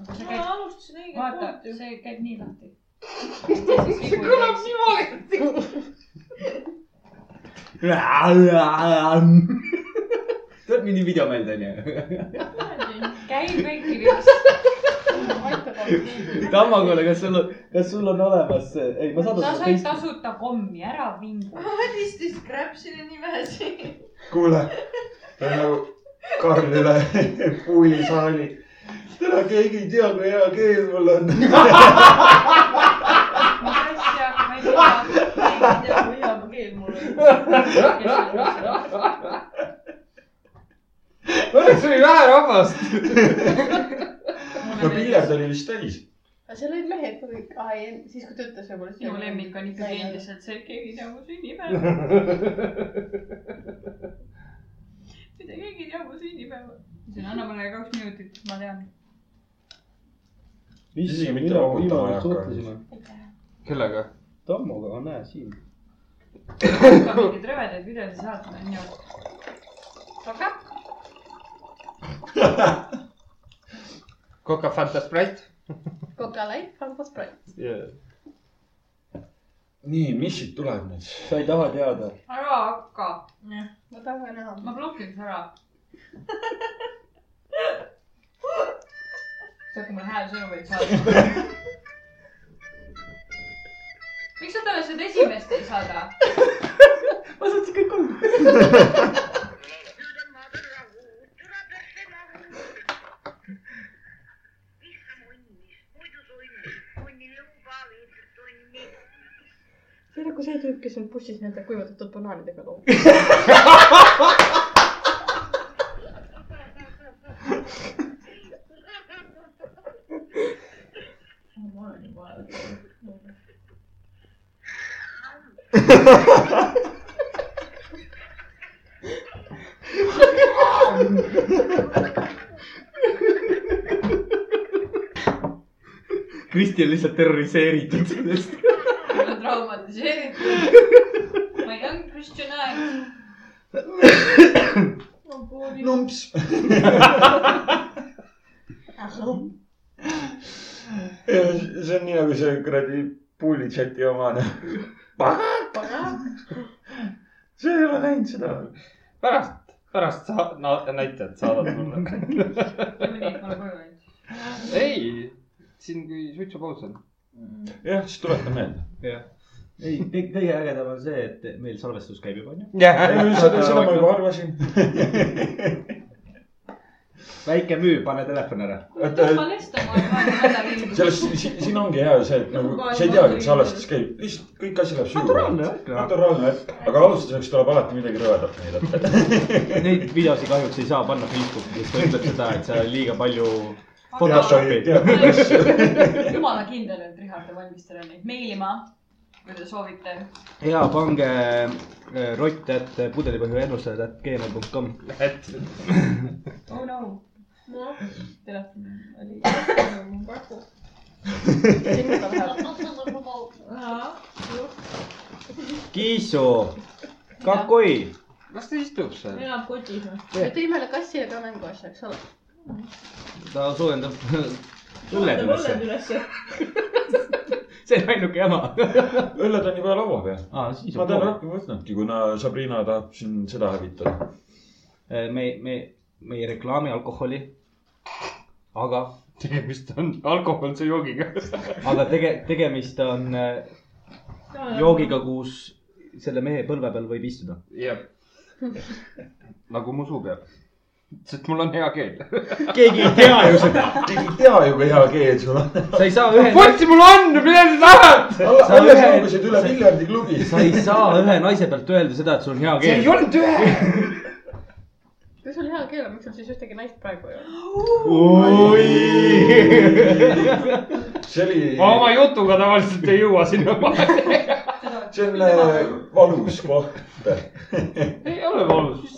aga see ma käib , alustasin õige vaata poolt , ju . see käib nii lahti . see kõlab niimoodi . tuleb mingi video meelde onju . käib veidikene . Tammo , kuule , kas sul , kas sul on olemas , ei ma sa saadan sulle said teist . tasuta kommi , ära vingu . Alistair Scrapsile nimesi . kuule , ta on nagu Karl üle puulisaali . täna keegi ei tea , kui hea keel mul on . mis asja , ma ei tea . hea keel mul õnneks oli vähe rahvast . no piljard oli vist täis . aga seal olid mehed ka kõik , aa ei , siis kui ta ütles võib-olla . minu lemmik on ikkagi . endiselt see , et keegi ei tea , mu sünnipäev . mitte keegi ei tea , mu sünnipäev on . siin anna mulle kaks minutit , siis ma tean . Isegi mitte millal raputama ei viimane hakka. suhtlesime ? kellega ? Tammoga , näe siin . hakka mingeid rõvedaid videosid saatma , onju . aga Coca Fanta Sprite . Coca Life , Fanta Sprite . nii , mis siit tuleb nüüd ? sa ei taha teada . ära hakka , ma tahan näha . ma blokin su ära . tead , kui mul häälsõnumeid saadab . miks sa talle seda esimest ei saada ? ma saatsin kõik kolm . see on nagu see tüüp , kes on bussis nende kuivatatud banaanidega loob . ma olen juba ajal . Kristi on lihtsalt terroriseeritud sellest . ma olen traumatiseeritud . ma ei olnud Kristjan Aeg . numps . see on nii nagu see kuradi puulitseti omane . sa ei ole näinud seda ? pärast , pärast sa na, näitad , saadad mulle . mõni pole koju läinud . ei , siin kui suitsupaus on . jah , siis tuleta meelde . ei , kõige ägedam on see , et meil salvestus käib juba onju . seda , seda nagu- ma juba arvasin . väike müü , pane telefon ära . kuidas ma lestama olen , ma olen ringi . selles , siin ongi hea see , et nagu sa ei teagi , et salvestus käib , lihtsalt kõik asi läheb naturaalne sujuvalt . värk . naturaalne , aga alustuseks tuleb alati midagi rõvedat näidata . Neid videosid kahjuks ei saa panna Facebooki , sest ta ütleb seda , et seal on liiga palju tead , sa ei Photoshopi . tea , kuidas . jumala kindel , et Richard on valmis teile neid meilima , kui te soovite . ja pange äh, rott , et pudelipõhja ennustajad , et gmail.com . oh no , noh , telefon oli . sinna ta läheb . Kiisu , kakoi , las ta istub seal . elab kotis või ? me tõime talle kassile ka mänguasja , eks ole . ta suurendab õlled ülesse , ülesse . see on ainuke jama . õlled on juba laua peal . aa , siis ma on täna pool . rohkem ei võtnudki , kuna Sabrina tahab siin seda hävitada . Äh, me , me , me ei reklaami alkoholi . aga , tegemist on alkoholse joogiga . aga tege- , tegemist on äh, joogiga , kus selle mehe põlve peal võib istuda . jah . nagu mu suu peab . sest mul on hea keel . keegi ei tea ju seda , keegi ei tea ju , kui hea keel sul on . sa ei saa ühe , potsi mul on , mida sa tahad ? Sa alles ühe- lugesid üle sa- miljardiklubi . sa ei saa ühe naise pealt öelda seda , et sul on hea see ei keel . olnud ühe . kui sul hea keel on , miks sul siis ühtegi naist praegu ei ole ? see ma oma oli , jutuga tavaliselt ei jõua sinnamaani . see on äh, valus koht . ei ole valus .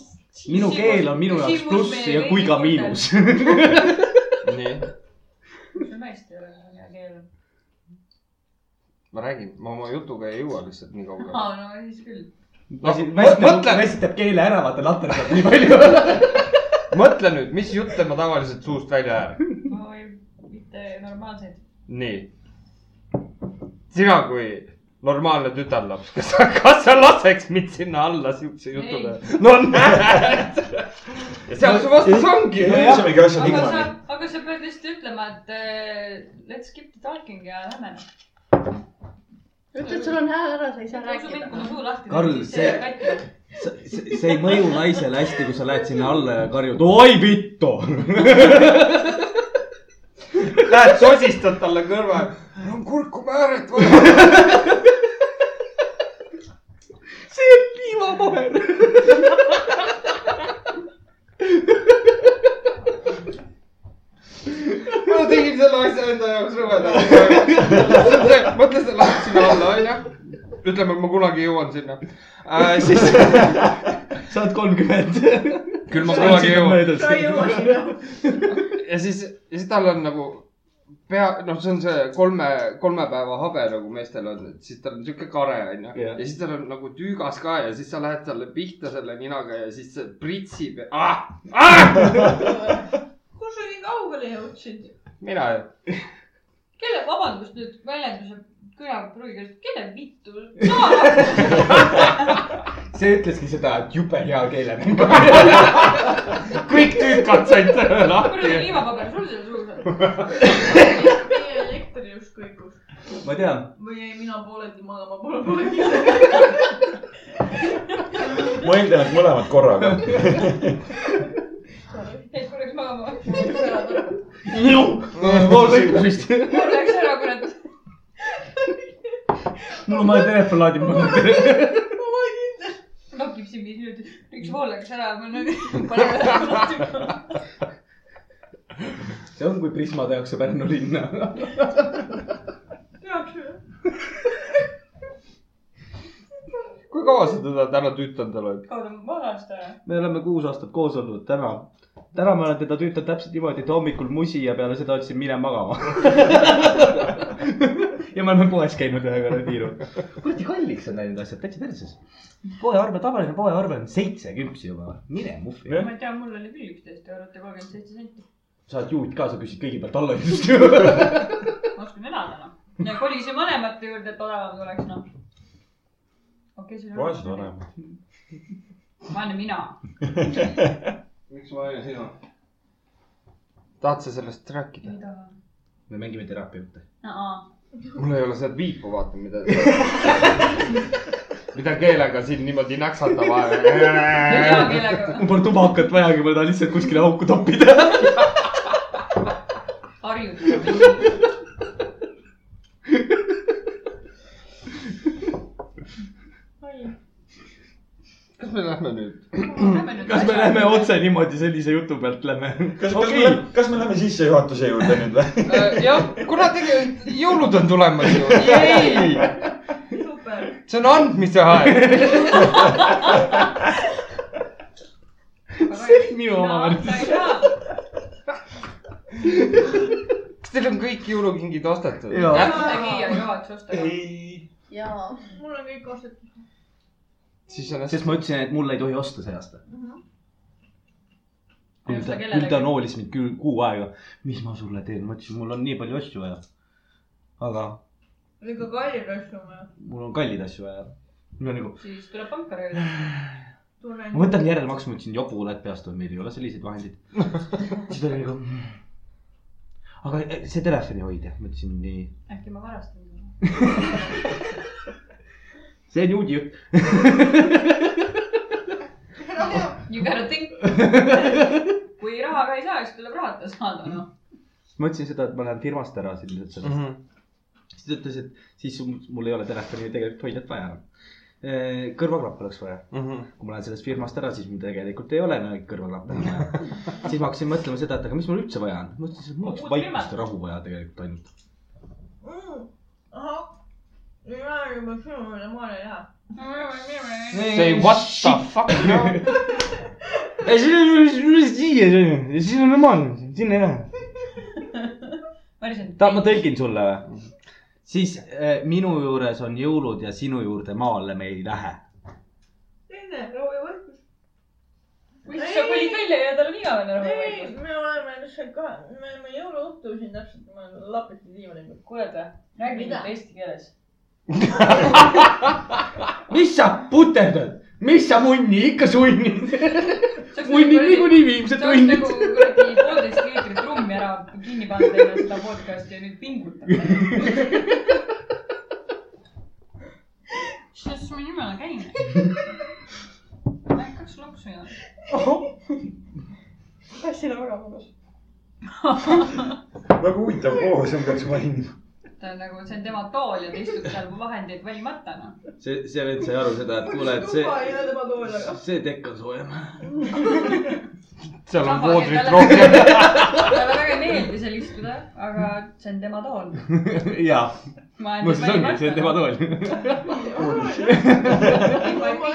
minu keel on minu jaoks pluss ja kui ka . miinus . nii , sul naist ei ole , sul on hea keel . ma räägin , ma oma jutuga ei jõua lihtsalt nii kaugele . aa , no siis küll . väsitab , mõtle- väsitab , väsitab keele ära , vaata laterdab nii palju . mõtle nüüd , mis jutte ma tavaliselt suust välja ajan . ma võin mitte normaalseid . nii . sina kui normaalne tütarlaps , kas sa , kas sa laseks mind sinna alla siukse jutule ? no näed . ja seal su vastus ongi . ütlesimegi asja aga sa niimoodi ., aga sa pead lihtsalt ütlema , et eh, let's skip the talking ja lähme . ütle , et sul on hääl ära , sa ei saa usu mind , kui ma rääkida . suu lahti Karl, see . see- see , see ei mõju naisele hästi , kui sa lähed sinna alla ja karjud , oi vittu . Lähed sosistad talle kõrva . mul on kurkumääret vaja . see on liivapaber . ma tegin selle asja enda jaoks rõvedamaks . mõtle , sa lähed sinna alla , onju . ütleme , et ma kunagi jõuan sinna äh, . siis sa oled kolmkümmend . küll ma kunagi jõuan . sa ei jõua sinna . ja siis , ja siis tal on nagu pea , noh , see on see kolme , kolme päeva habe nagu meestel on , et siis tal on sihuke kare onju Jah. ja siis tal on nagu tüügas ka ja siis sa lähed talle pihta selle ninaga ja siis see pritsib ja ah, . Ah! kus sa nii kaugele jõudsid ? mina , kelle , vabandust nüüd väljenduse kõlapruugi käest , kelle vittu ? see ütleski seda , et jube hea keelemäng . kõik tüükad said tööle kuradi lahti . liivapaber , sul seal suus on . meie elekter just kõikus ma tean , või jäin mina pooleldi magama , pole pooleldi . ma eeldan , et mõlemad korraga . jäid korraks magama . pool kõikumist . mul läks ära , kurat . mul on vaja telefon laadima . nokib siin viis minutit , üks vool läks ära , ma nüüd panen ära . see on , kui Prisma tehakse Pärnu linna . tehakse jah . kui kaua sa teda täna tüütanud oled ? kaua ta magas täna ? me oleme kuus aastat koos olnud , täna . täna ma olen teda tüütanud täpselt niimoodi , et hommikul musi ja peale seda ütlesin , mine magama . ja me oleme poes käinud ühe korra tiiru . kuradi kalliks on läinud asjad , täitsa perses . poearve , tavaline poearve on seitse küpsi juba , mine muhvi . ma ei tea , mul oli küll üksteist eurot ja kolmkümmend seitse senti . sa oled juut ka , sa küsid kõigi pealt allahindlust . ma oskan elada noh . ja kolisin vanemate juurde , et odavam tuleks noh . okei , sul vaesed . vanemad . vaene mina . miks ma olin sinu ? tahad sa sellest rääkida ei ? taha . me mängime teraapiat . mul ei ole seda viipu , vaata , mida , mida keelega siin niimoodi näksata ei tea vahel . kellega , mul pole tubakat vajagi , ma tahan lihtsalt kuskile auku toppida . harjuda . kas me lähme nüüd ? kas me lähme ? otse niimoodi sellise jutu pealt lähme ? kas , kas me , kas me läheme sissejuhatuse juurde nüüd või ? Äh, jah , kuna tegelikult jõulud on tulemas ju , jäi , super . see on andmise aeg . see oli minu omavalitsus . omavalitsus . kas teil on kõik jõulukingid ostetud ? Jaa. täpselt nii ja jõuaks osta . ei . jaa . mul on kõik ostetud . siis on sest ma ütlesin , et mulle ei tohi osta see aasta . Mhm. Ei küll osta ta , kellelegi. küll ta noolis mind küll kuu aega . mis ma sulle teen , ma ütlesin , mul on nii palju asju vaja . aga ega kallid asju on vaja . mul on kalleid asju vaja . mul on nagu , siis tuleb panka röövida . tunnen ma . võtan järelmaksu , ma ütlesin , jobu , lähed peast , meil ei ole selliseid vahendeid . siis ta oli nagu . aga eh, see telefonihoidja , ma ütlesin nii . äkki ma varastan . see on juudi jutt . ära tea . You gotta think . kui raha ka ei saa , siis tuleb rahata saada , noh . ma ütlesin seda , et ma lähen firmast ära siin lihtsalt Mhm. sellest . -hmm. siis ta ütles , et siis mul- mul ei ole telefoni tegelikult hoidjat vaja enam . kõrvaklappe oleks vaja . Mm -hmm. kui ma lähen sellest firmast ära , siis mul tegelikult ei ole enam kõrvaklappe enam vaja . siis ma hakkasin mõtlema seda , et aga mis mul üldse vaja on . ma ütlesin , et mul oleks Uut vaikust firmat. ja rahu vaja tegelikult ainult . Mm. ahah . ei ole juba sinu üle moele teha . Say what the fuck no. . ei , siin on , siin on , siin on normaalne , siin ei lähe . Marisin . tahad , ma tõlgin sulle või ? siis eh, minu juures on jõulud ja sinu juurde maale me ei lähe . teine rahu ja võrdsus . miks sa kolid välja ja tal on igavene raha ei , võetud ? me oleme täpselt ka , me olime jõuluõhtul siin täpselt , ma lapisin diivani peal . kuuled või ? räägi Mida? nüüd eesti keeles . mis sa puterdad , mis sa munni , ikka sunnid . See oleks munnid nagu- niikuinii viimse see oleks tunni nagu . kuradi poolteist liitrit rummi ära kinni pannud enne seda podcast'i ja nüüd pingutab . mis ma jumala käin ? kaks loksu ja . kassil on väga mõnus . väga huvitav koosem peaks mainima . ta on nagu , see on tema tool ja ta istub seal vahendeid valimata noh . see , see vend sai aru seda , et kuule , et tuba ei see , ole tema tool , aga see tekk on soojem . seal on Saba- voodrit talle- rohkem . talle väga ei meeldi seal istuda , aga see on tema tool . jaa , no siis ongi , Noh, see on tema . tool .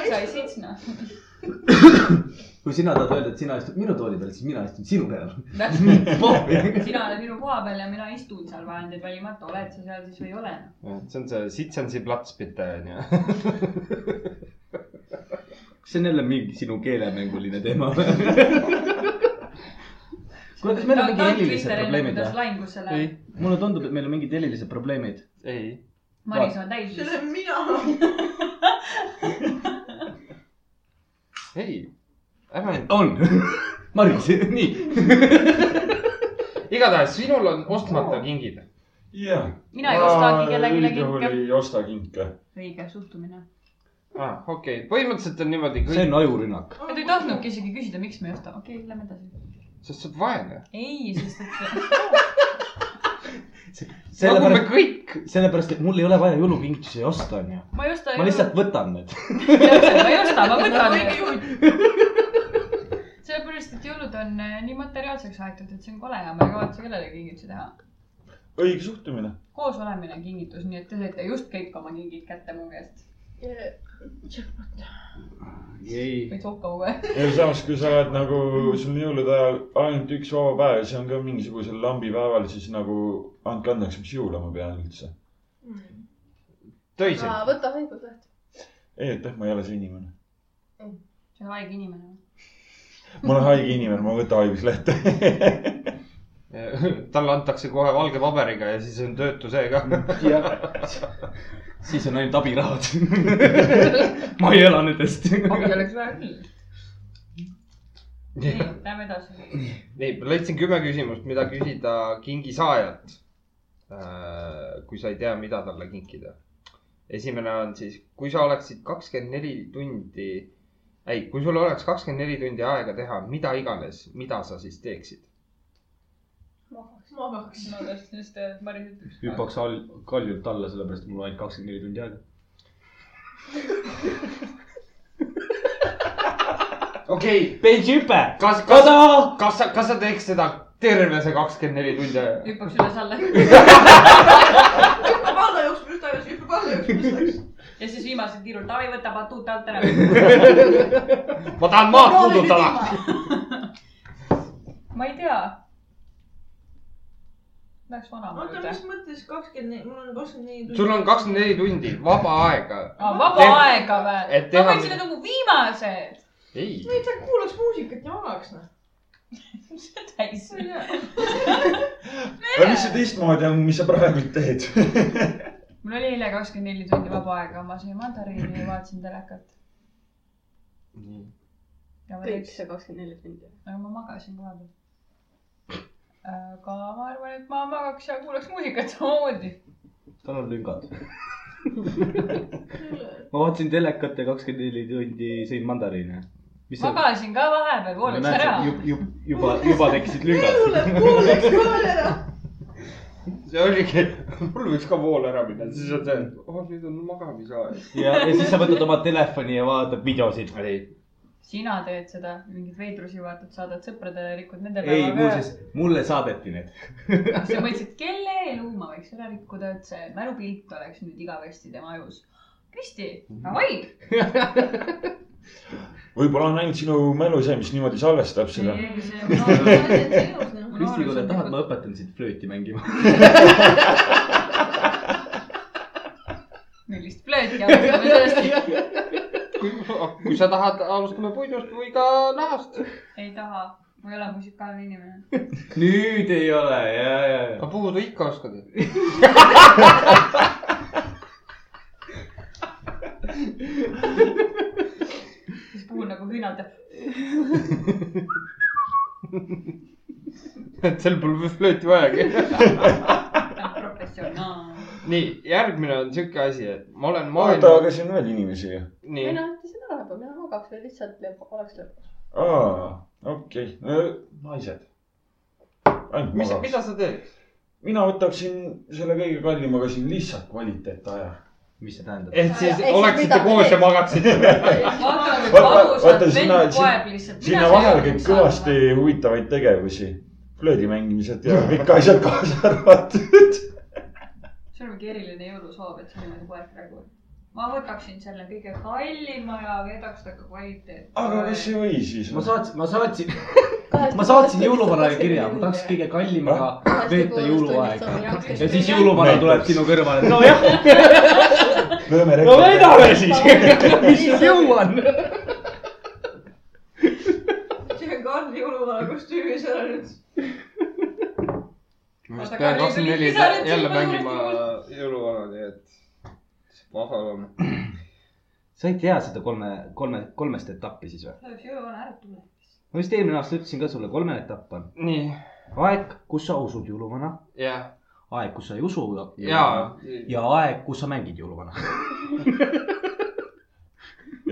sa ei sitsna . kui sina tahad öelda , et sina istud minu tooli peal , siis mina istun sinu peal . sina oled minu koha peal ja mina istun seal vahendeid valimata , oled sa seal siis või ei ole . noh? see on see sitsensi plats bitte onju . kas see on jälle mingi sinu keelemänguline teema või ? kuule , kas meil on mingi helilised probleemid või ? lahingus selle ei , mulle tundub , et meil on mingid helilised probleemid . ei . Maris on täis see . olen mina . ei , ära enda . on . Maris , nii . igatahes sinul on ostmata kingid . jah . mina ei ostagi kellelegi üldjuhul kinke . ei osta kinke . õige suhtumine . aa , Ah, okei okay. , põhimõtteliselt on niimoodi see kõik , on ajurünnak . Nad ei tahtnudki isegi küsida , miks me ei osta . okei okay, , lähme edasi . sest sa oled vaene . ei , sest et nagu me sellepärast , kõik . sellepärast , et mul ei ole vaja jõulukingitusi osta , onju . ma ei osta . ma lihtsalt . võtan need . ma ei osta , ma võtan õige need . jutt . sellepärast , et jõulud on eh, nii materiaalseks aetud , et see on kole ja ma ei kavatse kellelegi kingitusi teha . õige suhtumine . koos olemine on kingitus , nii et te saite just kõik oma kingid kätte mu käest . ei . või sokka uue . ja samas , kui sa oled nagu , sul on jõulude ajal ainult üks vaba päev ja see on ka mingisugusel lambipäeval , siis nagu andke andeks , mis jõule ma pean üldse . Mm. tõsiselt , võta haiguslehte . ei , aitäh , ma ei ole see inimene . sa oled haige inimene . ma olen haige inimene , ma ei võta haiguslehte . talle antakse kohe valge paberiga ja siis on töötu see ka . siis on ainult abirahad . ma ei ela nendest . abi oleks vaja küll . nii , lähme edasi . nii , ma leidsin kümme küsimust , mida küsida kingi saajalt . kui sa ei tea , mida talle kinkida . esimene on siis , kui sa oleksid kakskümmend neli tundi , ei , kui sul oleks kakskümmend neli tundi aega teha mida iganes , mida sa siis teeksid ? magaks . ma tahtsin just , et Maris ütleb . hüppaks al- kaljult alla , sellepärast et mul on ainult kakskümmend neli tundi aega . okei okay. , bensihüpe . kas , kas , kada . kas sa , kas sa teeks seda terve see kakskümmend neli tundi aega ? hüppaks üles alla hüppa palda jooksma just tagasi , hüppa palda jooksma just tagasi . ja siis viimasel tiirul Taavi võta batuut alt ära . ma tahan maad puudutada . ma ei tea . Läheks vanaema oota , juurde mis . mõttes kakskümmend neli , mul on kakskümmend neli sul on kakskümmend neli tundi vaba aega . aa , vaba Teha- aega või et ? ma teha võiksin mida- nagu viimased . ei , ma ei tea , kuulaks muusikat ja magaks noh . seda ei saa . aga mis see teistmoodi on , mis sa praegu teed ? mul oli eile kakskümmend neli tundi vaba aega , ma sõin mandariini ja vaatasin telekat . ja ma kõik läks , see kakskümmend neli tundi . aga ma magasin vahepeal . aga ma arvan , et ma magaks ja kuulaks muusikat samamoodi . tal on lüngad . ma vaatasin telekat ja kakskümmend neli tundi sõin mandariine . mis magasin ka vahepeal , voolaks ära . juba , juba , juba tekkisid lüngad . kuule , kuuleks koolera . see oligi , mul võiks ka vool ära minna , siis on see , et oh nüüd on magamisaeg . ja , ja siis sa võtad oma telefoni ja vaatad videosid . ei , sina teed seda , mingeid veidrusi vaatad , saadad sõpradele , rikud nende ei , muuseas , mulle saadeti need . ka . sa mõtlesid , kelle elu ma võiks ära rikkuda , et see mälupilt oleks nüüd igavesti tema ajus . Kristi , davai . võib-olla on ainult sinu mälu see , mis niimoodi salvestab seda . Kristi , kui sa tahad , ma õpetan sind flööti mängima . millist flööti alustame tõesti ? kui , kui sa tahad , alustame puidust või ka nahast . ei taha , ma ei ole musikaalne inimene . nüüd ei ole , ja , ja , ja . aga puhuda ikka oskad ju . siis puhun nagu hüünalt . et sel pole flööti vajagi . professionaal . nii , järgmine on siuke asi , et ma olen oota , aga maailma . siin on veel inimesi ju . nii mina , ütlesin ära juba , mina magaks veel lihtsalt ja oleks lõpp . aa , okei , naised . ainult mis , magaks mida sa teed ? mina võtaksin selle kõige kallima , aga siin lihtsalt kvaliteetaja . mis see tähendab ? et siis Ehk siis mida oleksite me koos ja teeme? magaksite . vaata , kui Vaata- valusalt vaata, vend sina- sin- poeb lihtsalt . sinna vahele käib kõvasti . huvitavaid tegevusi . flöödi mängimised ja kõik asjad kaasa arvatud . see on mingi eriline jõulusoov , et sa niimoodi poed praegu . ma võtaksin selle kõige kallima ja veedaks ta ka kvaliteet . aga kas ei või siis ? Eh, ma saatsin , ma saatsin , ma saatsin jõuluvanale kirja , ma tahaks kõige kallimaga veeta jõuluaega . ja siis jõuluvana tuleb sinu kõrvale . nojah , lööme no vedame rekordi . siis . mis jõu on ? see on Karl jõuluvana kostüümis ära nüüd . ma vist Oota, Karl, pean kakskümmend neli sa oled jälle siin mängima põhimõtteliselt jõuluvana , nii et paha on . sa ei tea seda kolme , kolme , kolmest etappi siis või ? jõuluvana ära tule . ma vist eelmine aasta ütlesin ka sulle , kolmene etapp on nii , aeg , kus sa usud jõuluvana , ja , aeg , kus sa ei usu jõuluvana ja . ja aeg , kus sa mängid jõuluvana .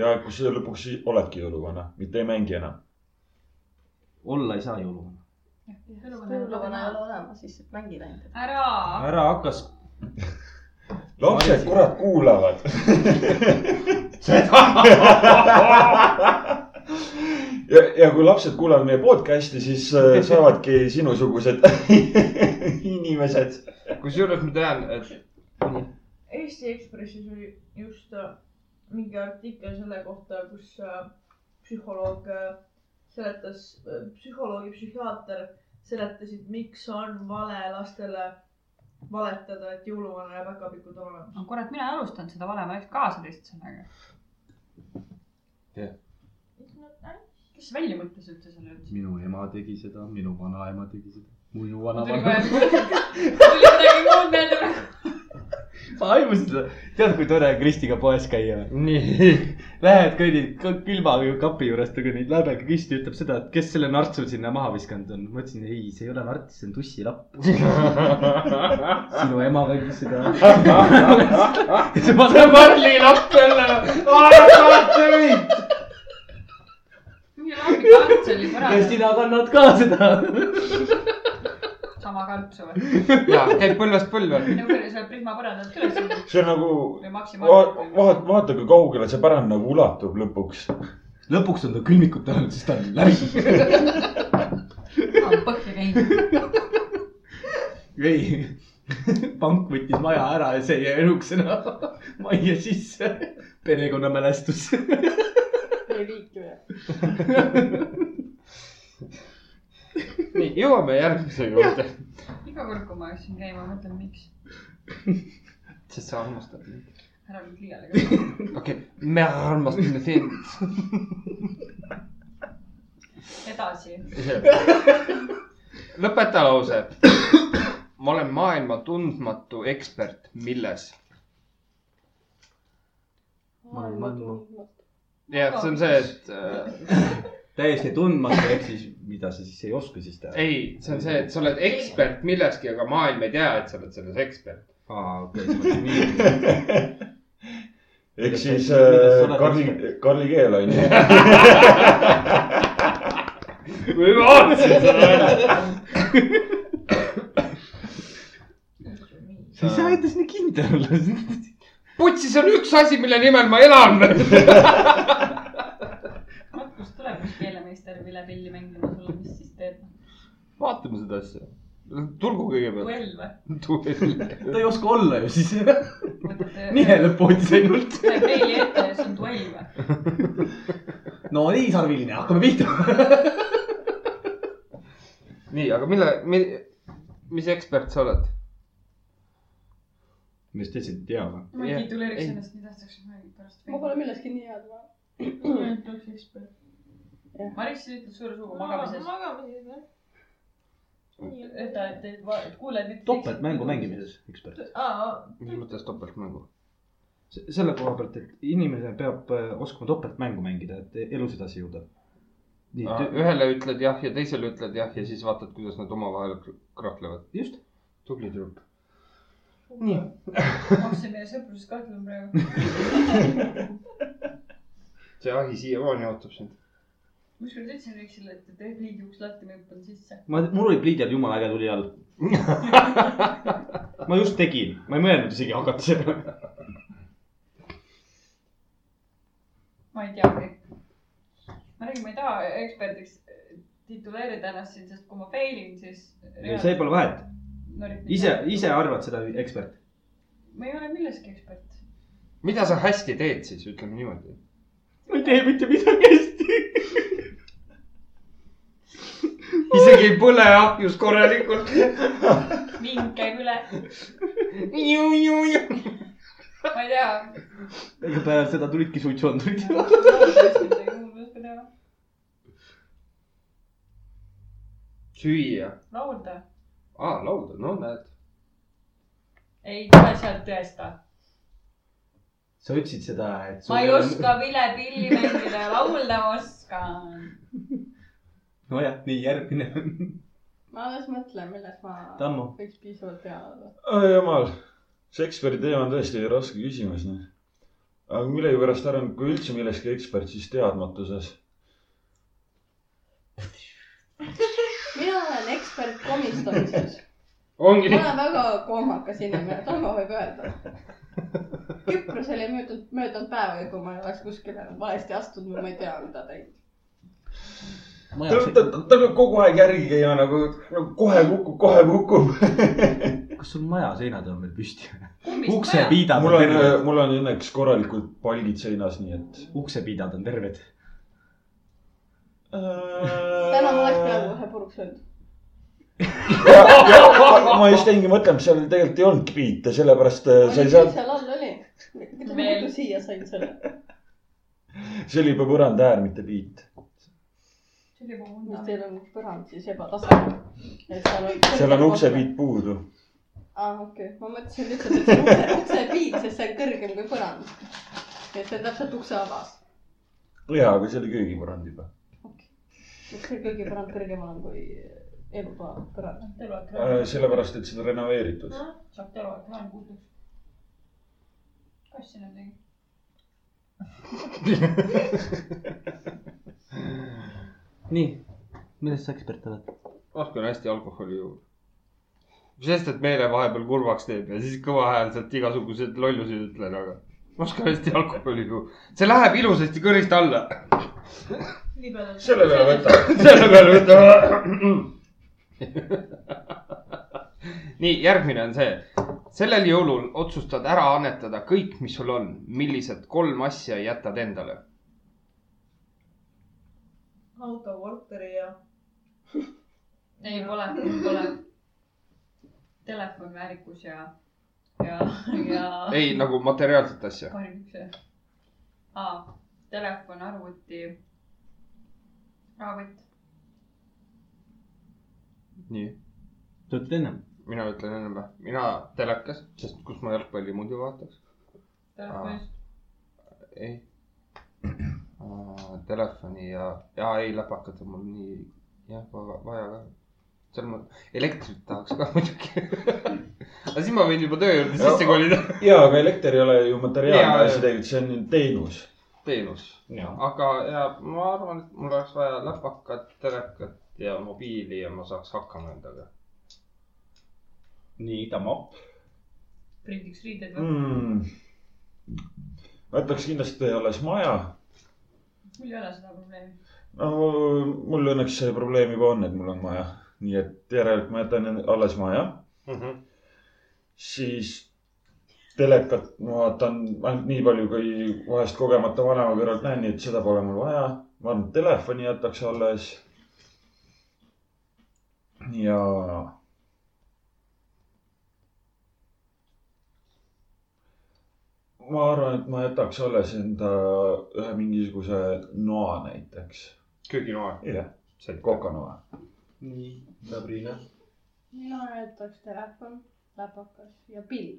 ja kus sa lõpuks oledki jõuluvana , mitte ei mängi enam . olla ei saa jõuluvana . jõuluvana ei ole olemas , siis mängi läinud . ära . ära hakka , lapsed , kurat , kuulavad . ja , ja kui lapsed kuulavad meie podcast'i , siis äh, saavadki sinusugused inimesed . kusjuures ma tean , et nii. Eesti Ekspressis oli just äh, mingi artikkel selle kohta , kus äh, psühholoog äh, seletas , psühholoog ja psühhiaater seletasid , miks on vale lastele valetada , et jõuluvana ja päkapikud on olemas . no kurat , mina ei alustanud seda vale , ma läks kaasa teist sõnaga . kes välja mõtles üldse selle üldse ? minu ema tegi seda , minu vanaema tegi seda , minu tuli vanaema . kohe , tuli midagi muud meelde . ma aimasin seda , tead , kui tore on Kristiga poes käia või ? nii , Lähed kõnnid kõ- külma kapi juurest , aga neid läbega Kristi ütleb seda , et kes selle nartsu sinna maha viskanud on . ma ütlesin , ei , see ei ole narts , see on tussilapp . sinu ema kandis seda . see on Marli lapp jälle , alati võid . mingi lambi karts oli ja põrandal , sina kannad ka seda . sama karts või ? ja käib põlvest põlve . nagu oli seal Prisma põrandalt üles see on nagu , või Maxima . vaata , vaata kui kaugele see pärand nagu ulatub lõpuks . lõpuks on ta külmikute all , sest ta on läbi . põhja käinud . ei , pank võttis maja ära ja see jäi eluks enam majja sisse . perekonnamälestus . ei liiki veel . nii , jõuame järgmise juurde , iga kord , kui ma hakkasin käima , ma mõtlen , miks . sest sa armastad mind . ära nüüd liiale ka . okei okay, , me armastame sind . edasi . lõpeta lause . ma olen maailma tundmatu ekspert , milles ? Ma olen maailma- jah , see on see , et äh, täiesti tundmatu , ehk siis mida sa siis ei oska siis teha ? ei , see on see , et sa oled ekspert milleski , aga maailm ei tea , et sa oled selles ekspert . aa , okei , sa mõtled nii . ehk Kuidas siis sa- kuidas sa oled äh, Karli , Karli keel on ju . või ma vaatasin seda välja . sa ei saa endas nii kindel olla . putsis on üks asi , mille nimel ma elan . vot kust tuleb üks keelemeister vilepilli mängima sulle , mis siis teed ? vaatame seda asja . tulgu kõigepealt . duell või ? ta ei oska olla ju siis . võtate nihele poodis ainult . preili äh, ette ja siis on duell või ? no nii , Sarviline , hakkame pihta . nii , aga mille , mis ekspert sa oled ? ma just ütlesin , et ei tea . ma Jah, ei tituleeriks ei. ennast nii tähtsaks , et ma ei- pärast . ma pole milleski nii hea , et ma millegi . ei Maris siis ütleb suure suuga magamises , magamises jah . ütle , et , et va- et kuule nüüd . topeltmängu . nagu mängimises ekspert . aa , mis mõttes topeltmängu ? selle koha pealt , et inimene peab äh, oskama topeltmängu mängida , et elus edasi jõuda . nii , ühele ütled jah ja teisele ütled jah ja siis vaatad , kuidas nad omavahel kr- krahklevad . just . tubli tüüp . nii , hakkasin meie sõpruses kahtlema praegu . see ahi siiamaani ootab sind . ma ükskord ütlesin Riksile , et tee pliidi uks lahti , ma hüppan sisse . ma , mul oli pliidel jumala äge tuli all . ma just tegin , ma ei mõelnud isegi hakata seda . ma ei teagi . ma räägin , ma ei taha eksperdiks tituleerida ennast siin , sest kui ma fail in , siis . see pole vahet , ise , ise arvad seda ekspert . ma ei ole milleski ekspert . mida sa hästi teed siis , ütleme niimoodi . ma ei tee mitte midagi hästi . isegi ei põle ahjus korralikult . mind käib üle , ma ei tea . ega peale seda tulidki suitsuandurid . süüa . laulda , aa , lauda , no näed . ei tule sealt tõesta . sa ütlesid seda , et . ma ei . oska vilepilli mängida ja laulda oskan . nojah , nii järgmine . ma alles mõtlen , milles ma Tammo . võiks piisavalt teada olla . oi jumal , see eksperdi teema on tõesti raske küsimus , noh . aga millegipärast arvan , kui üldse milleski ekspert , siis teadmatuses . mina olen ekspert komistamises . ongi ma nii . olen väga koomakas inimene , Tammo võib öelda . Küpros oli möödunud , möödunud päev , kui ma ei oleks kuskile valesti astunud või ma ei tea , mida teinud . tal peab kogu aeg järgi käima nagu , nagu kohe kukub , kohe kukub . kas sul maja seinad on veel püsti ? ukse piit . uksepiidad mul on on terved ,, mul on õnneks korralikud palgid seinas , nii et . äh, uksepiidad on terved . Äh. täna ma oleks peaaegu ühe puruks öelnud . ma just jäingi mõtlema , seal tegelikult ei olnudki piita , sellepärast äh, sa ei seal saanud , all oli . kuidas ma Meil- muidu siia sain selle ? see oli juba põrandaäär , mitte piit . mis teil on põrand siis ebatasakaal ? seal on . uksepiit puudu . aa , okei , ma mõtlesin lihtsalt , et see on ukse , uksepiit , sest see on kõrgem kui põrand . et see on täpselt ukse avas . jaa , aga see oli köögipõrand juba . miks see köögipõrand kõrgemal on kui elutoa põrand ? Äh, sellepärast , et seda renoveeritud . Ah. saate aru , et laen puudub . kas siin on midagi ? nii , millest sa ekspert oled ? oskan hästi alkoholi juua . sest , et meele vahepeal kurvaks teeb ja siis kõvahäälselt igasuguseid lollusi ütlen , aga oskan hästi alkoholi juua . see läheb ilusasti kõrist alla . nii palju . selle peale võta . selle peale ütleme . nii , järgmine on see . sellel jõulul otsustad ära annetada kõik , mis sul on , millised kolm asja jätad endale ? auto , korteri ja . ei , pole , pole . telefon , väärikus ja , ja , ja . ei , nagu materiaalset asja . kahjuks . aa , telefon , arvuti , rahakott . nii , sa ütled ennem ? mina ütlen ennem või ? mina telekas , sest kus ma jalgpalli muidu vaataks . telefonis . ei . Telefoni ja , ja ei läpakat on mul nii jah va- vaja ka . seal ma elektrit tahaks ka muidugi . aga siis ma võin juba töö juurde sisse kolida . jaa , aga elekter ei ole ju Jaa, materiaalne jaa. asi tegelikult , see on teenus . teenus , aga ja ma arvan , et mul oleks vaja läpakat , telekat ja mobiili ja ma saaks hakkama endaga . nii , Tamo . prindiks riided või ? mm. . võtaks kindlasti alles maja . mul ei ole seda probleemi . no mul õnneks see probleem juba on , et mul on maja , nii et järelikult ma jätan en- alles maja , Mhm. siis telekat ma vaatan ainult nii palju , kui vahest kogemata vanema kõrvalt näen , nii et seda pole mul vaja . ma arvan , et telefoni jätaks alles . ja . ma arvan , et ma jätaks alles enda ühe mingisuguse noa näiteks kööginoa , jah , selge . kokanoa . nii , Sabrina . mina jätaks telefon , läpakas ja pill .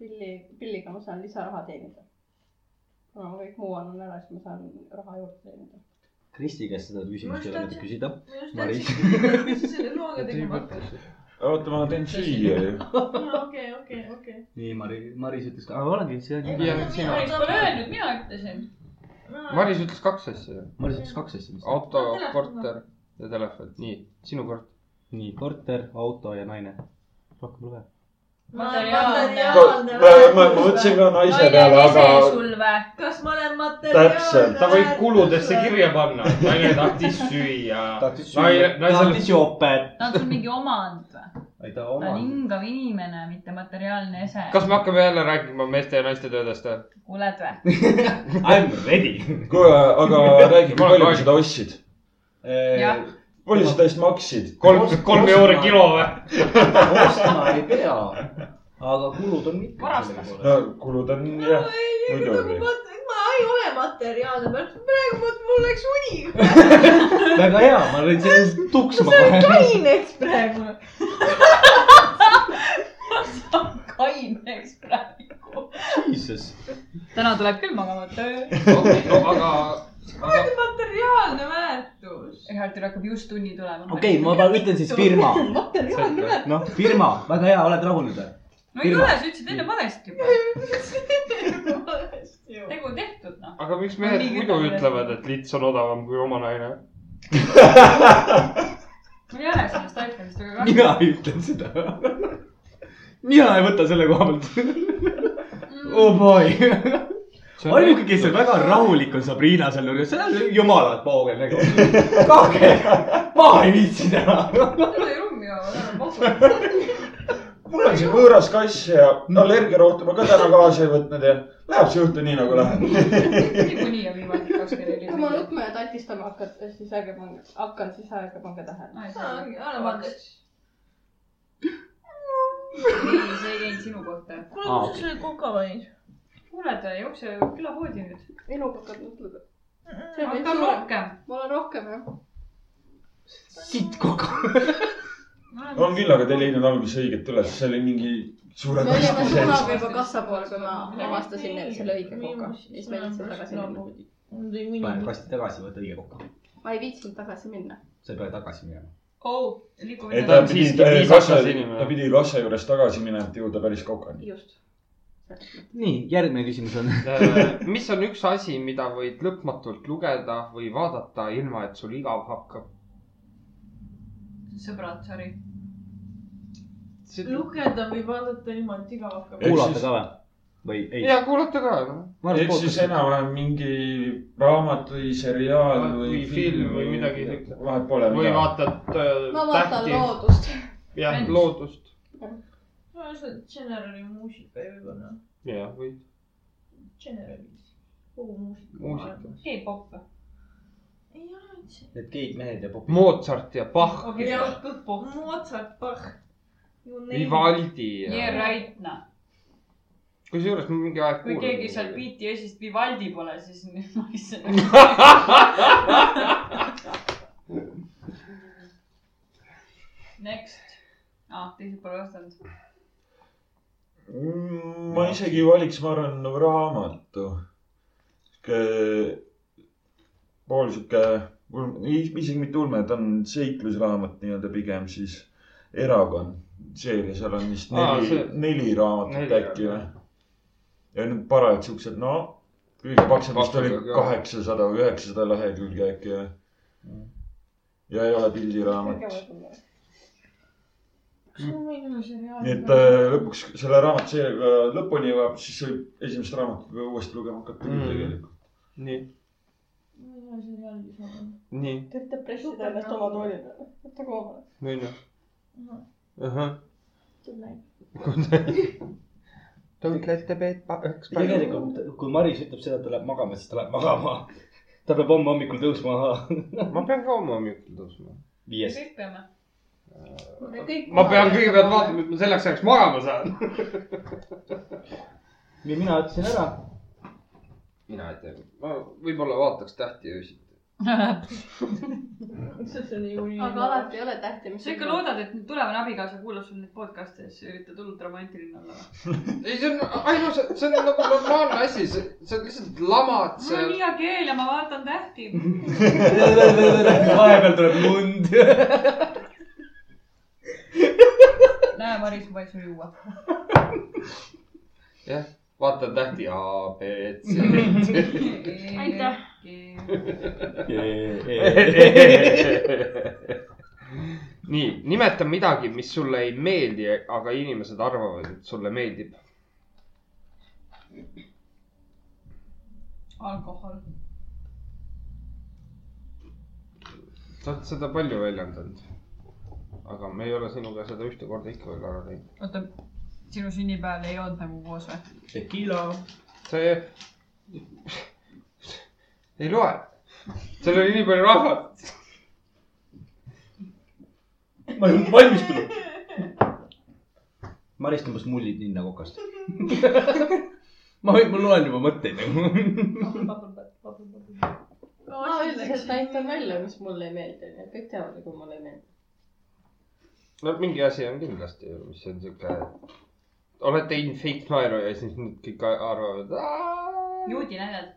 pilli , pilliga ma saan lisaraha teenida . kuna ma kõik muu annan ära , siis ma saan raha juurde teenida . Kristi käest seda küsimust ei ole mõtet küsida . ma Maris. tahtsin , mis sa selle loaga tegema hakkad . oota , ma teen süüa ju . okei , okei , okei . nii , Mari , Maris ütles ka , aga olengi , see ongi ja nii . nüüd sina . Maris pole öelnud , mina ütlesin . Maris ütles kaks asja . Maris ütles kaks asja vist . auto Telefon. , korter ja telefon . nii , sinu kord . nii , korter , auto ja naine . rohkem pole vaja . ma , ma mõtlesin ka naise peale , aga sul vä ? kas ma olen materiaalne ? Täpselt. ta võib kuludesse . kirja panna , naine tahtis süüa . naine , naisel , tahtis jopet . ta on sul mingi omand vä ? ei ta ta on omand . hingav inimene , mitte materiaalne ese . kas me hakkame jälle rääkima meeste ja naiste töödest või ? oled vä ? I m ready . kuule , aga räägi , kui palju sa seda ostsid ? Eh, Jah. palju sa täiesti maksid ? kolm , kolm euri kilo või ? ostma ei pea , aga kulud on ikka Varastas. . no kulud on jah , muidugi . ma ei ole materiaalne , praegu mul mul läks uni , väga hea , ma lõin selle tuksma kohe . kaineks praegu . kaineks praegu . Jesus . täna tuleb küll magamata öö . no aga , aga materiaalne väärtus . Richardil hakkab just tunni tulema . okei , ma pa- ütlen siis firma . materiaalne väärtus . noh , firma , väga hea , oled rahul nüüd või ? no ei firma. ole , sa ütlesid enne valesti juba . noh. tegu tehtud noh . aga miks mehed muidu ütlevad , et lits on odavam kui oma naine ? mul ei ole sellist ütlemist , aga kah- mina ütlen seda . mina ei võta selle koha pealt . Mm, oh boy . ainuke , kes on väga rahulik , on Sabrina seal juures , see on jumala paugel nägu . kage , ma ei viitsi täna . mul oli rummi ka , ma tahan kohtuda . mul on siin võõras kass ja allergiarohtu ma ka täna kaasa ei võtnud ja läheb see õhtu nii nagu läheb . niikuinii on viimased kakskümmend neli kui ma . nutma ja tatistama hakkan , siis ärge pange , hakkan , siis ärge pange tähele . anna ei , vaateks . see ei käinud sinu kohta . kuule , Aa, kus sa selle koka panid ? kuuled , jookse külapoodi nüüd . elupakad mõtlevad . see on hakka veel suurem . rohkem . ma olen rohkem jah . sitt kokku . on küll , aga te ei leidnud alguses õiget üles , see oli mingi suure me olime kasti sees . suunaga juba kassa pool , kui ma avastasin selle õige koka . siis ma jätsin tagasi minna . mul tuli pane mõni . kasti tagasi , võta õige kokku . ma ei viitsinud tagasi minna . sa ei pea tagasi minema . oh , liigume ei , ta edasi . pidi siiski , viisakas kassa , inimene. ta pidi kassa juures tagasi minema , et jõuda päris kokani . just . nii , järgmine küsimus on . äh, mis on üks asi , mida võid lõpmatult lugeda või vaadata , ilma et sul igav hakkab ? sõbrad , sorry . lugeda või vaadata niimoodi , et igav hakkab . kuulata ka või ? või ei ? ja kuulata ka no. . ehk siis enam-vähem mingi raamat või seriaal või film või midagi siukest. vahet pole . või . vaatad äh, ma vaatan tähti , loodust . jah , loodust . ma ei usu , et Generali muusika ei või panna . ja , või Generalis . kogu muusika . muusika . K-pop . ei ole üldse . Need geid mehed ja popid . Mozart ja Bach , okei , Jah. good pop . Mozart , Bach . Vivaldi Yeah ja . right noh . kusjuures ma mingi aeg kui keegi seal kuulan . BTS-ist Vivaldi pole , siis ma lihtsalt . Next . ah , teised pole vastanud . Mm, ma isegi valiks , ma arvan , raamatu . pool sihuke , isegi mitte ulme , ta on seiklusraamat nii-öelda pigem siis , erakond , seeria , seal on vist Aa, neli see- , neli raamatut Neli, äkki jah. või ? ja need parajad siuksed , no kõige paksem vist oli Paksuga, jah. kaheksasada või üheksasada lehekülge äkki või ? Mm. ja ei ole pildiraamat . nii et äh, lõpuks selle raamatu seega lõpuni jõuab , siis võib esimest raamatut ka uuesti lugema hakata küll Mm. tegelikult . nii , nii , Te olete pressinud ennast oma tooli peale . võta koomale . on ju . ahah , don't let the bed pa- expire . tegelikult , kui Maris ütleb seda , et ta läheb magama , siis ta läheb magama . ta peab homme hommikul tõusma ma pean ka homme hommikul tõusma . viies . kõik peame . ma pean kõigepealt . vaatama , et ma selleks ajaks magama saan . nii , mina ütlesin ära . mina ei tea , ma võib-olla vaataks tähti öösiti . sest see niikuinii . aga alati ei ole tähti , mis sa ikka . loodad , et nüüd tulevane abikaasa kuulab sul neid podcast'e ja siis üritad hullult romantiline olla või ? ei , see on ainus , see on nagu normaalne asi , see , sa lihtsalt lamad mul on seal . iga keel ja ma vaatan tähti . vahepeal tuleb lund . näe , Maris , ma ei saa juua . jah , vaatan tähti A , B , C . Aitäh. . nii , nimeta midagi , mis sulle ei meeldi , aga inimesed arvavad , et sulle meeldib . alkohol . sa oled seda palju väljendanud . aga me ei ole sinuga seda ühte korda ikka veel ära teinud . oota , sinu sünnipäeval ei olnud nagu koos või ? Tequila . see ei loe . seal oli nii palju rahvast . ma ei olnud valmistunud . Maris tõmbas mullid ninna kokast . ma , ma loen juba mõtteid nagu . ma üldiselt näitan välja , mis mulle ei meeldi , nii et kõik teavad , kui mulle ei meeldi . no mingi asi on kindlasti , mis on siuke , oled teinud fake naeru ja siis nüüd kõik a- arvavad . juudi nädal .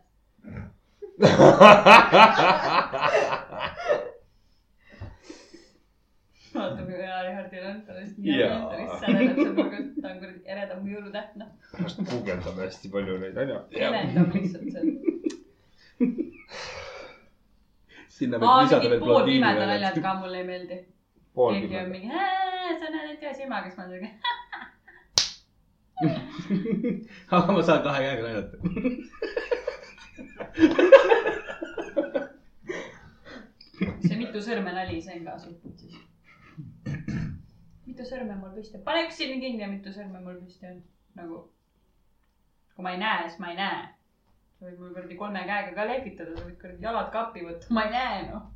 vaata , kui hea Richardil on , tal on nii hea Jaa. mentorist , sa näed , et see on nagu- ta on kuradi eredam kui jõulutäht , noh . guugeldame hästi palju neid onju . eredam lihtsalt see on . sinna võib aa , mingid lisada veel platiini poolpimeda naljad välja . ka mulle ei meeldi . pool keegi on pime . mingi , sa näed , et ühe silmaga , siis ma olen nagu, siuke , aga ma saan kahe käega näidata . see mitu sõrme nali , see on ka suhteliselt siis . mitu sõrme mul püsti on , pane üks silm kinni ja mitu sõrme mul püsti on , nagu . kui ma ei näe , siis ma ei näe . sa võid mul kuradi kolme käega ka lehvitada , sa võid kuradi jalad kappi võtta , ma ei näe noh .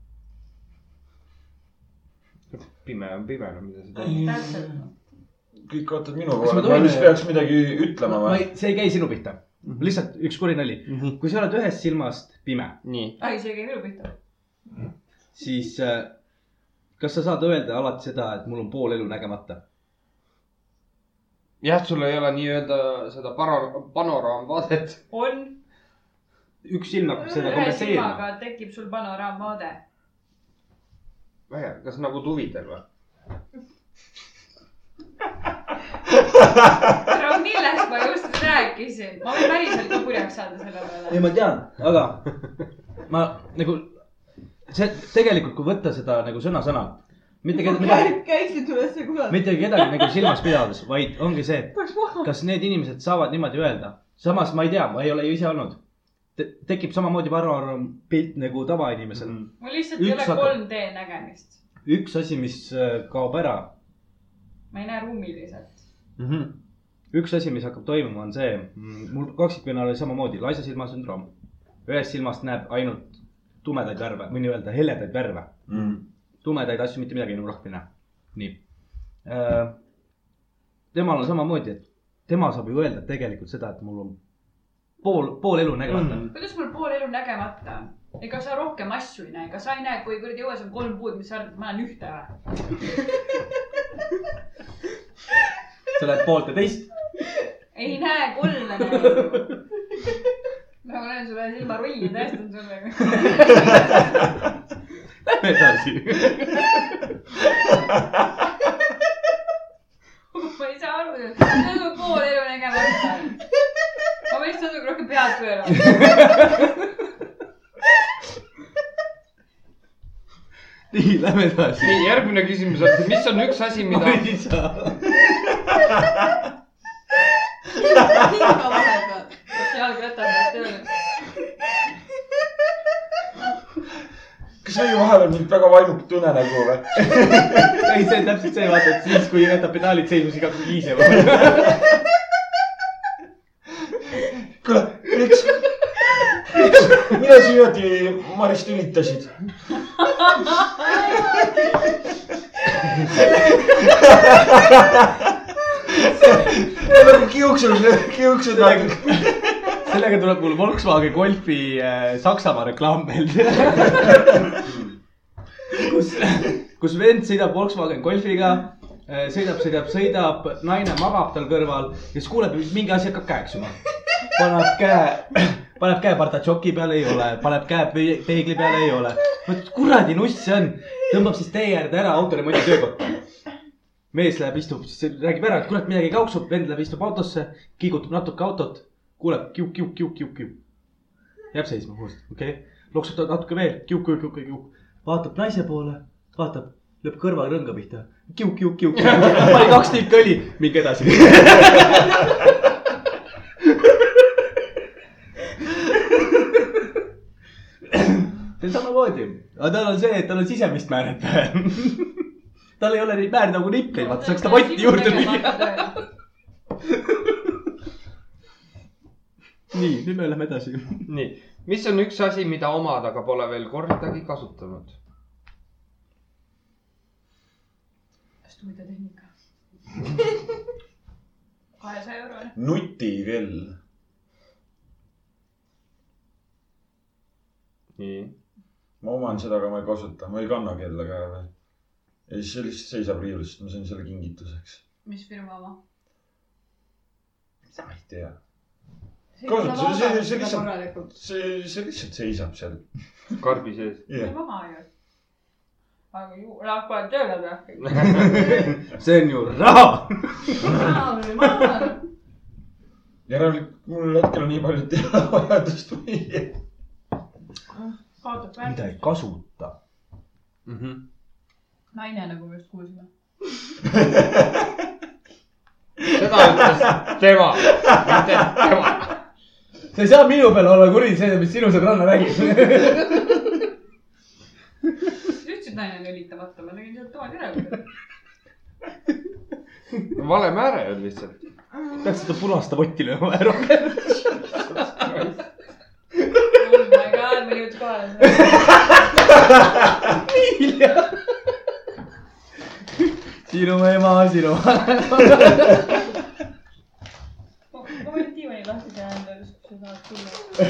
pime on pime , no mida sa teed . täpselt noh . kõik vaatavad minu Kas ma poole , tohin- ma vist peaks midagi ütlema ma või ? ei , see ei käi sinu pihta . lihtsalt üks kuri nali . kui sa oled ühest silmast pime , nii , ai , see käib elu pihta . siis äh, kas sa saad öelda alati seda , et mul on pool elu nägemata ? jah , sul ei ole nii-öelda seda para- , panoraamvaadet . on . üks silm hakkab seda ühe kompenseerima . silmaga tekib sul panoraamvaade . vähe , kas nagu tuvidel või ? ära , millest ma just rääkisin ? ma võin päriselt ka kurjaks saada selle peale ei ,. ma tean , aga ma nagu , see tegelikult , kui võtta seda nagu sõna-sõnalt , mitte keda , midagi , käisid ülesse , kurat . mitte kedagi nagu silmas pidades , vaid ongi see , peaks maha . kas need inimesed saavad niimoodi öelda . samas ma ei tea , ma ei ole ju ise olnud Te . tekib samamoodi varroarpilt nagu tavainimesel mm . mul lihtsalt ei ole Üks aga- 3D nägemist . -hmm. üks asi , mis äh, kaob ära , ma ei näe ruumiliselt . Mhm. üks asi , mis hakkab toimuma , on see , mul kaksikvennal oli samamoodi laisa silma sündroom . ühest silmast näeb ainult tumedaid värve või nii-öelda heledaid värve , Mm. tumedaid asju mitte midagi enam rohkem ei näe . nii . temal on samamoodi , et tema saab ju öelda tegelikult seda , et mul on pool , pool elu nägemata mm. . kuidas mul pool elu nägemata on ? ega sa rohkem asju ei näe , ega sa ei näe , kui kuradi õues on kolm puud , mis sa arvad , et ma näen ühte või ? sa lähed poolt ja teist . ei näe kolme näen ju . ma näen sulle silmarulli , tõestan sulle . Lähme edasi . ma ei saa aru , see on mul pool elu nägemata . ma võiks natuke rohkem pead pöörata . nii , lähme edasi . nii , järgmine küsimus on , mis on üks asi , mida , ei saa . hinga vahepeal . jalgratas on tööl . kas meil vahel on nüüd väga vaimult unenägu või ? ei , see on täpselt see , vaata , et siis , kui jätab pedaalid seisus , iga kord hiiseb . kuule , miks , miks , mida sa hiljuti Marist ülitasid ? nagu kiuksud , kiuksud natuke . sellega tuleb mul Volkswagen Golfi äh, Saksamaa reklaam meelde . kus , kus vend sõidab Volkswagen Golfiga , sõidab , sõidab , sõidab , naine magab tal kõrval ja siis kuuleb , mingi asi hakkab käeksuma . paneb käe , paneb käe partatšoki peale , ei ole , paneb käe pe- peegli peale , ei ole . vot kuradi nuss see on , tõmbab siis tee äärde ära autoremondi töökotta mees läheb , istub , siis räägib ära , et kurat , midagi kauksub , vend läheb , istub autosse , kiigutab natuke autot , kuuleb kiuk , kiuk , kiuk , kiuk , kiuk . jääb seisma kuulsalt , okei okay. , loksutab natuke veel , kiuk , kiuk , kiuk , kiuk , vaatab naise poole , vaatab , lööb kõrval rõnga pihta , kiuk , kiuk , kiuk , kiuk , pani kaks tikka õli , minge edasi . see on samamoodi , aga tal on see , et tal on sisemist määret vähem tal ei ole neid määr nagu nipleid , vaata saaks ta vatti juurde lüüa . nii , nüüd me läheme edasi . nii , mis on üks asi , mida omad , aga pole veel kordagi kasutanud ? stuudiotehnika . kahesaja eurone . nutikell . nii . ma oman seda , aga ma ei kasuta , ma ei kanna kella käe peal . ja siis see lihtsalt seisab riiulis , ma sain selle kingituseks . mis firma oma ? ma ei tea , Kuule, see- see- see lihtsalt- see , see lihtsalt seisab seal karbi sees . see yeah. . on maha jäänud . aga ju , läheb kohe tööle või ? see on ju raha . järelikult mul hetkel on nii palju teha vajadust või ? kaotab mida väärtust . ei kasuta . Mhm. naine , nagu me just kuulsime . seda ütles tema , mitte tema . sa ei saa minu peal olla kuri , see , mis sinu sõbranna räägib . sa ütlesid naine lülitamata , ma tegin sealt toad üle . vale määre on lihtsalt . peaks seda punast votti lööma ära . oh my god , ma ei jõudnud kohale . sinu ema , sinu ma ma võin diivani lahti teha endale , kui sa tahad tulla .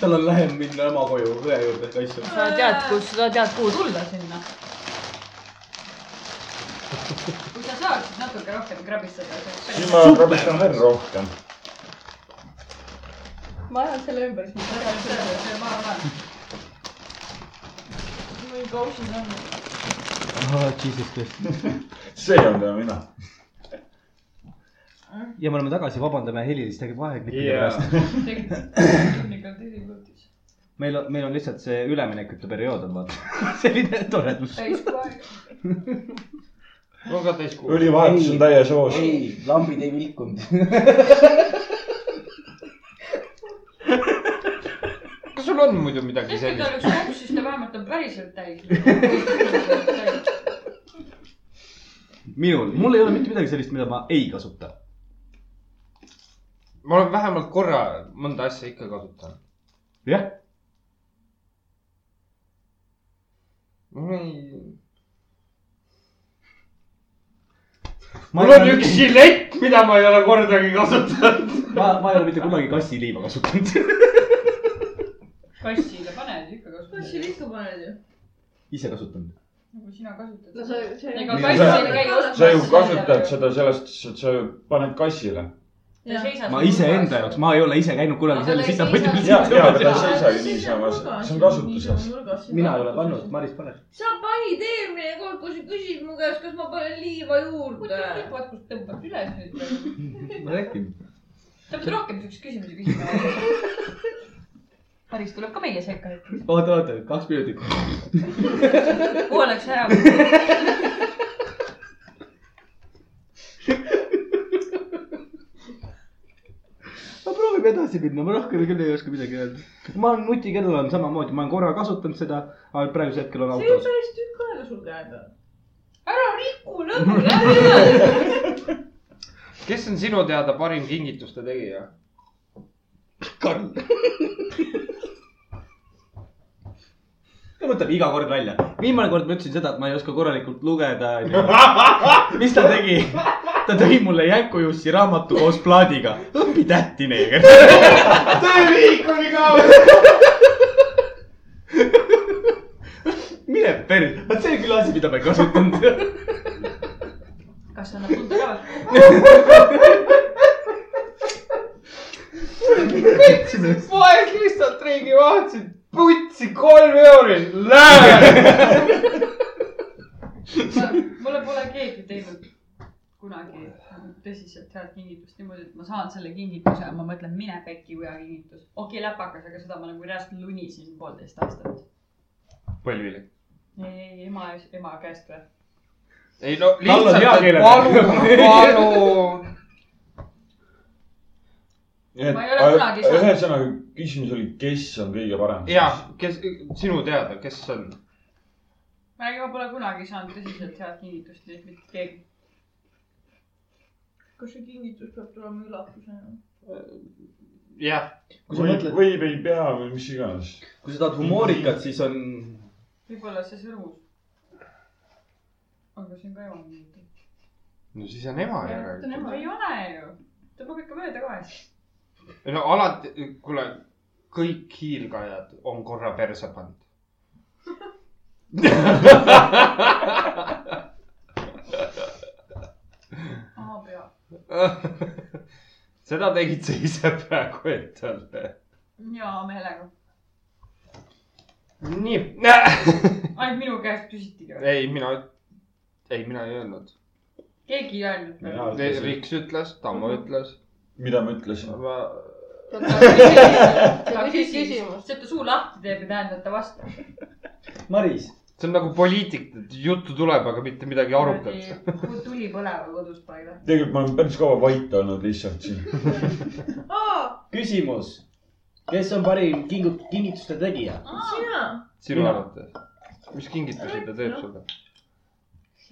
tal on lähem minna ema koju , õe juurde , kaitse . sa tead , kus , sa tead , kuhu tulla sinna . kui sa saaksid natuke rohkem krabistada , siis siis ma krabistan veel rohkem . ma ajan selle ümber , siis ma tean , et see see on maa vahel . mul kaussid on . ahah , Ah, jesus Christ . see olen täna mina . ja me oleme tagasi , vabandame heliliste vaheklippide Jaa. pärast . tegelikult ülikoolis . meil on , meil on lihtsalt see üleminekute periood on vaata . selline toredus . täiskohaga . on ka täis kuus . õlivahetus on täies hoos . ei , lambid ei vilkunud . kas sul on muidu midagi siis , kui ta sellist ? oleks koks , siis ta vähemalt on päriselt täis . minul , mul ei ole mitte midagi sellist , mida ma ei kasuta . ma olen vähemalt korra mõnda asja ikka kasutanud . jah , mul ei . Ma mul ei on ole- üks žilett , mida ma ei ole kordagi kasutanud . ma , ma ei ole mitte kunagi kassiliiva kasutanud . kassile paned ikka kasutad . kassi ikka paned ju . ise kasutanud . nagu sina kasutad . no see , see . ega Nii, kass sa- ei käi ostmas . sa ju kasutad . seda selles mõttes , et sa ju paned kassile . ma nagu iseenda jaoks , ma ei ole ise käinud kunagi Aga selle ta ei sita võtmas seisa- ja , ja , aga ta ei Jaa. seisagi niisama , see on kasutuses . mina ei ole pannud , Maris paneb . sa panid eelmine kord , kui sa küsisid mu käest , kas ma panen liiva juurde . kipud , kus tõmbad üles nüüd . ma räägin . sa pead rohkem siukseid küsimusi küsima . Maris tuleb ka meie sekka . oota , oota , kaks minutit . kuhu läks ära ? no proovime edasi minna , ma rohkem küll ei oska midagi öelda . ma olen nutikella on samamoodi , ma olen korra kasutanud seda , aga praegusel hetkel on see on autos . päris tükk aega sul käe peal . ära riku lõpuni ära . kes on sinu teada parim kingituste tegija ? Karl . ta võtab iga kord välja . viimane kord ma ütlesin seda , et ma ei oska korralikult lugeda , onju . mis ta tegi ? ta tõi mulle jänkujuussi raamatu koos plaadiga . õpi tähti neeger . tööviik oli ka . mine perse , vot see on küll asi , mida ma ei kasutanud . kas sa annad tunda ka ? poeg lihtsalt ringi vaatasin , putsi kolm eurot , lähen . mulle pole keegi teinud kunagi nagu tõsiselt head kingitust niimoodi , et ma saan selle kingituse ja ma mõtlen , mine pekki , kui hea kingitus . okei okay, , läpakas , aga seda ma nagu reast lunisin poolteist aastat . põlvili . ei , ei , ema , ema käest või ? ei no Tal on hea lihtsalt , et keelepäev. palun , palun . Ma ei ole kunagi saanud- ühesõnaga , küsimus oli , kes on kõige parem ja kes , sinu teada , kes on ? ma ei , ma pole kunagi saanud tõsiselt head kingitust , nii et mitte keegi . kas see kingitus peab tulema üllatusena ? jah , kui sa või mõtled , võib ei pea või mis iganes . kui sa tahad humoorikat , siis on , võib-olla see sõrmus . aga see on ka ema kingitus . no siis on ema järg . ei ole ju , ta peab ikka mööda kahes . no alati , kuule , kõik hiilgajad on korra perse pannud . aa , pea . seda tegid sa ise praegu endale . jaa , meelega . nii . ainult minu käest küsitigi või ? ei , mina , ei , mina ei öelnud . keegi ei öelnud Mina. veel . Riks ütles , Tammo Mhm. ütles . mida ma ütlesin ? ma , ta küsis küsis , küsimust . see , et ta suu lahti teeb , ei tähenda , et ta vastab . Maris , see on nagu poliitik , et juttu tuleb , aga mitte midagi arutada . tuli põleva kodus paigale . tegelikult ma olen päris kaua vait olnud lihtsalt siin . aa , küsimus . kes on parim kingu- , kingituste tegija ? sina . sinu Mina. arvates , mis kingitusi ta teeb sulle ?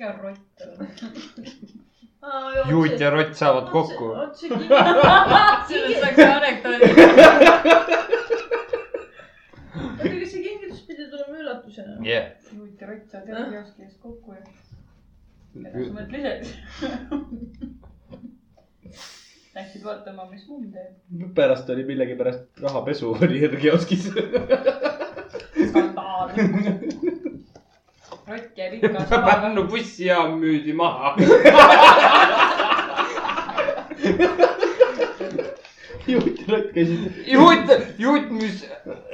hea rott . juut ja rott saavad kokku . oot , see kingitus , sellest saaks anekdoodi . oota , kas see kingitus pidi tulema üllatusena ? jah . juut ja rott saavad jälle kioskis kokku ja . sa mõtled ise . Läksid vaatama , mis mumm teeb . pärast oli millegipärast rahapesu oli kioskis . skandaal . rott jääb ikka sama . Pärnu bussijaam müüdi maha . juhid ja rott käisid juut , juut müüs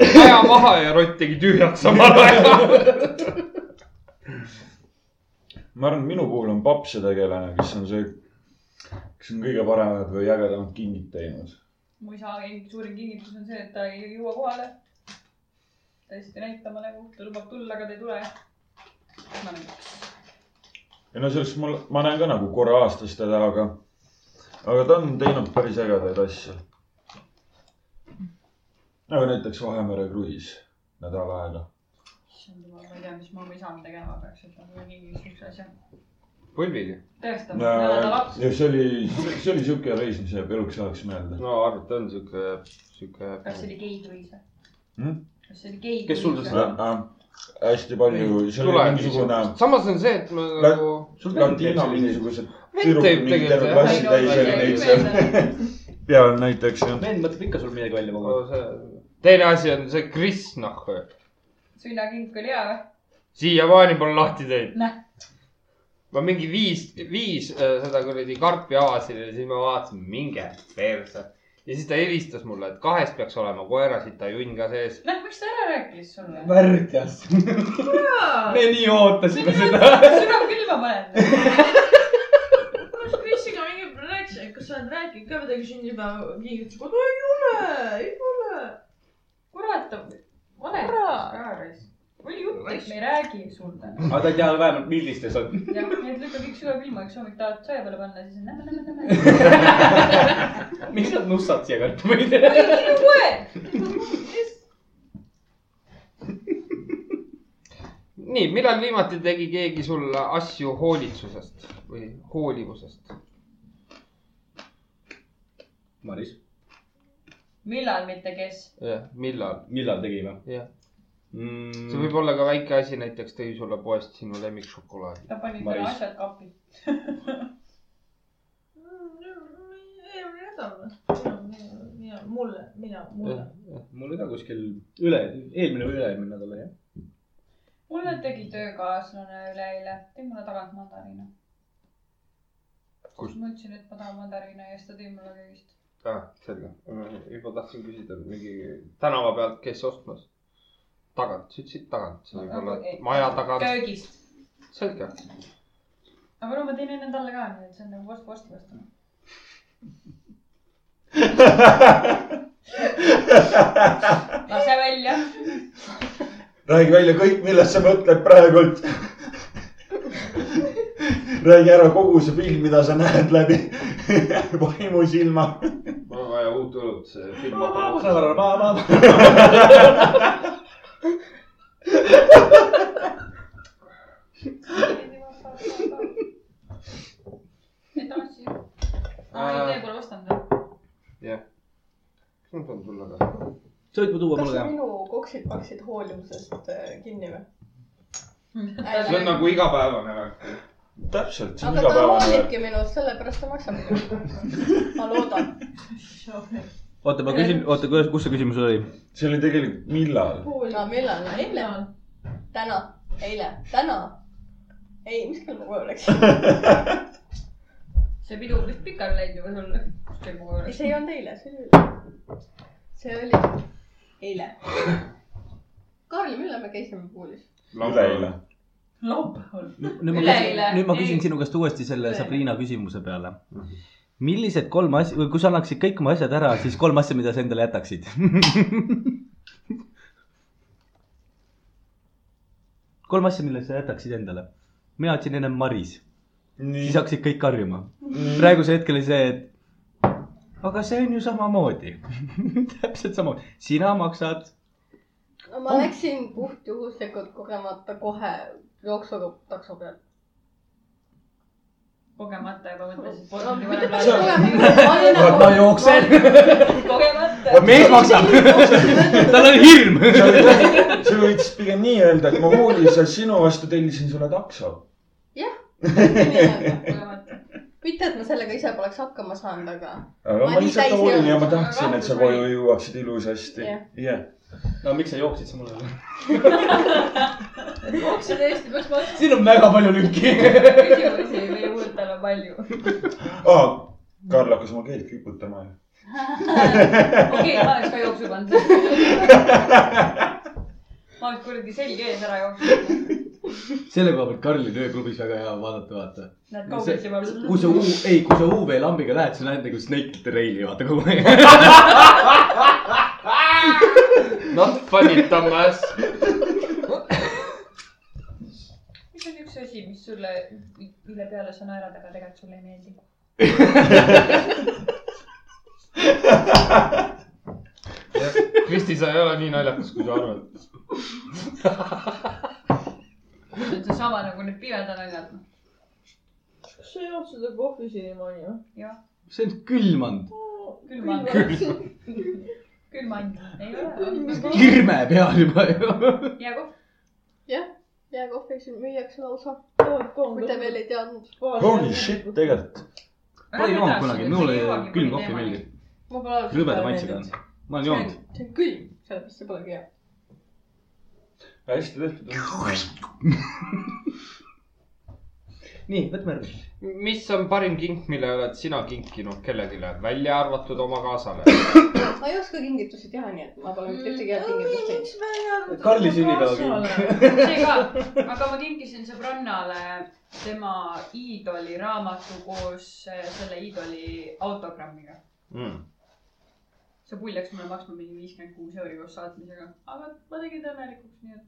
aja maha ja rott tegi tühjaks samal ajal . ma arvan , minu puhul on paps see tegelane , kes on see , kes on kõige paremad või ägedamad kingid teinud . mu isa suurim kingitus on see , et ta ei jõua kohale . ta lihtsalt ei näita oma nägu , ta lubab tulla , aga ta ei tule . ma nagu- olen ja no selleks mul , ma näen ka nagu korra aastas teda , aga , aga ta on teinud päris ägedaid asju . nagu näiteks Vahemere kruiis nädal aega . issand jumal , ma ei tea , mis ma oma isaga tegema peaks , et ma mingi niisuguse asja . pulmigi . tõestame , me oleme Äh, ja laps . see oli , see oli siuke reis , mis jääb eluks ajaks meelde . no arvata on siuke , siuke . kas see oli geidruis või Hmm? ? kas see oli geidruis ? Kes sul ta seda- Äh, hästi palju , see oli mingisugune , samas on see , et ma Lä- nagu . sul kantiinas mingisugused vend teeb tüdrukud mingi terve tegelikult klassi jah . täis oli neid seal peal näiteks ja vend mõtleb ikka sul midagi välja kogu aeg . teine asi on see Kris , noh . sünakink oli hea või ? siiamaani pole lahti teinud . näh , ma mingi viis , viis äh, seda kuradi karpi avasin ja siis ma vaatasin , minge perse . ja siis ta helistas mulle , et kahest peaks olema koerasita junn ka sees . näh , Noh, miks ta ära rääkis sulle ? värkas . me nii ootasime seda . sügav külma paned . ma just Krisiga mingi peal rääkisin , et kas sa oled rääkinud ka midagi sünnipäeva kingituse kohta . ei ole , ei ole . kurat , vale . oli jutt , et me ei räägi sulle . aga ta ei tea vähemalt , millistes on . jah , need lükkab üks sügav külma , üks hommik tahad söe peale panna , siis on näme , näme , näme . miks nad nussad siia kartu panid ? minu poeg . nii , millal viimati tegi keegi sulle asju hoolitsusest või hoolivusest ? Maris , millal , mitte kes . jah , millal ? millal tegime Jah. ? Mm, see võib olla ka väike asi , näiteks tõi sulle poest sinu lemmikšokolaadi . ta pani Maris. talle asjad kapi . võtame . mina , mina , mulle , mina , mulle . Mm, mul oli ka kuskil üle , eelmine või üle-eelmine nädal oli jah . mulle tegi töökaaslane üleeile , tõi mulle tagant mandariine . Kust? ma ütlesin , et ma tahan mandariine ja siis ta tõi mulle köögist . ah, . selge , juba tahtsin küsida mingi tänava pealt , kes ostmas . tagant , sa ütlesid tagant , see võib olla Okei. maja tagant , köögist . selge . aga no ma tõin enne talle ka , nii et see on nagu vorst vorsti vastu . lase välja . räägi välja kõik , millest sa mõtled praegult . räägi ära kogu see film , mida sa näed läbi vaimusilma . mul on vaja uut õlut , see film et oleks siis . aa , ei , tee pole vastanud . on tulnud sulle ka . sa võid mu tuua kas mulle ka . minu koksid paksid hoolivusest äh, kinni või ? see on nagu igapäevane värk . täpselt , see on aga ta igapäevane . hoolibki minust , sellepärast ta maksabki . ma loodan . oota , ma küsin , oota , kus , kus see küsimus oli ? see oli tegelikult millal ? no millal ? eile . millal ? täna , eile , täna . ei , mis kell ma koju läksin ? see pidu on vist pikali läinud juba sul . kuskil muu ei , juures . see ei olnud eile , see oli , see oli eile . Karl , millal me käisime puulis ? üleeile . laupäeval . nüüd ma küsin Üleeile. , nüüd ma küsin Ei. sinu käest uuesti selle Üleeile. Sabrina küsimuse peale . millised kolm asja , või kui sa annaksid kõik oma asjad ära , siis kolm asja , mida sa endale jätaksid ? kolm asja , mille sa jätaksid endale . mina otsin ennem Maris , nii siis , hakkasid kõik karjuma . nii , praegusel hetkel oli see , et aga see on ju samamoodi . täpselt sama , sina maksad , no ma läksin puhtjuhuslikult kogemata kohe jooksuga takso peale . kogemata juba mõtlesin . nagu- ma jooksen , kogemata . mees maksab . tal oli hirm . sa võid siis pigem nii öelda , et ma hoolisas sinu vastu tellisin sulle takso . kogemata . mitte , et ma sellega ise poleks hakkama saanud , aga aga Ma ma nii lihtsalt täis ei hoolin ja ma olnud. tahtsin , et sa koju jõuaksid ilusasti Jah. . jah . no miks sa jooksid , sa mulle ei öelnud ? jooksid Eesti , peaks vastu siin on väga palju lünki . küsimusi meie huultel on palju . aa , Ah, Karl hakkas oma keelt kiputama . okei , ma oleks ka jooksu pannud . ma oleks kuradi selge ees ära jooksnud . selle koha pealt Karli tööklubis väga hea vaadata , vaata . Nad kaugelt juba . kui sa U , ei , kui sa UV lambiga lähed , sa näed nagu Snake Traili , vaata kogu aeg . Not funny , Toomas . mis on üks asi , mis sulle , mille peale sa naerad , aga tegelikult sulle ei meeldi ? Kristi , sa ei ole nii naljakas , kui sa arvad . see on seesama nagu need pimedanaljad . kas sa ei olnud seda kohvi siiamaani või ? jah , see on külmand , külm on , külm on . ei ole . kirme peal juba ju . hea koht . jääkohvis müüakse lausa , kui te veel külm . ei teadnud . Holy shit ,. tegelikult . ma ei joonud kunagi , mulle külm kohvi ei meeldi . ma pole alguses rõbeda maitsega on . ma olen joonud . see on külm , sellepärast see polegi hea . hästi tehtud . nii , võtame ära . mis on parim kink , mille oled sina kinkinud kellelegi , välja arvatud oma kaasale ? ma ei oska kingitusi teha , nii et ma pole mitte ühtegi head kingitust teinud . nagu Karli sünnipäevakiik. . see ka , aga ma kinkisin sõbrannale tema iidoli raamatu koos eh, selle iidoli autogrammiga . see pull läks mulle maksma mingi viiskümmend kuus euri koos saatmisega , aga ma tegin ta õnnelikuks , nii et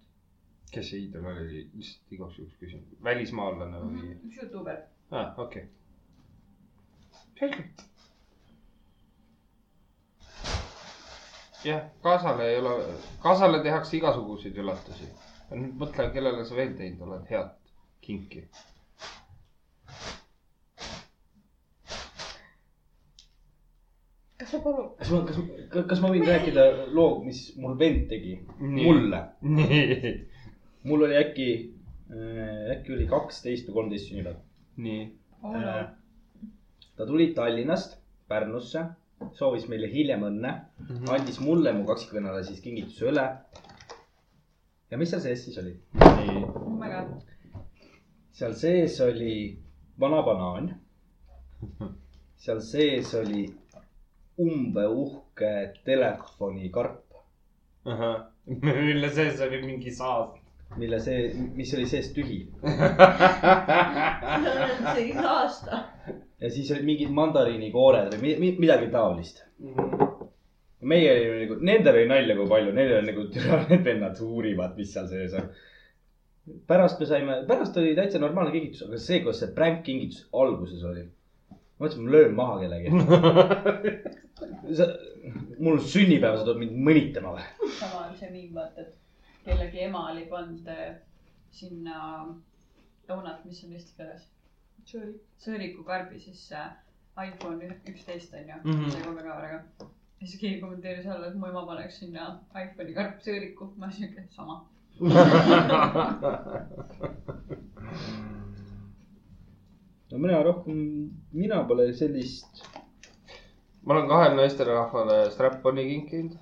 kes see iidol oli , lihtsalt igaks juhuks küsin . välismaalane või ? Mhm, üks Youtuber . aa , okei . selge . jah , kaasale ei ole , kaasale tehakse igasuguseid üllatusi . nüüd mõtle , kellele sa veel teinud oled head kinki . kas sa palun , kas ma , kas , kas ma võin rääkida loo , mis mul vend tegi ? mulle . nii , mul oli äkki , äkki oli kaksteist või kolmteist sünnipäev . nii . oh no , ta tuli Tallinnast Pärnusse soovis meile hiljem õnne , Mhm. andis mulle mu kaksikvennale siis kingituse üle . ja mis seal sees siis oli ? oh my god , seal sees oli vana banaan . seal sees oli umbeuhke telefonikarp , mille sees oli mingi saas . mille see , mis oli sees tühi isegi see aasta . ja siis olid mingid mandariinikoored või mi- mi- midagi taolist . meie olime nagu , nendel oli nalja kui palju , neil oli nagu türa- need vennad uurivad , mis seal sees on . pärast me saime , pärast oli täitsa normaalne kingitus , aga see , kuidas see pränk kingitus alguses oli . ma mõtlesin , ma löön maha kellegi . sa , mul on sünnipäev , sa tuled mind mõnitama või ? sama on see miim , vaata , et kellegi ema oli pannud äh, sinna donut , mis on eesti keeles , sõõrikukarbi sisse äh, iPhone ühe- üksteist onju mm Mhm. -hmm. , selle kolmekaameraga . ja siis keegi kommenteeris alla , et mu ema paneks sinna iPhone'i karp sõõriku , ma siuke sama . no mina rohkem , mina pole sellist , ma olen kahele naisterahvale strap-on'i kinkinud .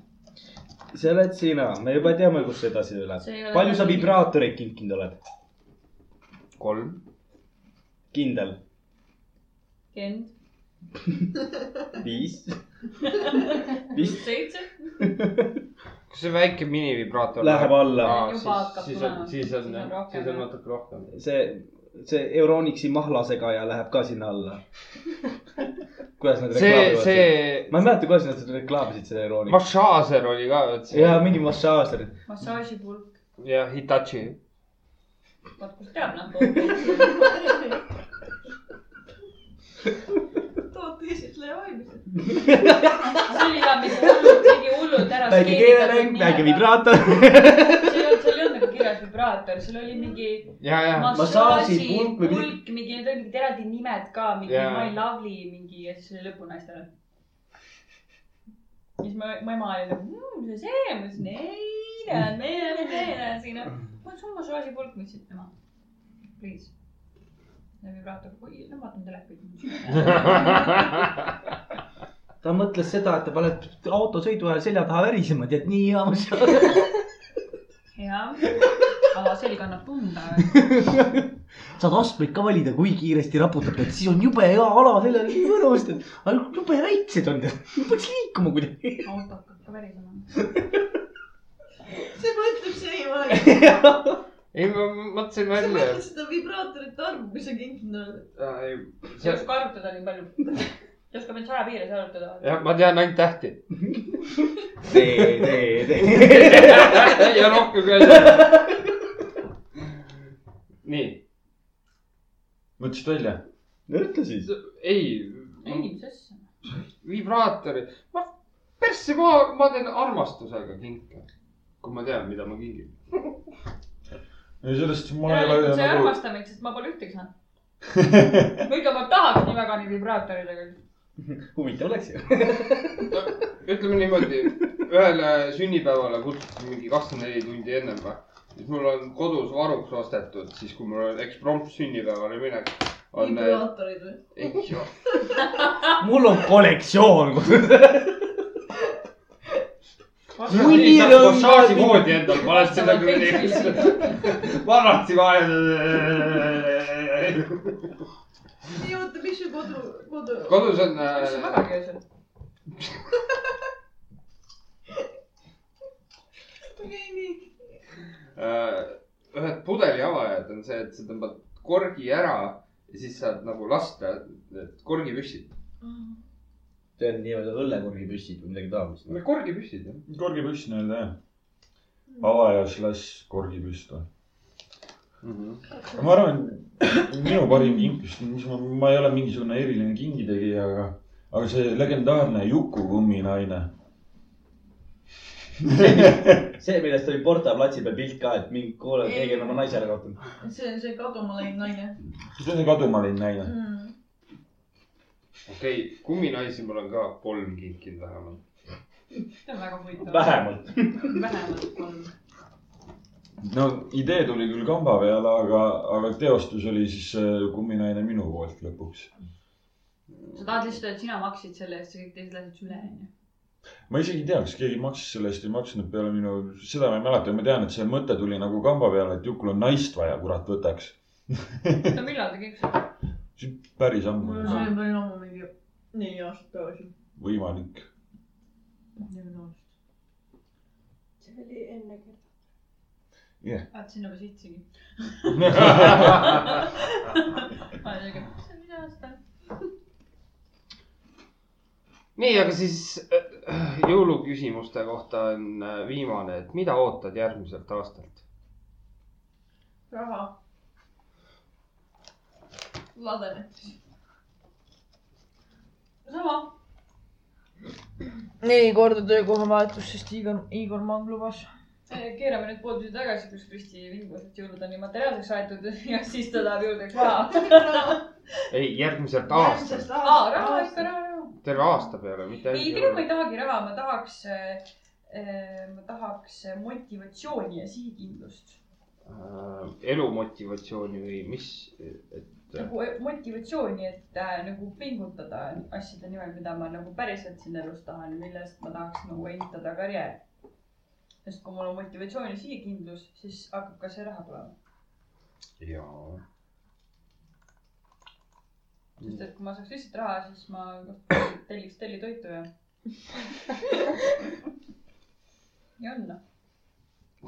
see oled sina , me juba teame , kus see edasi See ei läheb ole . palju sa nii- vibraatoreid kinkinud oled ? kolm . kindel ? Kent , viis , vist seitse , kas see väike minivibraator Läheb alla. Juba hakkab siis tulema. on , siis on Siis on , rohkem, siis on jah. natuke rohkem . see , see Euronixi mahlasegaja läheb ka sinna alla . kuidas nad see , reklaamivad see... ? see ma ei mäleta , kuidas nad seda reklaamisid , seda Euronixi . massaažer oli ka , et see ja mingi massaažer , massaažipulk , ja Hitachi . vaat kust teab nad . toote esitleja valmis . see oli ka mingi hullult , mingi hullult ära . väike keelemäng , väike . vibraator . seal ei olnud , seal ei olnud nagu kirjas vibraator , seal oli mingi ja , ja . massaaži Massaažipulk või hulk , midagi- mingi , need olid mingid eraldi nimed ka , mingi Jaa. yeah. My Lovely mingi ja siis oli lõpunaistele . ja siis ma , mu ema oli nagu mmm, , mis see see , ma ütlesin ei , tead , meie oleme teinud siin . mul on suur massaažipulk , ma ütlesin tema . Please . ja vibraator , oi , no vaatan telekat . ta mõtles seda , et ta paneb autosõidu ajal selja taha värisema , tead nii hea massaaž . jah , aga selg annab tunda . saad astmeid ka valida , kui kiiresti raputab , et siis on jube hea ala seljal , nii mõnus , et aga jube väiksed on , peaks liikuma kuidagi . auto hakkab ka värisema . see mõtleb senimaani . ei , ma ma mõtlesin sa välja , mõtled seda vibraatorite arvu , kui sa kinkinud oled . et äh, ei, ei see- oska arvutada nii palju . ei oska mind saja piires arvutada . jah , ma tean ainult tähti tee , tee , tee . ja rohkem ka ei saa . nii , mõtlesid välja ? no ütle siis . ei , Mm. inimese sisse . vibraatori , ma persse , ma , ma teen armastusega kinke , kui ma tean , mida ma kingin . ei , sellest mul ei ole järelikult see nagu , armastamine , sest ma pole ühtegi saanud . kuigi ma tahaks nii väga neid vibraatoreid , aga huvitav oleks ju . ütleme niimoodi , ühele sünnipäevale kutsuti mingi kakskümmend neli tundi ennem või , siis mul on kodus varuks ostetud , siis kui mul on eksprompt sünnipäevale minek , on . vibraatorid või ? mul on kollektsioon , kus Munirõnga- massaažikoodi endal , ma olen seda küll ei viitsinud . varrati vahel . ei oota , mis su kodu , kodu ? kodus on kas see on äh, väga keeruline ? okei , nii . äh, ühed pudeliavajad on see , et sa tõmbad korgi ära ja siis saad nagu lasta need korgipüssid . see on nii-öelda õllekorgipüssid või midagi taolist . korgipüssid jah . korgipüss nii-öelda jah . avaja slaš korgipüss või ? ma arvan , minu parim kinkist , mis ma , ma ei ole mingisugune eriline kingitegija , aga , aga see legendaarne Juku kumminaine . see , millest oli Porta platsi peal pilt ka , et mingi kuule , keegi on oma naise ära kaotanud . see on see kaduma läinud naine see on see kaduma läinud naine . mm. . okei , kumminaisi mul on ka kolm kinkinud vähemalt . see on väga huvitav . vähemalt . vähemalt kolm . no idee tuli küll kamba peale , aga , aga teostus oli siis äh, kumminaine minu poolt lõpuks . sa tahad lihtsalt öelda , et sina maksid selle eest ja kõik teised lasid su üle , onju . ma isegi ei tea , kas keegi maksis selle eest või ei maksnud peale minu , seda ma ei mäleta , ma tean , et see mõte tuli nagu kamba peale , et Jukul on naist vaja , kurat , võtaks . oota , millal ta kõik saab ? päris ammu mul no. Mhm. oli , ma olin ammu mingi neli aastat tagasi . võimalik . neli aastat . see oli enne kerda . vaat sinna ma sõitsigi . ma olin siuke , mis on minu aasta ? nii , aga siis äh, jõuluküsimuste kohta on äh, viimane , et mida ootad järgmiselt aastalt ? raha . ladenet . sama . neli korda töökohavahetus , sest Igor , Igor Mang lubas . Eh, keerame nüüd pool tundi tagasi , kus Kristi vingus , et jõulud on ju materiaalseks aetud ja siis ta tahab jõuludeks raha . ei , järgmiselt aastalt , aa , raha ikka , raha , raha . terve aasta peale , mitte . ei , tegelikult ma ei tahagi raha , ma tahaks , ma tahaks motivatsiooni ja sihikindlust . äh, elumotivatsiooni või mis , et nagu motivatsiooni , et äh, nagu pingutada asjade nimel , mida ma nagu päriselt siin elus tahan , millest ma tahaks nagu ehitada karjääri . sest kui mul on motivatsioon ja sihikindlus , siis hakkab ka see raha tulema . ja . sest et kui ma saaks lihtsalt raha , siis ma telliks tellitoitu ja . ja on noh .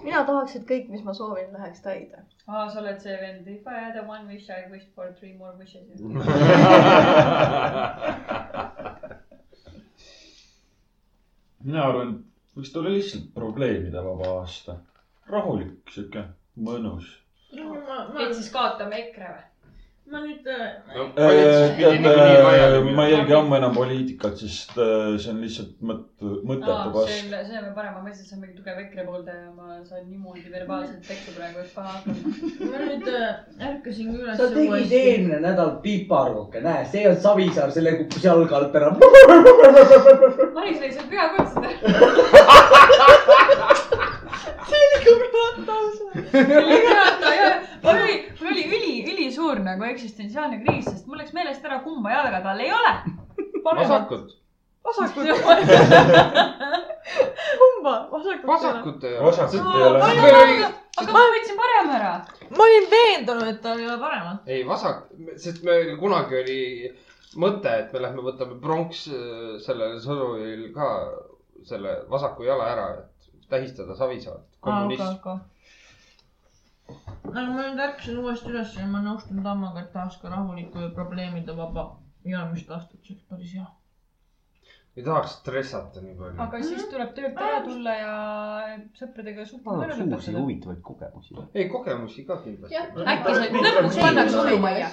mina tahaks , et kõik , mis ma soovin , läheks täide . aa , sa oled see vend . If I had a one wish , I wished for three more wishes . mina arvan , võiks tulla lihtsalt probleemide vaba aasta . rahulik , sihuke mõnus . et siis kaotame EKRE või ? ma nüüd äh, tead , ma ei jälgi ammu enam poliitikat , sest äh, see on lihtsalt mõttu , mõttetu aa , see pask . on , see on veel parem , ma mõtlesin , et see on mingi tugev EKRE pooldaja , ma saan niimoodi verbaalselt peksa praegu , et paha hakkab . ma nüüd äh, ärkasin üles . sa tegid eelmine nädal piparkokke , näe , see on Savisaar , selle kukkus jalge alt ära . Maris lõi seal pea kutsuda . mul oli , mul oli üli , ülisuur nagu eksistentsiaalne kriis , sest mul läks meelest ära , kumba jalga tal ei ole . vasakut , kumba ? vasakut .. vasakut ei ole . vasakut ei ole . aga ma võtsin parema ära . ma olin veendunud , et tal ei ole paremat . ei vasak , sest meil kunagi oli mõte , et me lähme võtame pronks äh, sellel sõduril ka selle vasaku jala ära , et tähistada Savisaart , kommunism . aga ma nüüd ärkasin uuesti üles ja ma nõustun Tammaga , et tahaks ka rahulikku ja probleemide vaba järgmist aastat , see oleks päris hea . ei tahaks stressata nii palju . aga siis tuleb töölt ära tulla ja sõpradega suhtlema ära lõpetada . huvitavaid kogemusi . ei , kogemusi ka kindlasti . äkki see lõpuks pannakse ujumajja .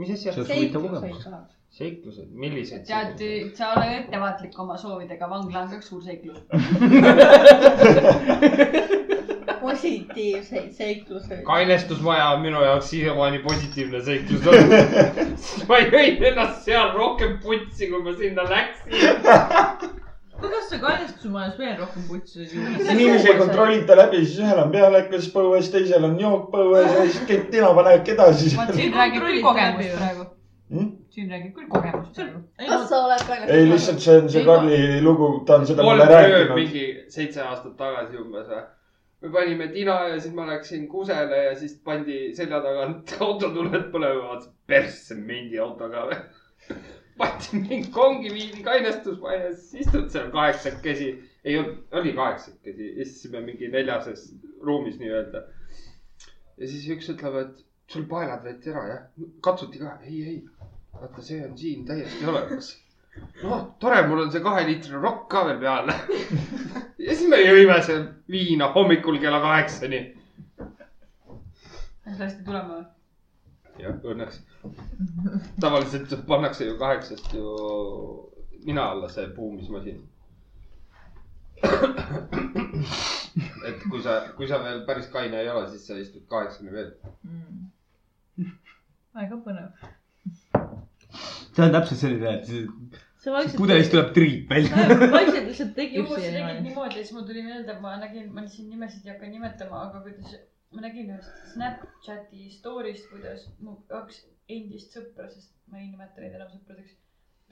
mis asja ? see oleks huvitav kogemus . tahaks . seiklused , millised ? tead , sa ole ettevaatlik oma soovidega , vangla on ka üks suur seiklus . positiivseid seikluseid . kainestusmaja on minu jaoks siiamaani positiivne seiklus olnud . ma jõin ennast seal rohkem putsi , kui ma sinna läksin . kuidas sa kainestusmajas veel rohkem putsi said ? inimesi ei kontrollita läbi , siis ühel on pealekas põues , teisel on jook põues ja siis kõik tina panevadki edasi . vot siin räägib küll kogemus praegu Hmm? . siin räägib küll kogemus praegu . kas sa oled kainestusmajas ? ei , lihtsalt see on see Karli lugu , ta on seda kolm mulle ööd rääkinud . mingi seitse aastat tagasi umbes või ? me panime tina ja siis ma läksin kusele ja siis pandi selja tagant autotuled põlema , vaatasin persse mingi autoga või . pandi mind kongi viidi kainestusmaja , siis istud seal kaheksakesi , ei olnud , oli kaheksakesi , istusime mingi neljases ruumis nii-öelda . ja siis üks ütleb , et sul paelad võeti ära jah , katsuti ka , ei , ei , vaata , see on siin täiesti olemas noh , tore , mul on see kaheliitrine rokk ka veel peal . ja siis me jõime seal viina hommikul kella kaheksani . siis lasti tulema või ? jah , õnneks . tavaliselt pannakse ju kaheksast ju nina alla see puumismasin . et kui sa , kui sa veel päris kaine ei ole , siis sa istud kaheksani veel . Mm. väga põnev . see on täpselt selline , et sa pudelist tuleb triip välja . vaikselt lihtsalt juhus tegid . niimoodi , siis mul tuli meelde , ma nägin , ma siin nimesid ei hakka nimetama , aga kuidas ma nägin ühest Snapchati story'st , kuidas mu kaks endist sõpra , sest ma ei nimeta neid enam sõpradeks ,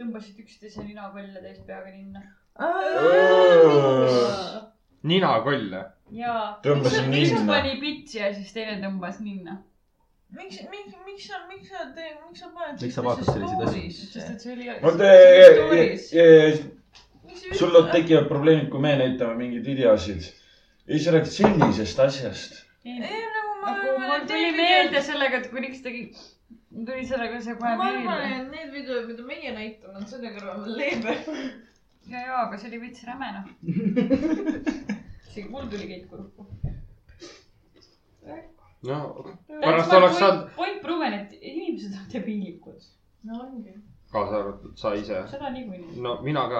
tõmbasid üksteise ninakolle täis peaga ninna . äh, ninakolle . jaa . Tõmbasid üks ninna. pani pitsi ja siis teine tõmbas ninna , miks , miks , miks sa , miks sa teed , miks sa paned . Miks sa vaatad selliseid asju? sest et see oli . vot , äh, sul on- tekivad probleemid , kui me näitame mingeid videosid ja siis räägid sellisest asjast . ei , nagu ma nagu mul tuli meelde . sellega , et kuniks tegi , tuli sellega see kohe ma arvan , meelde . et need videod , mida meie näitame , on selle kõrval veel leebemad . ja , ja , aga see oli veits räme noh . isegi mul tuli kõik kurku . no Pärast oleks saanud- . point proven , et inimesed on debiilikud , no ongi . kaasa arvatud sa ise . seda niikuinii . no mina ka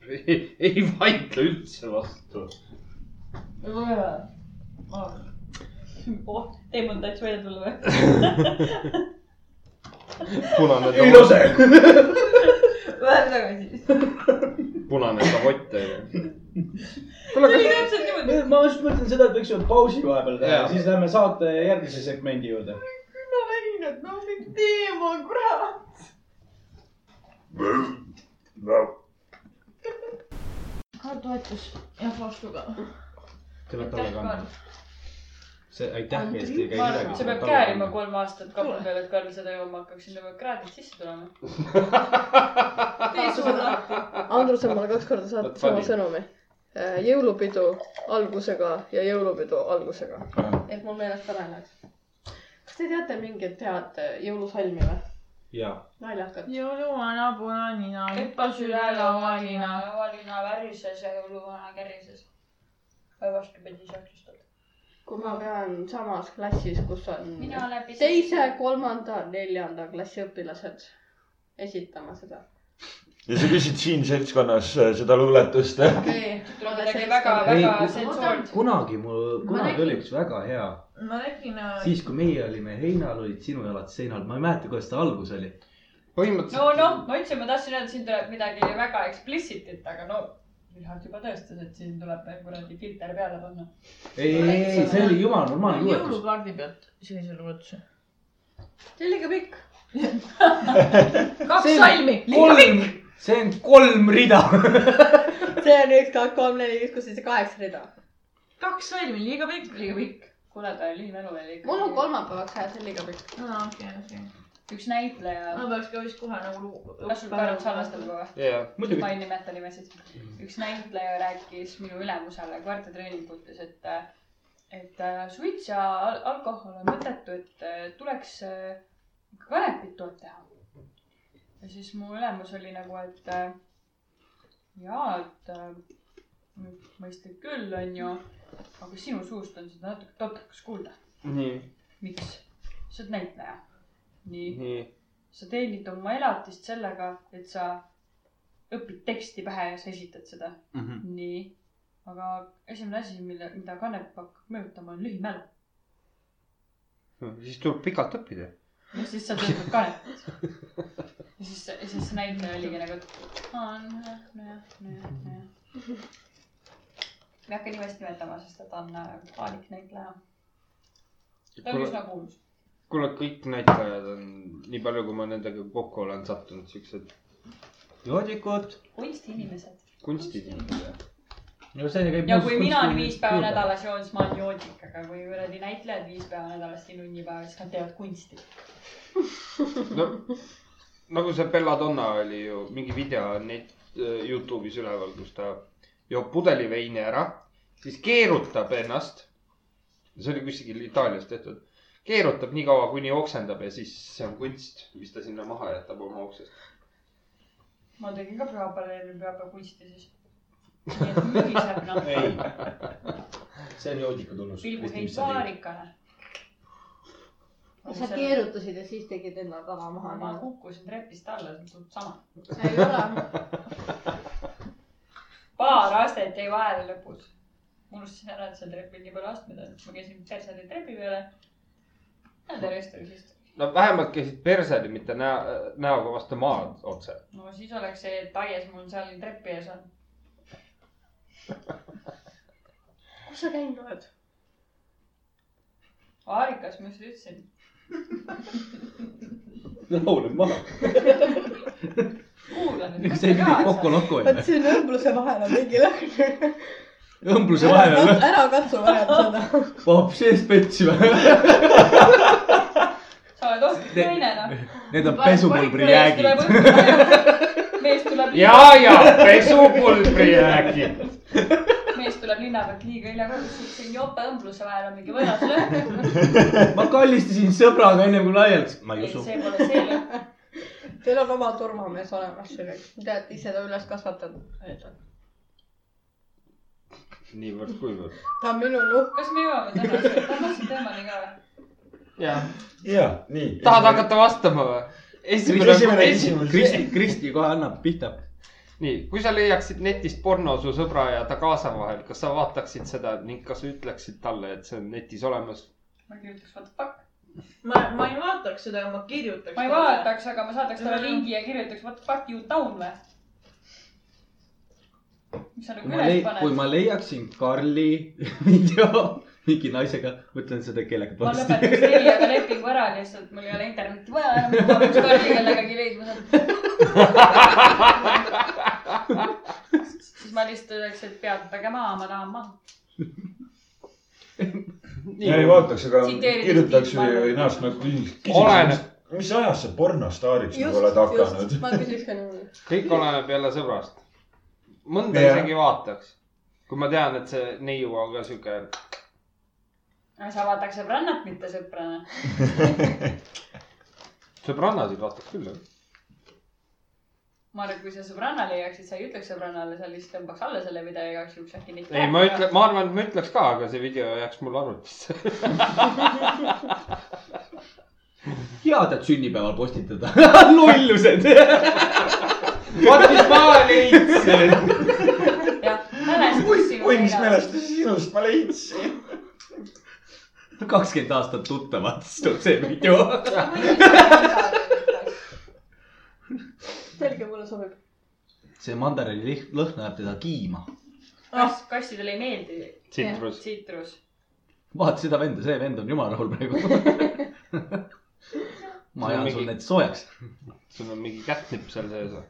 ei, ei vaidle üldse vastu . oh , teemant tahaks välja tulla või ? punane ei . lase . Lähen tagasi . punane savott oli . see oli täpselt niimoodi . ma just mõtlen seda , et võiks ju pausi vahepeal teha Jaa. ja siis lähme saate järgmise segmendi juurde . ma nägin , et noh , mingi teema , kurat . ka toetus jah , vastuga . tuleb talle ka anda . see see aitäh meest ei käi midagi . peab käärima . kolm aastat kapu peal , et Karl seda jooma hakkaks , sinna peab kraadid sisse tulema . tee suud lahti . Andrus on mulle kaks korda saatnud Vot sama vali. sõnumi . Äh, jõulupidu algusega ja jõulupidu algusega . et mul meelest ära ei läheks . kas te teate mingit head äh, jõulusalmi või ? jaa . naljakat . jõuluvana punanina hüppas üle lavalina . lavalina . lavalina värises ja jõuluvana kärises . või vastupidi , sakslastad . kui ma pean samas klassis , kus on mina läbi . teise , kolmanda , neljanda klassi õpilased esitama seda . ja sa küsid siin seltskonnas äh, seda luuletust , jah ? ei , kuidagi väga , väga sensuaalne . kunagi mul , kunagi nägin- oli üks väga hea , ma nägin . äh, siis kui meie olime heinal , olid sinu jalad seinal , ma ei mäleta , kuidas ta algus oli . põhimõtteliselt no noh , ma ütlesin , ma tahtsin öelda , siin tuleb midagi väga explicit'it , aga no Richard juba tõestas , et siin tuleb veel kuradi filter peale panna . ei , ei , ei , see oli jumala normaalne luuletus . jõulukaardi pealt sellise luuletuse . see oli liiga pikk . kaks salmi . kolm , see on kolm rida . see on üks , kaks , kolm , neli , viis , kuus , seitse , kaheksa rida . kaks salmi , liiga pikk . liiga pikk . kuule , ta oli lühimälu veel ikka . mul on . kolmapäevaks hea , see on liiga pikk . aa , okei , okei . üks näitleja . ma peaks ka vist kohe nagu lugu . las sul Karl salvestab juba või ? jah , muidugi ma ei nimeta nimesid . üks näitleja rääkis minu ülemusele kvartatreeningutes , et , et äh, suits ja al- alkohol on mõttetu , et äh, tuleks äh, ikka kanepit tuleb teha . ja siis mu ülemus oli nagu , et äh, jaa , et äh, mõistlik küll , onju , aga sinu suust on seda natuke totakas kuulda . nii , miks ? sa oled näitleja . nii nii . sa teenid oma elatist sellega , et sa õpid teksti pähe ja sa esitad seda . mm . -hmm. nii . aga esimene asi , mille , mida kanep hakkab mõjutama , on lühimälu . Hmm, siis tuleb pikalt õppida . ja siis sa tõmbad kanepit . ja siis , ja siis see näitleja oligi nagu , et aa , nojah , nojah , nojah , nojah . ma ei hakka nimest nimetama , sest et ta on äh, paanik näitleja . ta on Kuule- üsna kuulus . kuule , kõik näitlejad on , nii palju , kui ma nendega kokku olen sattunud , siuksed joodikud . kunstiinimesed . kunstiinimesed . no see käib . ja kui mina olen viis päeva . nädalas joon , siis ma olen joodik , aga kui kuradi näitlejad viis päeva nädalas siin unnipäeval , siis nad teevad kunsti . no nagu see Belladonna oli ju , mingi video on neid äh, Youtube'is üleval , kus ta joob pudeli veini ära , siis keerutab ennast . see oli kuskil Itaalias tehtud , keerutab nii kaua , kuni oksendab ja siis see on kunst , mis ta sinna maha jätab oma oksest . ma tegin ka pühapäeval eelmine pühapäev kunsti siis . nii et mügiseb noh , ei , see on joodiku tunnus . pilgu heit paarikale . sa keerutasid ja siis tegid enda tava ma maha . kukkusin trepist alla , see on sama . ei ole . paar astet jäi vahele lõpus . ma unustasin ära , et seal trepil nii palju astmeid on , ma käisin persede trepi peale . tervist , tervist . no vähemalt käisid perseni , mitte näo , näoga vastu maad otse . no siis oleks see taies mul seal trepi ees olnud . kus sa käinud oled ? Aarikas , ma just ütlesin . rahuneb maha . kuula nüüd . miks see pidi kokku . nokku vaat onju ? siin õmbluse vahel on mingi lõhn . õmbluse vahel on lõhn . ära katsu vahele seda . Vapsi ees petsi või ? sa oled ohtlik Ne- naine , noh . Need on pesupulbri jäägid .. mees tuleb ja , ja pesupulbri jäägi . mees tuleb linna pealt liiga hilja koju , siis siin jope õmbluse vahel on mingi võõras lõhn . ma kallistasin sõbraga ennem kui laialt . ma ei ei , usu . see pole see lõhn . Teil on oma turvamees olemas selleks , te olete ise ta üles kasvatanud . niivõrd-kuivõrd . ta on minu nuhk . kas me jõuame tänase , tänase teemani ka või ? jah , ja nii . tahad ? hakata vastama või ? esimene esimene . küsimus . Kristi , Kristi kohe annab pihta . nii , kui sa leiaksid netist porno su sõbra ja Tagasa vahel , kas sa vaataksid seda ning kas sa ütleksid talle , et see on netis olemas ? ma kirjutaks what the fuck . ma , ma ei vaataks seda , ma kirjutaks . ma ei . vaataks , aga ma saadaks talle lingi ja kirjutaks what the fuck you down või ? mis sa kui nagu ma üles lei- , kui paned ? ma leiaksin Karli video mingi naisega , ma ütlen seda kellega ma varsti . lõpetaks Teliaga lepingu ära lihtsalt , mul ei ole internetti vaja enam , ma peaks Karli kellegagi leidma sealt . siis ma lihtsalt öeldaks , et peatage maha , ma tahan maha . ei vaataks , aga Tsiteerides kirjutaks Tiit ju Marmut. ennast nagu küsiks Oleneb. . mis ajast sa pornostaariks nagu just oled , just hakanud ?, ma küsiks ka niimoodi . kõik oleneb jälle sõbrast . mõnda Jah. isegi vaataks , kui ma tean , et see neiu on ka sihuke . sa vaataks sõbrannat , mitte sõprana . sõbrannasid vaataks küll . ma arvan , et kui sa sõbranna leiaksid , sa ei ütleks sõbrannale , sa lihtsalt tõmbaks alla selle video ja igaks juhuks äkki neid ei , ma ütlen ,. ma arvan , et ma ütleks ka , aga see video jääks mul arvutisse . head , et sünnipäeval postitada . lollused . What is my leits ? jah , mälestusi . oi , mis mälestus sinust ma leidsin . kakskümmend aastat tuttavad , siis tuleb see video . selge , mulle sobib . see mandariini liht- lõhn ajab teda kiima . kas kassidele ei meeldi tsitrus . tsitrus ? vaata seda venda , see vend on jumala rahul praegu . ma ajan sul need soojaks . sul on mingi kätnipp seal sees või ?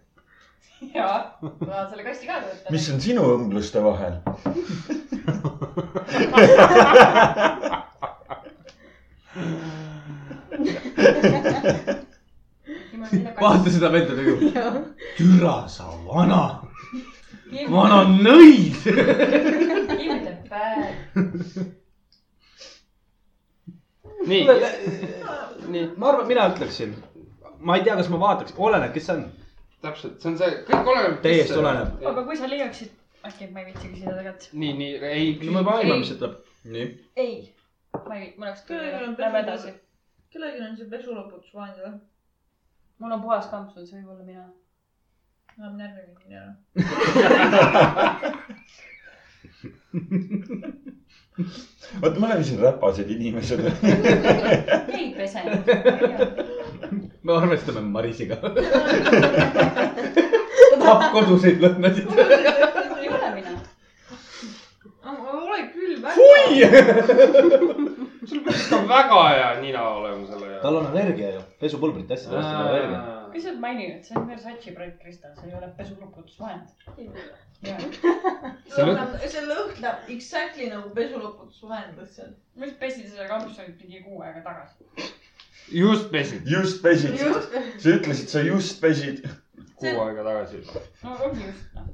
jaa , ma tahan selle kasti ka võtta . mis on sinu õmbluste vahel ? vaata seda venda tegu . türa , sa vana , vana vana . nõid . inimene päev . nii , nii , ma arvan , mina ütleksin , ma ei tea , kas ma vaataks , oleneb , kes see on , täpselt , see on see , kõik oleneb . täiesti oleneb . aga kui sa leiaksid , äkki ma ei viitsi küsida tegelikult . nii , nii , ei . no me vaatame , mis ütleb . nii . ei , ma ei , mul oleks Küll küll on , lähme pesu- edasi . kellelgi on see pesulõputusvahend või ? mul on puhas kampsun , see võib olla mina . enam närvi mind ei ole . vaata , me oleme siin räpased inimesed . ei pese . ma me arvestame Marisiga . tahab koduseid lõhnasid . ei ole mina . ma ole küll väga . oi . sul peaks ikka väga hea nina olema selle jaoks . tal on energia ju , pesupulbrit hästi tõesti , tal on energia . kui sa oled maininud , see on Versace projekt , Krista , see ei ole pesuloputusvahend . See see lõ- lõhnab , see lõhnab exactly nagu pesulõputusvahend lihtsalt . ma just pesin seda kampsunit mingi kuu aega tagasi . just pesid just pesid , sa ütlesid , sa just pesid . kuu aega tagasi . no ongi just noh .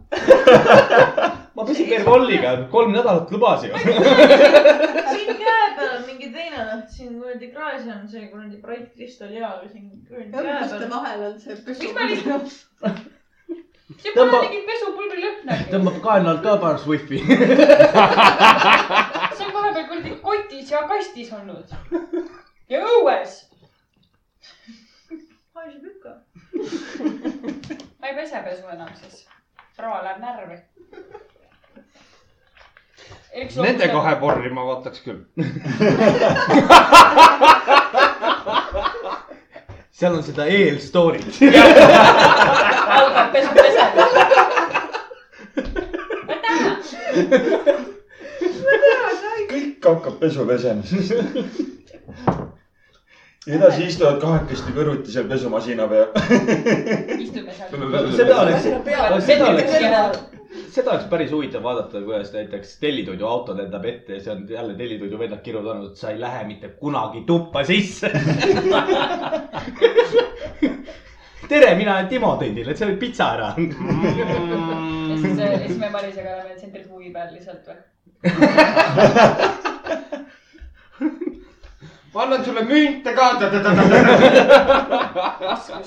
ma pesin Kergolliga , kolm nädalat lubas ju . siin käe peal on mingi teine lõhn , siin kuradi kraes on see kuradi Bright Crystal ja siin kuradi käe õmbuste peal . vahel on see Miks ma pesu . see Tõmba- pole mingi pesupulbri lõhn . tõmbab kaela alt ka paar swifti . see on vahepeal kuradi kotis ja kastis olnud ja õues . haiseb ikka . ma ei pese pesu enam siis , proua läheb närvi . Nende kahe porri ma vaataks küll . seal on seda eelstory't . algab pesu pesemine . ma tänan , kõik hakkab pesu pesemisest . ja edasi istuvad kahekesti kõrvuti seal pesumasina peal . istume seal . seda oleks , seda oleks , peale . seda oleks päris huvitav vaadata , kuidas näiteks tellitoiduauto lendab ette ja see on jälle tellitoiduvennad kirjutanud , sa ei lähe mitte kunagi tuppa sisse . tere , mina olen Timo tõin teile , et see oli pitsa ära . ja siis , ja siis me Marisega oleme tsentrifuugi peal lihtsalt või ? ma annan sulle münte ka . taskust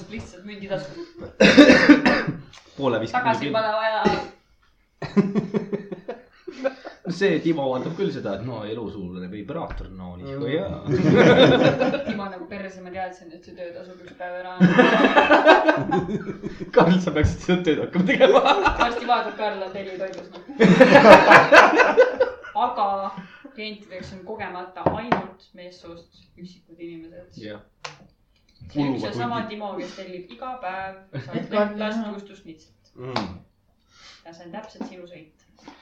lihtsalt , mündi taskust . poole viskab tagasi . pole vaja . see Timo vaatab küll seda , et no elusuurune vibraator , no nii kui hea . Timo on nagu perse , ma teadsin , et see töö tasub üks päev ära . Karl , sa peaksid seda tööd hakkama tegema . varsti vaatab Karl on tellitoidus . aga klientideks on kogemata ainult meessoost üksikud inimesed . jah , see üks ja sama Timo , kes tellib iga päev , saad lätlast , juustust , nitsit ja see on täpselt sinu sõit .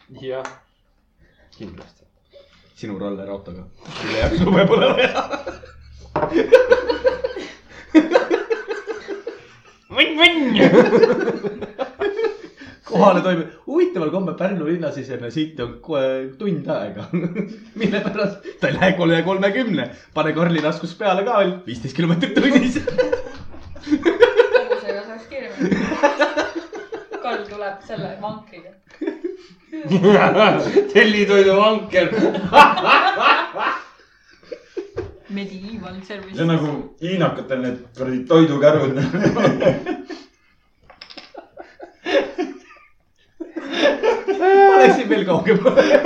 Mm, jah , kindlasti . sinu rollerautoga . mille jaoks lube pole vaja . võnn-võnn . kohale toimib , huvitaval kombel Pärnu linnasisene siit on kohe tund aega . mille pärast ta ei lähe kolme kolmekümne , pane Karli raskus peale ka veel , viisteist kilomeetrit tunnis . kogusega saaks kiiremini . Karl tuleb selle vankriga . tellitoidu vanker . Medieval service see on . nagu hiinakatel need kuradi toidukärud . ma läksin veel kaugemale .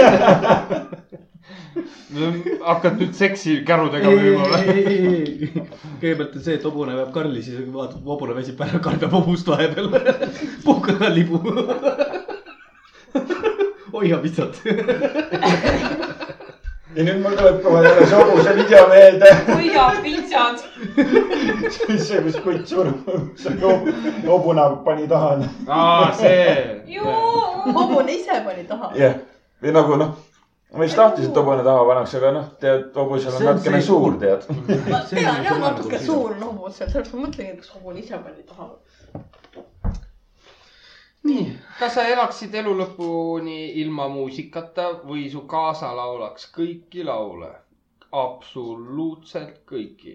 hakkad nüüd seksi kärudega müüma või ? kõigepealt on see , et hobune veab Karli , siis vaatab , hobune väsib ära , Karl peab hobust vahepeal puhkama libu . hoia pitsat . ja nüüd mul tuleb kohe jälle see hobuse video meelde . hoia pitsad . see , kus kutt surub , see hobuna pani taha . aa , see . hobune ise pani taha . jah , või nagu noh , ma just tahtsin , et hobune taha pannakse , aga noh , tead , hobusel See on on natukene see- suur , tead . ma nagu tean jah natuke suur on hobune seal , sellepärast ma mõtlengi , et kas hobune ise pani taha . nii , kas sa elaksid elu lõpuni ilma muusikata või su kaasa laulaks kõiki laule ? absoluutselt kõiki .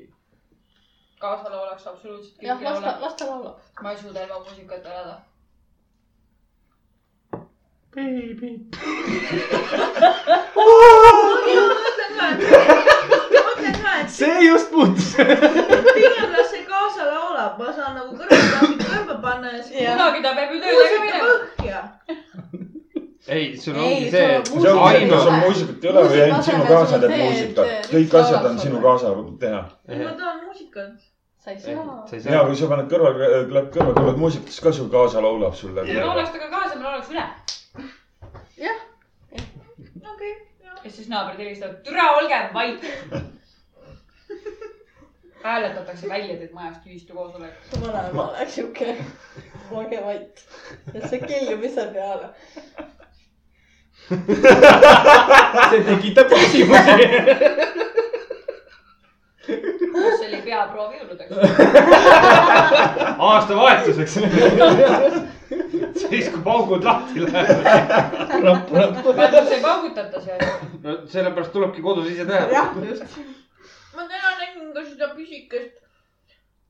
kaasale oleks absoluutselt jah , kõik las ta , laulab . las ta laulab . ma ei suuda ilma muusikata elada . mõtlen ka , et see just puutus . pigem las see kaasa laulab , ma saan nagu kõrvaklapid kõrva panna ja siis Jah. kunagi ta peab ju tööle ka muusika minema . põhja . ei , sul Ei, ongi sul see on , see muusika- ongi , kas on Ainult- muusikat ei ole või ainult sinu muusika kaasa teeb asemel on see, muusikat et- . kõik et asjad on laulab sinu sulle. kaasa teha . ma tahan muusikat . sa ei saa . sa ei ja saa . kui sa paned kõrval , kõrval , kõrval muusikat , siis ka su kaasa laulab sulle . ma laulaks temaga kaasa , ma laulaks üle . okei , ja siis naabrid helistavad , türa olge vait . hääletatakse välja teid majast ühistu koosolek . mõlema oleks siuke , olge vait . et see kellub ise peale . see tekitab küsimusi . kas see oli peaproov jõuludeks ? aastavahetuseks . siis , kui paugud lahti lähevad . vaata , see ei paugutata seal . no sellepärast tulebki kodus ise teha . jah , just . ma täna nägin ka seda pisikest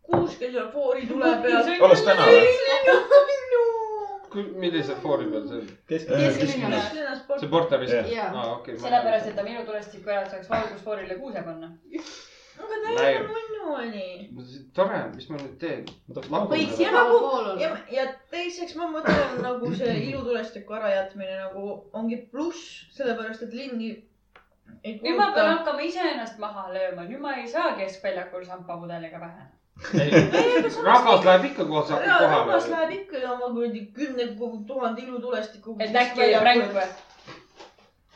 kuuske seal foori tule peal . alles täna või ? millise foori peal see oli ? Jah. see Porteris Jah. ? Jaa. aa , okei . sellepärast , et ta minu tulestiku järel saaks valgusfoorile kuuse panna . aga täiega nunnu oli . tore , mis ma nüüd teen ? võiks Ja igal nagu- pool ja olla ., ja teiseks ma mõtlen nagu see ilutulestiku ärajätmine nagu ongi pluss , sellepärast et linni ei nüüd ma kuluta pean . hakkama iseennast maha lööma , nüüd ma ei saa keskväljakul šampapudeliga pähe . rahvas läheb ikka kohe , saab rahvas kohale . läheb ikka oma kuradi kümne kogu tuhande ilutulestiku . et äkki oli pränk või ?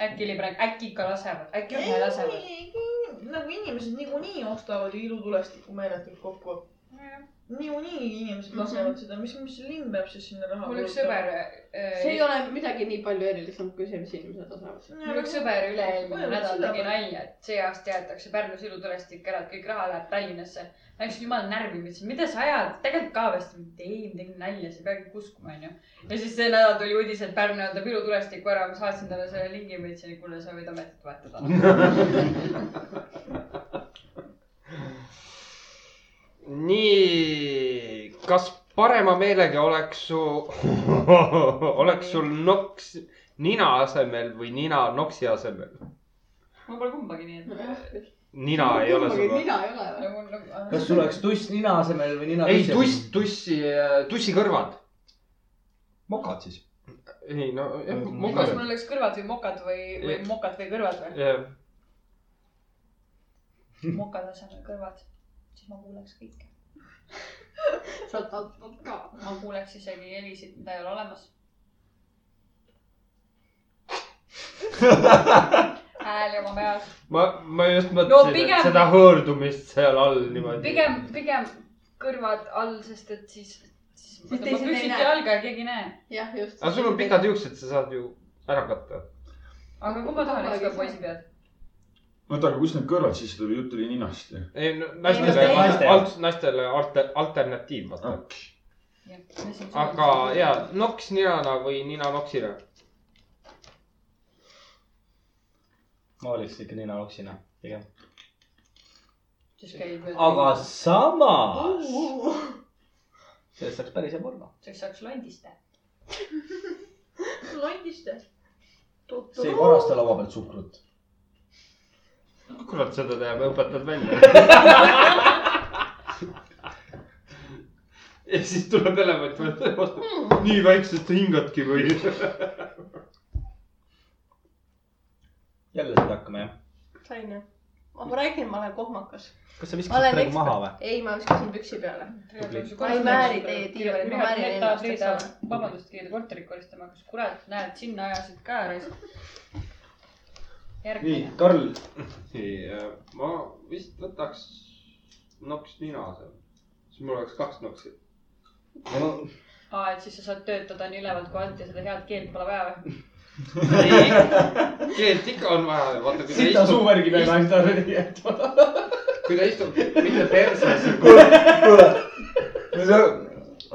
äkki oli pränk , äkki ikka lasevad , äkki ühe lasevad . nagu inimesed niikuinii ostavad ju ilutulestikku meeletult kokku . niikuinii inimesed Mhm. lasevad seda , mis , mis linn peab siis sinna raha mul üks sõber äh, see ei ole midagi nii palju erilisem kui see , mis inimesed osavad . Nagu mul üks sõber üle-eelmine nädal tegi nalja , et see aasta jäetakse Pärnus ilutulestik ära , et kõik raha läheb Tallinnasse . ma läksin jumala närvi , ma ütlesin , mida sa ajad , tegelikult ka vestlen , et ei , ma tegin nalja , sa ei peagi uskuma , onju . ja siis see nädal tuli uudis , et Pärnu jätab ilutulestiku ära , ma saatsin talle selle lingi , ma ütlesin , et kuule , sa võid ametit vahetada . nii , kas parema meelega oleks su , oleks sul noks nina asemel või nina noksi asemel ? mul pole kumbagi nii , et . nina ei ole sul või ? mina ei ole või ? kas sul oleks tuss nina asemel või nina ei , tuss , tussi , tussi kõrvad . mokad siis . ei no , jah , kas mokad . mul oleks kõrvad või mokad või , või mokad või kõrvad või ? mokad asemel kõrvad , siis ma kuuleks kõike . sa oled tahtnud ka . ma kuuleks isegi helisid , mida ei ole olemas . hääl oma peas . ma , ma just No mõtlesin no, pigem- seda hõõrdumist seal all niimoodi . pigem , pigem kõrvad all , sest et siis , siis ma Siis teised ei püsiti näe. jalga ja keegi ei näe . jah , just . aga sul on pikad . juuksed , sa saad ju ära katta . aga kui ma tahan ükskord poisi pead . oota , aga kust need kõrvad siis tuli , jutt oli ninast ju . ei no Ei, no naistele teine- , naistele alter- , alternatiiv vaata . aga ja . ja noks ninana või nina noksina . ma oleks ikka nina oksina , pigem . siis käib . aga . samas , sellest saaks päris hea porno . siis saaks londiste . londiste . see ei varasta laua pealt suhkrut . kurat , seda teab , õpetad välja ja siis tuleb elevant vaata vastu . nii väikselt hingadki või ? jälle saad hakkama , jah ? sain jah . ma räägin , ma olen kohmakas . kas sa ma viskasid olen praegu maha või ? ekspert . ei , ma viskasin püksi peale . ma ei määri teie tiivaid , ma määrin ennast , et sa . vabandust , keegi korterit koristama , kas kurat , näed , sinna ajasid ka ära . nii järgmine ,. Karl , nii , ma vist võtaks noks nina seal . siis mul oleks kaks noksi . aa , et siis sa saad töötada nii ülevalt kui alt ja seda head keelt pole vaja või ? keelt ikka on vaja , vaata kui ta sita istub , suumärgi peale ainult ära jätma . kui ta istub , mitte perses . kuule ,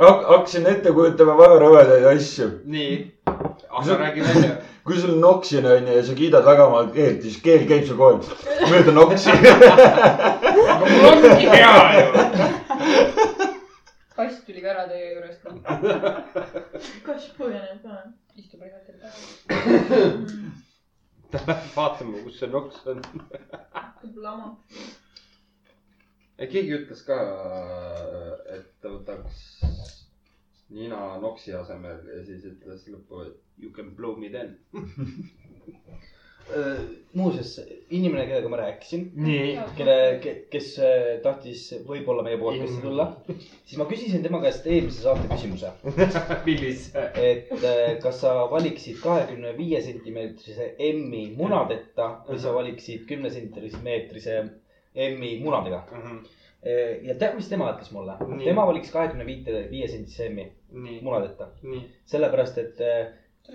hakkasin ette kujutama väga rõvedaid asju . nii , Ah, aga räägi välja . kui sul on oksjon onju ja sa kiidad väga oma keelt , siis keel käib sul kogu aeg mööda noksi . aga mul ongi hea ju . kass tuli ka ära teie juurest , kas põgeneb ka ? istub rihvalt ära . ta läheb vaatama , kus see noks on . lama . keegi ütles ka , et ta võtaks nina noksi asemel ja siis ütles lõppu , et you can blow me then . muuseas , inimene , kellega ma rääkisin , nii . kelle , kes äh, tahtis võib-olla meie podcast'i tulla , siis ma küsisin tema käest eelmise saate küsimuse , millise ? et äh, kas sa valiksid kahekümne viie sentimeetrise M-i munadeta või sa valiksid kümne sentimeetrise M-i munadega . Mhm. ja tead , mis tema ütles mulle ? Nii. tema valiks kahekümne viite , viie sentise M-i nii , munadeta , nii . sellepärast et äh,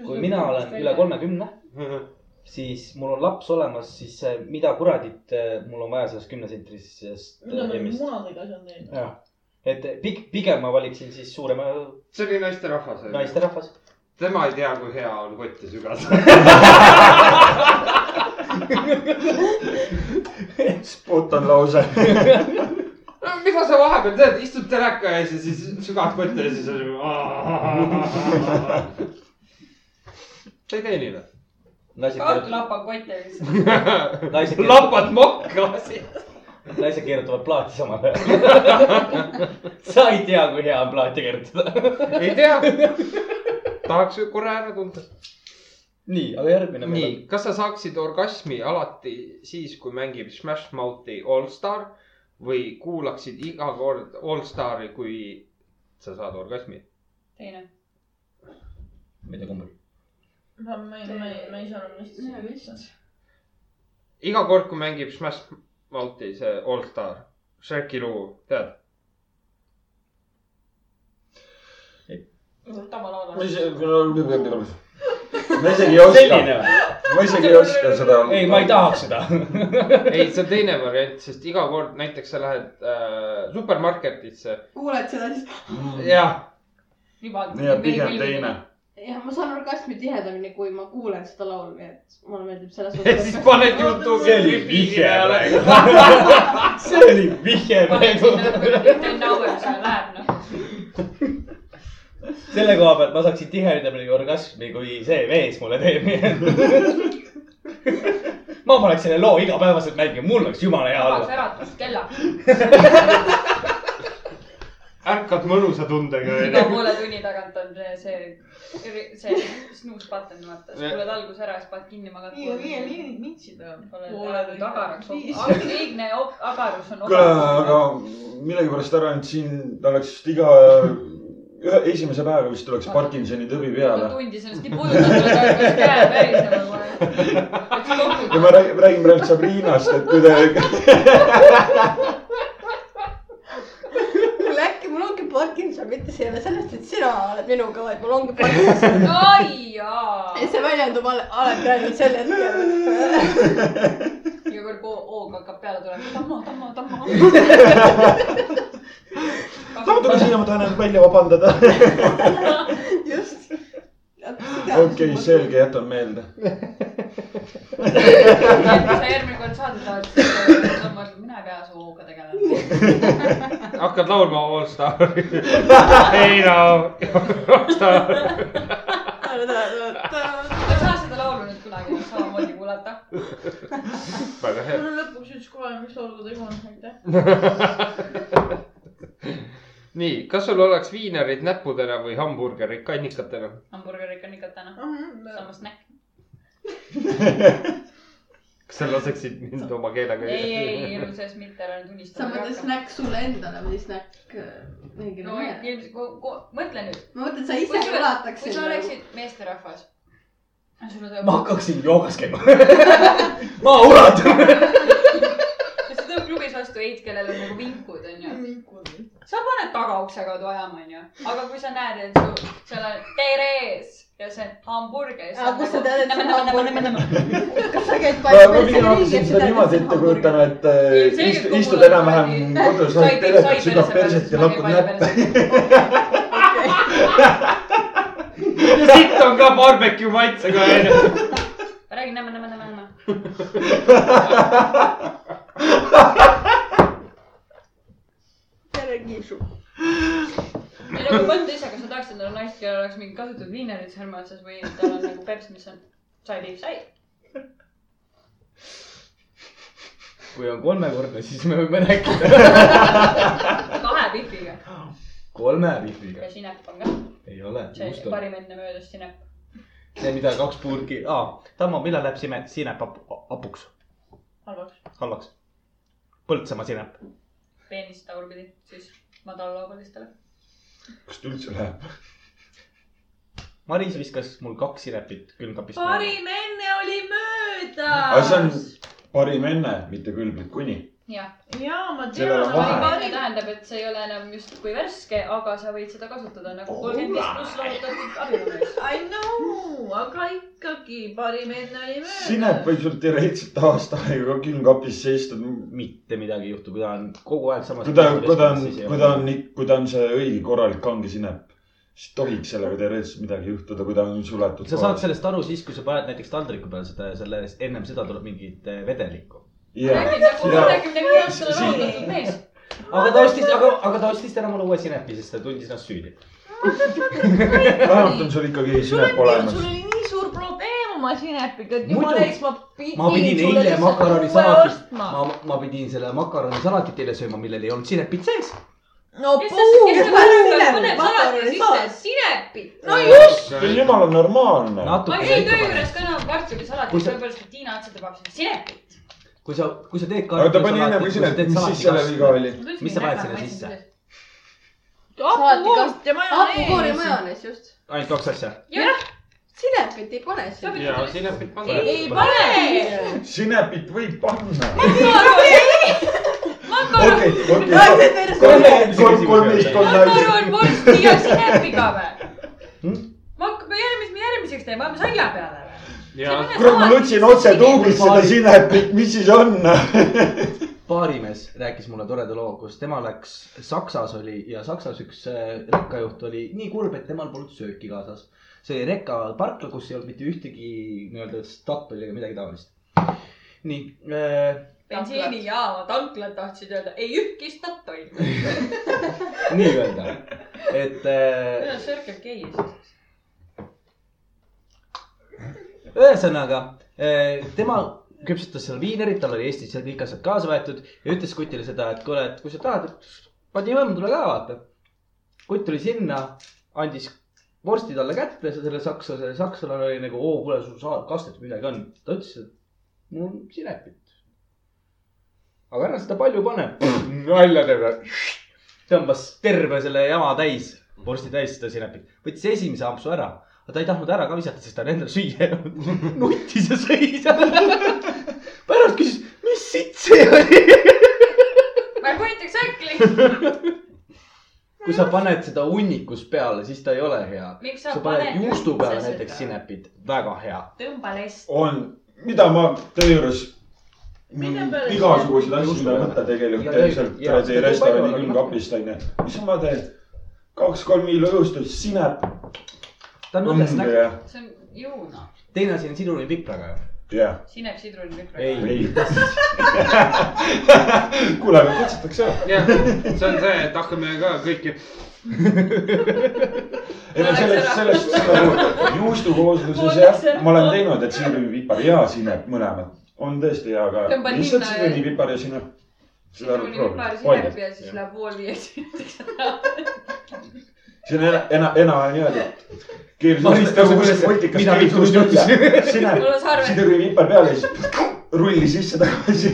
kui mina olen üle . kolmekümne , siis mul on laps olemas , siis äh, mida kuradit äh, mul on vaja sellest kümnesentrisest nagu mida nad M-ist . munadega seal teevad ? jah , et äh, pig- , pigem ma valiksin siis suurema see oli naisterahvas . naisterahvas . tema ei tea , kui hea on kotti sügada . spot on lause . mida sa vahepeal teed , istud teleka ees ja siis sügad kotti ja siis on ju . sa ei tee nii või ? naised Karl keerutavad , lapab kotte lihtsalt . naised keerutavad , lapad mokka siin . naised keerutavad plaati samal ajal . sa ei tea , kui hea on plaati keerutada . ei tea . tahaks korra ära tunda . nii , aga järgmine nii meil , kas sa saaksid orgasmi alati siis , kui mängib Smash Mouthi All Star või kuulaksid iga kord All Star'i , kui sa saad orgasmi ? teine . on , mitte kumb . ma , ma ei , ma ei , ma ei saa aru , mis see lihtsalt . iga kord , kui mängib Smash Mouthi see All Star , Shrek'i lugu , tead ? ma tavalaadal . isegi , ma isegi ei oska , ma isegi ei oska seda . ei , ma ei . tahaks seda . ei , see on teine variant , sest iga kord näiteks sa lähed äh, supermarketisse kuuled seda siis , ja juba . nii et pigem teine . jah , ma saan orgasmi tihedamini , kui ma kuulen seda laulu , nii et mulle meeldib selles ja siis paned Youtube'i . see oli vihje praegu . see oli vihje praegu . ütlen lauale , seal läheb noh . selle koha pealt ma saaksin tihedamini orgasmi , kui see mees mulle teeb . ma paneks selle loo igapäevaselt mängima , mul oleks jumala hea olla vabaks . äratuskellaks ärkad mõnusa tundega iga . poole tunni tagant on see , see , see snuus-button , vaata , sa tuled alguses ära , siis paned kinni , magad . nii , nii , nii , mintsid on . oled agaraks , Viis- liigne o- agarus on kuule , aga . millegipärast arvan , et siin oleks vist iga , ühe , esimese päeva vist tuleks Parkinsoni tõbi peale . tundis ennast nii puudutatuks , et käed värisevad kohe ja . ma räägin , räägin praegu Sabrinast , et kui te , kuule , äkki mul ongi Parkinson , mitte see ei ole sellest , et sina oled minuga , vaid mul ongi Parkinson . ai jaa . ja see väljendub al- alati ainult sel hetkel . iga kord , kui O-ga hakkab peale tulema , tammo , tammo , tammo . tule siia , ma tahan end välja vabandada . just . okei , selge , jätan meelde . kui sa järgmine kord saad , tahad , siis ma ütlen , mina ei pea su O-ga tegelema . hakkad laulma All Star'i . ei no , All Star . sa ei saa seda laulu nüüd kunagi samamoodi kuulata . väga hea . mul lõpuks ütles kohe , mis lauluga tegu on , aitäh . nii , kas sul oleks viinerid näppudena või hamburgerid kannikatena ? hamburgerit on ikka täna , sama snäkk . kas sa laseksid mind oma keelega ? ei , ei , elu sees mitte , ära nüüd unista . sa mõtled snäkk sulle endale või snäkk mingile no mehele ? ilmselt , mõtle nüüd , ma mõtlen , sa Kui ise sa- elataks kui sa . oleksid meesterahvas . sul ma tuleb , hakkaksin joogas käima . ma ulatan . sul tuleb klubis vastu eid , kellel on nagu vinkud , onju . sa paned tagaukse kaudu ajama , onju . aga kui sa näed , et su , seal on Therese ja see hamburger . aga kust sa tead , et see on hamburger ? kas sa käid ma ma pigem hakkasin seda niimoodi ette kujutama , et äh, istu- istud enam-vähem kodus , oled telekas , sügab perset ja lakkud näppe . ja sitt on ka barbeque maitsega onju . räägi nämme , nämme , nämme , nämme . tere , Kiisu . ei no kui mõelda ise , kas sa tahaksid endale naist , kellel oleks mingi kasutatud viinerid sõrme otsas või tal on nagu peps , mis on sai liib sai . kui on kolmekordne , siis me võime rääkida . kahe pipiga kolme pihviga ja . sinep on ka , ei ole , must see on . parim enne möödas sinep . see , mida kaks purki , aa , Tammo , millal läheb sine- , sinep ap- , hapuks , halvaks . halvaks ? Põltsamaa sinep . peenist tagurpidi , siis madallaubalistele . kas ta üldse läheb ? Maris viskas mul kaks sinepit külmkapist . parim enne oli aga see on möödas . parim enne , mitte külmlik kuni . jah , jaa , ma Sellel tean on vahe. . parim tähendab , et see ei ole enam justkui värske , aga sa võid seda kasutada nagu kolmkümmend viis pluss lahutatud abielumees . I know , aga ikkagi parim enne oli möödas . Sinet võib sul teoreetiliselt aasta aega ka külmkapis seista . mitte midagi ei juhtu , kui ta on kogu aeg samas . kui ta , kui ta on , kui ta on , kui ta on see õige korralik kange sinep , siis tohiks sellega teoreetiliselt midagi juhtuda , kui ta on suletud . sa saad sellest aru siis , kui sa paned näiteks taldriku peale seda ja selle , ennem seda tuleb mingit eh, vedelikku . jah , räägid nagu kolmekümne viie aastane lahutatud mees . aga ta ostis , aga , aga ta ostis täna mulle uue sinepi , sest ta tundis ennast süüdi . vähemalt on sul ikkagi sinep sul olemas . oli nii suur probleem oma sinepiga , et Muidu. jumala eest ma pidin . ma pidin eile makaronisalatit , ma , ma pidin selle makaronisalatit eile sööma , millel ei olnud sinepit sees . no kes sa , kes sa paned , paned salati sisse puu . sinepit . no just . see on jumala normaalne . ma natuke käin töö . juures ka enam kartulisalatit , Kui sa- sellepärast et Tiina Atsa teeb lapsi sinepit . kui sa , kui sa teed . aga ta pani ennem kui sinep , mis siis selle viga ? oli ? Mis sa paned sinna sisse? ? hapukoort ja hapukoori majonees . majonees , just . ainult kaks asja . jah , sinepit ei pane sinna . ja sinepit panna . ei pane . sinepit võib panna . makaron , okei , okei . kolm , kolm , kolm , kolm , kolm , makaron vorsti ja sinepiga või ? Hmm? teeb , ajame saia peale või ? ja kurat , ma nutsin otse tuubist seda sinepit , mis siis on ? baarimees rääkis mulle toreda loo , kus tema läks , Saksas oli ja Saksas üks äh, rekkajuht oli nii kurb , et temal polnud sööki kaasas . see oli rekkaparkla , kus ei olnud mitte ühtegi nii-öelda stapeli ega midagi taolist . nii äh, , bensiinijaama tanklad tahtsid öelda , ei ühtki Statoili . nii-öelda , et äh, kuidas Circle K siis ? ühesõnaga äh, tema küpsetas seal viinerit , tal oli Eestis seal kõik asjad kaasa võetud ja ütles kutile seda , et kuule , et kui sa tahad , pani õmm , tule ka vaata . kutt tuli sinna , andis vorsti talle kätte , selle sakslasele , sakslane oli nagu , oo kuule , sul saab kastet midagi on . ta ütles , et mul on sinepit . aga ära seda palju pane . nalja teeb ja tõmbas terve selle jama täis , vorsti täis seda sinepit . võttis esimese ampsu ära , aga ta ei tahtnud ära ka visata , sest ta oli endal süüa jäänud . nuttis ja sõi seal . pärast küsis , mis sitt see oli . ma ei kujutaks äkki , kui sa paned seda hunnikus peale , siis ta ei ole hea miks sa sa paned juustu peale näiteks sinna . sinepid , väga hea . tõmba lest . on , mida ma teie juures mm, Mille peale igasuguseid asju , Just mida peale. võtta Ja tegelikult teeb sealt tegelikult, jaa. kuradi restorani külmkapist onju . mis ma teen ? kaks-kolm ilu juustu , sinep . ta on Mm. nagu? õllesnäkk . see on juuna , teine asi on sidruni pipraga ju . jah , sinep , sidrun , ei küpre ., ei . kuule , aga katsetakse ära . jah , see on see , et hakkame ka kõiki , ei no Läks sellest , ära. sellest nagu juustu koosluses Mul jah läks ära. , ma olen teinud , et sirvipipar ja sinep mõlemad on tõesti hea , aga Tõmbad lihtsalt hinna ja- sirvipipar ja sinep . seda sidrun , arvab küpre , proovida sinep . ja siis läheb vooli ja siis . see on ena- , ena , enam-vähem niimoodi . keeruliselt , Maristab nagu üles, kuskilt multikast mida keegi tuli Viktor välja . ütles. sinep Mul on , sarved. sidruvipipar peale ja siis rulli sisse tagasi .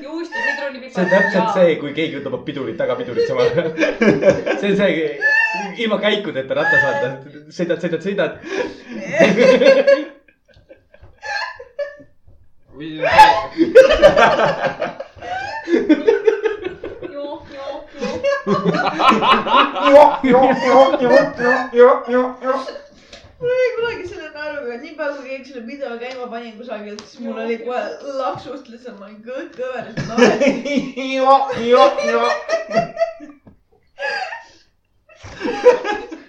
juust ja sidruni pipar . see on täpselt see , kui keegi tõmbab pidurit , tagapidurit samal ajal . see on see , ilma käikudeta ratas vaata , sõidad , sõidad , sõidad . joo , joo , joo . mul oli kunagi selle naeruga , nii palju kui keegi selle video käima pani kusagil , siis mul oli kohe laksust lihtsalt , ma olin kõik kõverist naer .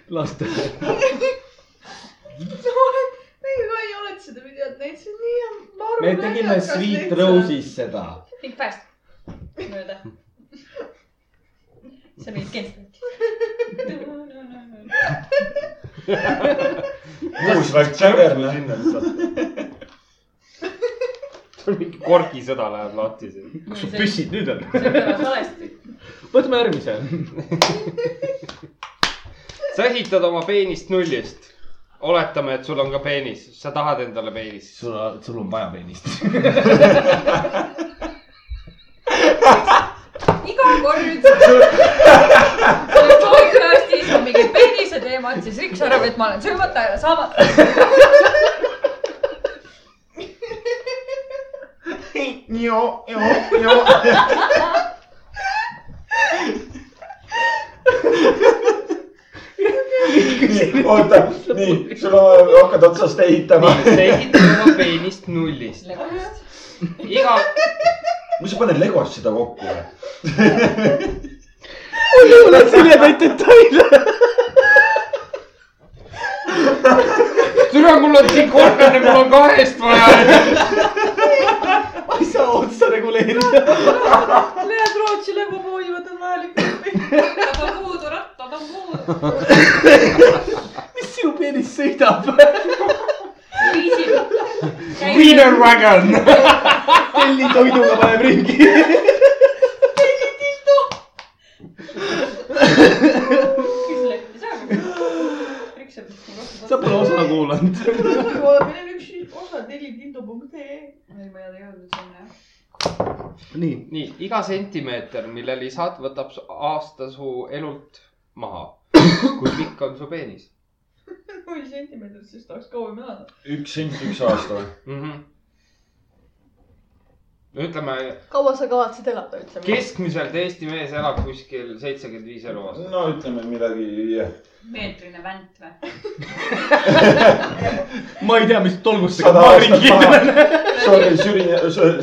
lastele . meie ka ei olnud seda videot näinud , see on nii maru . me tegime Sweet . Rose'is seda . Think fast . mööda . see on mingi kent . uus väike tšäverlane . sul mingi korgisõda läheb lahti siin . kus sul püssid nüüd on ? see kõlas valesti . võtame järgmise . sa ehitad oma peenist nullist . oletame , et sul on ka peenis , sa tahad endale peenist . sul , sul on vaja peenist . iga kord nüüd . selles podcastis on mingi peenise teemad , siis üks arvab , et ma olen söömata ja saamata . oota , nii , sul on , hakkad otsast ehitama . sa ehitad oma peenist nullist . iga , mis sa paned Legos seda kokku või ? mul ei ole siledaid detaile . türa , mul on siin korrane , mul on kahest vaja . ma ei saa otsa reguleerida . Lähed Rootsi lebupoodi , võtad vajaliku õpi . ta on puudu , rattad on puudu . mis sinu peenis sõidab ? viisil . Wiener Wagon . tellitoiduga paneb ringi . sa pole osa kuulanud . meil on üks osa telitindu.ee . ei , ma ei ole jõudnud sinna . nii , nii , iga sentimeeter , mille lisad , võtab su- aasta su elult maha . kui pikk on su peenis null sentimeetrit , siis tahaks kauem elada . üks sent , üks aasta või ? mm ? -hmm. no Mhm. ütleme , kaua sa kavatsed elada üldse ? keskmiselt Eesti mees elab kuskil seitsekümmend viis eluaastat . no ütleme midagi , jah , meetrine vänt või ? ma ei tea , mis tolmust sada aastat maha . Sorry , sünnin ,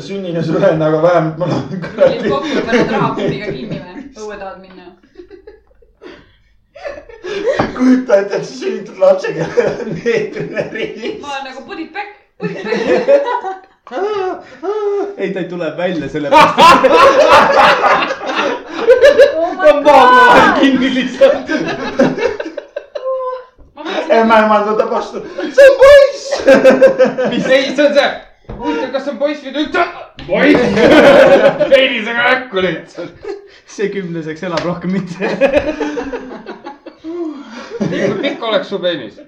sünnin ja sülen , aga vähemalt ma olen tulid kuradi . kokku , paned rahapulliga kinni või ? õue tahad minna ? kujuta ette , et sa sünnitad lapse , kellel on meetrine riis . ma olen nagu put it back , put it back . ei , ta ei tule välja sellepärast . ta on maailma vahel kinni lihtsalt . ma mõtlesin , ema emaldada vastu , see on poiss . mis ei , see on see , huvitav , kas see on poiss või tütar ? poiss , peenisega näkku lihtsalt . see kümneseks elab rohkem mitte . kui pikk oleks su peenis ?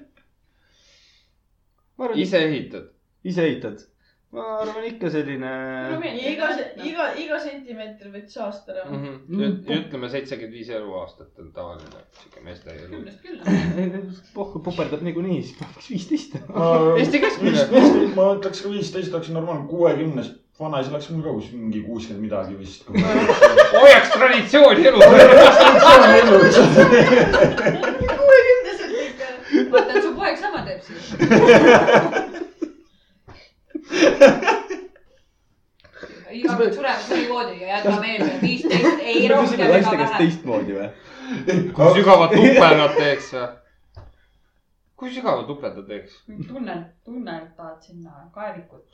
ise ehitad ? ise ehitad ? ma arvan ikka selline . et iga , iga , iga sentimeeter võid saasta Mm. ära . ütleme seitsekümmend viis eluaastat on tavaline sihuke meeste elu . kümnest küll . pohhu puperdab niikuinii , siis peaks viisteist . Eesti keskmine . viisteist , ma ütleks ka viisteist oleks normaalne , kuuekümnest vanaisa läks mul ka kus mingi kuuskümmend midagi vist . hoiaks traditsiooni elus . kuuekümneselt ikka . vaata , et su poeg sama teeb siis . iga kord sureb põhikoodiga , jäta meelde , viisteist , ei rohkem ega naiste käest vähem . teistmoodi või ? kui sügavat tuppe nad teeks või ? kui sügava tuppe ta teeks ? tunnen , tunnen , et tahad sinna kaevikut .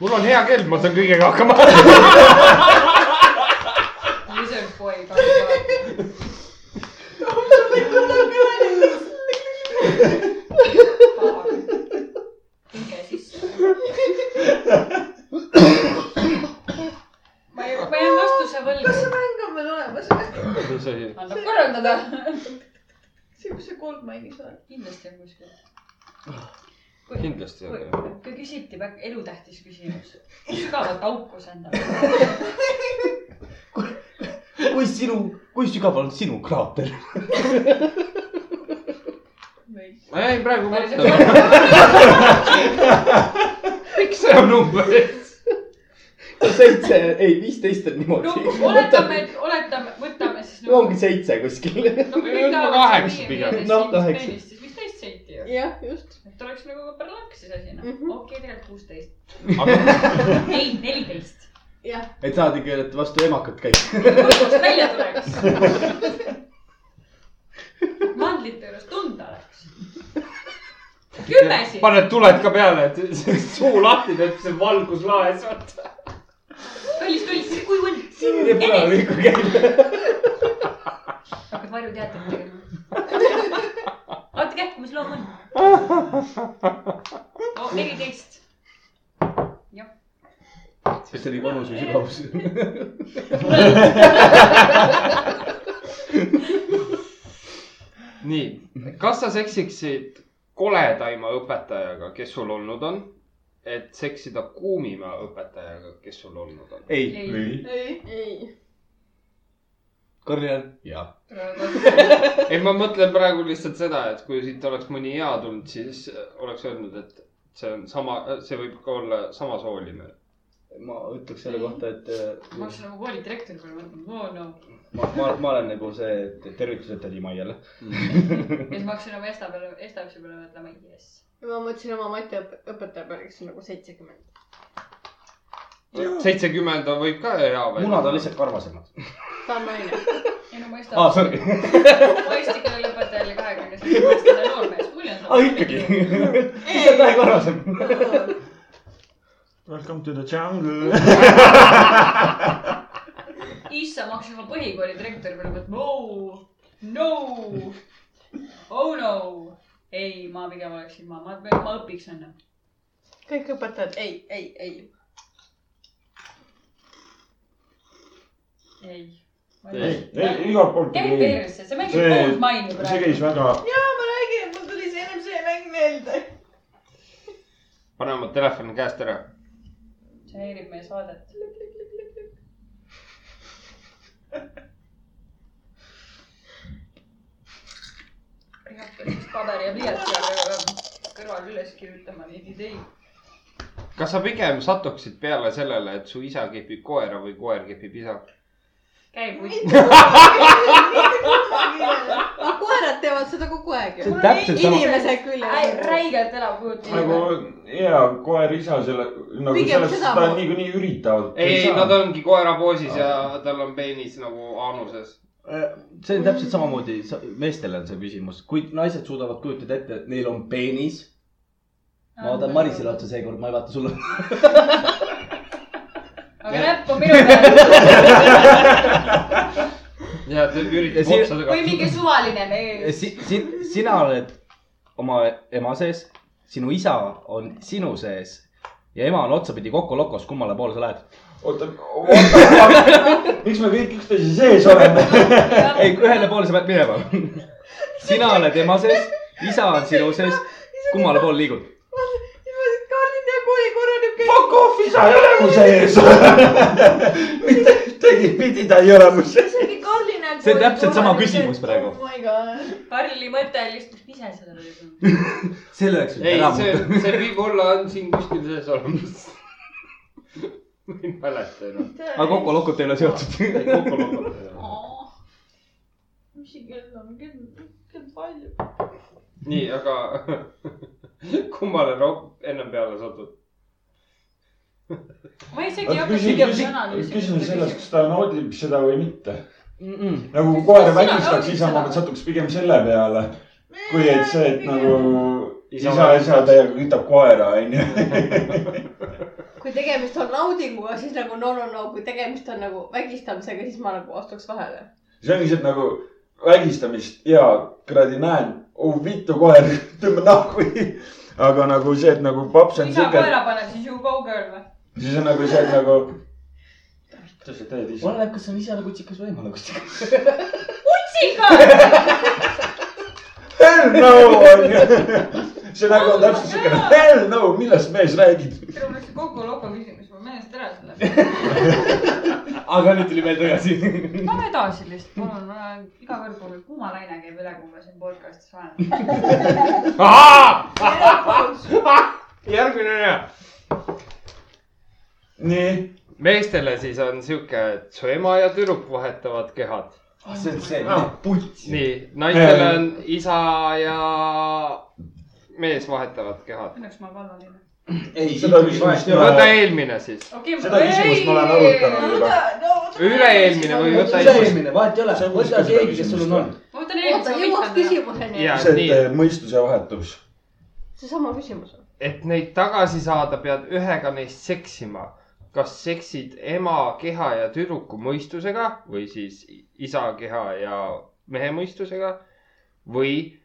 mul on hea kell , ma saan kõigega hakkama . Lizard boy kaks tuhat . hinge sisse . ma ei , ma jään vastuse võlgu . mäng on veel olemas . mis asi ? annab korraldada . see , kus see kuldmängis on ? kindlasti on kuskil . kindlasti on . kui küsiti väga elutähtis küsimus , sügavalt aukus endale . kui sinu , kui sügaval on sinu kraater ? ma jäin praegu mõtlema , miks see on umbes . seitse , ei viisteist on no niimoodi . oletame , et oletame , võtame siis no ongi seitse kuskil . no kui Ei, kõik no tahavad viie- kaheksa pigem. viieteist Noh, inimest kaheksa. peenist, siis viisteist senti ju . jah , just . et oleks nagu parallaks siis asi noh Mhm. , okei tegelikult kuusteist , ei neliteist . jah , et saad ikka , et vastu emakat käid . kodust välja tuleks . mandlite juures tunda oleks . kümme siis . paned tuled ka peale , et suu lahti teeb , see valgus laes . kallis , kallis , kui on . sinine punavihku käib . hakkad varjuteatet tegema . vaata kähku , mis loom on . no neliteist . kas see oli vanus või sügavus ? nii , kas sa seksiksid koledaima õpetajaga , kes sul olnud on , et seksida kuumima õpetajaga , kes sul olnud on ? ei , ei . ei . Karl-Jan . jah . ei , ma mõtlen praegu lihtsalt seda , et kui siit oleks mõni hea tulnud , siis oleks öelnud , et see on sama , see võib ka olla samasooline . ma ütleks selle kohta , et äh, ma hakkasin nagu kooli direktori peale mõtlema , oo no . ma , ma , ma olen nagu see et tervitused tädi Maiale . ja siis ma hakkasin oma Esta peale , Esta asja peale mõtlema , jess . ma mõtlesin oma mati õp- õpetaja peale , kes on nagu seitsekümmend . seitsekümmend on- võib ka hea . munad on . lihtsalt karvasemad . ta on naine . ei no ma Esta aa , sorry . ma Eesti keele õpetaja oli kahekümne seitsme aastane noormees , mulje on aa ,. ikkagi . mis on vähe karvasem ? Welcome to the jungle . issa , ma hakkasin oma põhikooli direktori peale mõtlema , oo , no , oh no . ei , ma pigem oleksin , ma , ma , ma õpiks enne . kõik õpetajad , ei , ei , ei . ei . ei , ei igalt poolt käi ei . persse , sa mängid See- Cold Mine'i see käis praegu . väga , ma räägin , mul tuli see ennem see mäng meelde . pane oma telefon käest ära . see häirib meie saadet . jah , peab siis paberi ja pliiatsiga kõrval üles kirjutama neid ideid . kas sa pigem satuksid peale sellele , et su isa kipib koera või koer kipib isa ? käib või ? koerad teevad seda kogu aeg See ju on . täpselt sama- inimesed küll ju . räigelt elab kujutlema . nagu jaa , koer ise selle , nagu Pigem selles , seda ta ma- niikuinii üritavad . ei , ei , Ah. nad ongi koerapoosis ja tal on peenis nagu aanuses . see on täpselt samamoodi , meestel on see küsimus , kui naised suudavad kujutada ette , et neil on peenis . Ah, ma vaatan Marisele . otsa seekord , ma ei vaata sulle . aga näpp on minu peal ja ta Ja üritab siin- otsadega või . mingi suvaline mees . si- , si- , sina oled oma ema sees , sinu isa on sinu sees ja ema on otsapidi kokku lokos , kummale poole sa lähed ? oota , oota , miks me kõik üksteise sees oleme ? ei , ühele poole sa pead minema . sina oled ema sees , isa on sinu sees , kummale poole liigud ? kaardid ja kooli korra niuke . Fuck off , isa ei ole mu sees . mitte ühtegi pidi ta ei ole mu sees . see on täpselt sama küsimus praegu . oh my god . Karli mõte lihtsalt ise seda rõõmu . selle oleks ei , võinud see ära , see võib-olla on siin kuskil sees olemas . ma ei mäleta enam . aga kokku lokot ei ole seotud . mis see kell on , kell , kell palju . nii , aga kummale rohkem ennem peale satud ? ma isegi ei oota , hakka küsimus , küsimus selles , kas ta naudib seda või mitte . nagu kui koer Sina vägistaks naudid isa , seda ma või? satuks pigem selle peale , kui et see , et nagu Isa isa , isa vägistaks. täiega kütab koera , onju . kui tegemist on naudinguga , siis nagu no , no , no , kui tegemist on nagu vägistamisega , siis ma nagu astuks vahele . see on lihtsalt nagu vägistamist ja kuradi näen , oh vittu koer , tõmba nahku . aga nagu see , et nagu paps kui on isa siuke , koera paneb , siis you go girl või ? siis on nagu see , et nagu . mida sa teed isa ? oleneb , kas see on isale kutsikas või emale kutsikas . kutsiga . Hell no onju . see nagu on täpselt siukene hell no , millest mees räägib . tere , mul läks see kogu loko küsimus , ma meelest ära selle . aga nüüd tuli veel tagasi . Lähme edasi lihtsalt , palun , ma olen iga kord , kui mul kumalaine käib üle , kui ma siin podcast'is olen . järgmine on hea . nii . meestele siis on sihuke , et su ema ja tüdruk vahetavad kehad . Ah, see on see Aa. , Ah, putsi . nii , naistele on isa ja mees vahetavad kehad . Õnneks ma vallaline . ei , Seda küsimust ei ole. võta eelmine siis , okei , Seda küsimust ma olen arutanud juba. üle-eelmine või võta võta eelmine . eelmine , vahet ei ole See , on võta kuskil seda keegi , kes sul on küsimust olnud . ma võtan oota , jõuaks eelmise . küsimuseni Jaa. . see , nii. et eh, mõistuse vahetus . seesama küsimus . et neid tagasi saada , pead ühega neist seksima . kas seksid ema keha ja tüdruku mõistusega või siis isa keha ja mehe mõistusega või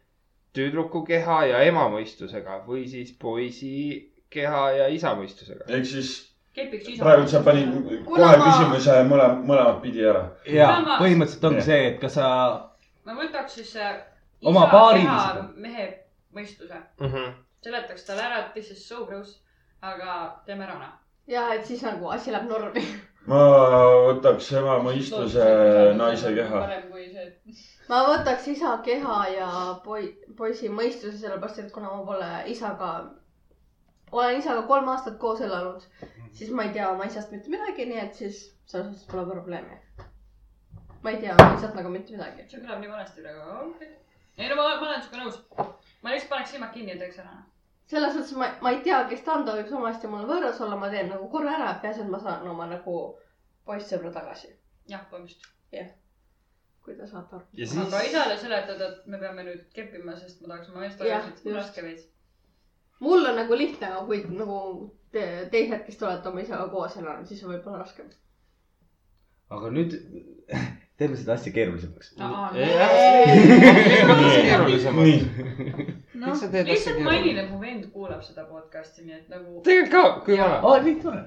tüdruku keha ja ema mõistusega või siis poisi keha ja isa mõistusega . ehk siis kepiks isa . praegu sa panid Kuna kohe ma- küsimuse mõlema , mõlemat pidi ära . ja Sama. põhimõtteliselt ongi Jah. see , et kas sa , ma võtaks siis äh, Oma isa paarilisega. keha mehe mõistuse , seletaks talle ära , et this is so gross , aga teeme ära noh . ja et siis nagu asi läheb normi . ma võtaks ema mõistuse äh, naise keha . parem kui see , et ma võtaks isa keha ja poi- , poisi mõistuse , sellepärast et kuna ma pole isaga , olen isaga kolm aastat koos elanud , siis ma ei tea oma isast mitte midagi , nii et siis selles mõttes pole probleemi . ma ei tea oma isast nagu mitte midagi . see kõlab nii valesti praegu , aga okei . ei no ma , ma olen sinuga nõus . ma lihtsalt paneks silmad kinni ja teeks ära noh . selles mõttes ma , ma ei tea , kes ta on , ta võib sama hästi mulle võõras olla , ma teen nagu korra ära , peaasi , et ma saan oma nagu poissõbra tagasi , jah , põhimõtteliselt . kui ta saab aru . ja aga siis , isale seletada , et me peame nüüd keppima , sest ma tahaks oma meest Jah, tagasi , et just. on raske veits . mul on nagu lihtne , aga kui nagu te, teised , kes te olete oma isaga koos elanud , siis on võib-olla raskem . aga nüüd teeme seda asja keerulisemaks . keerulisemalt . nii , miks sa teed asja lihtsalt mainin , keerulisemalt ? et mu vend kuulab seda podcast'i , nii et nagu tegelikult ka , kui Jaa. vana . aa , nii tore .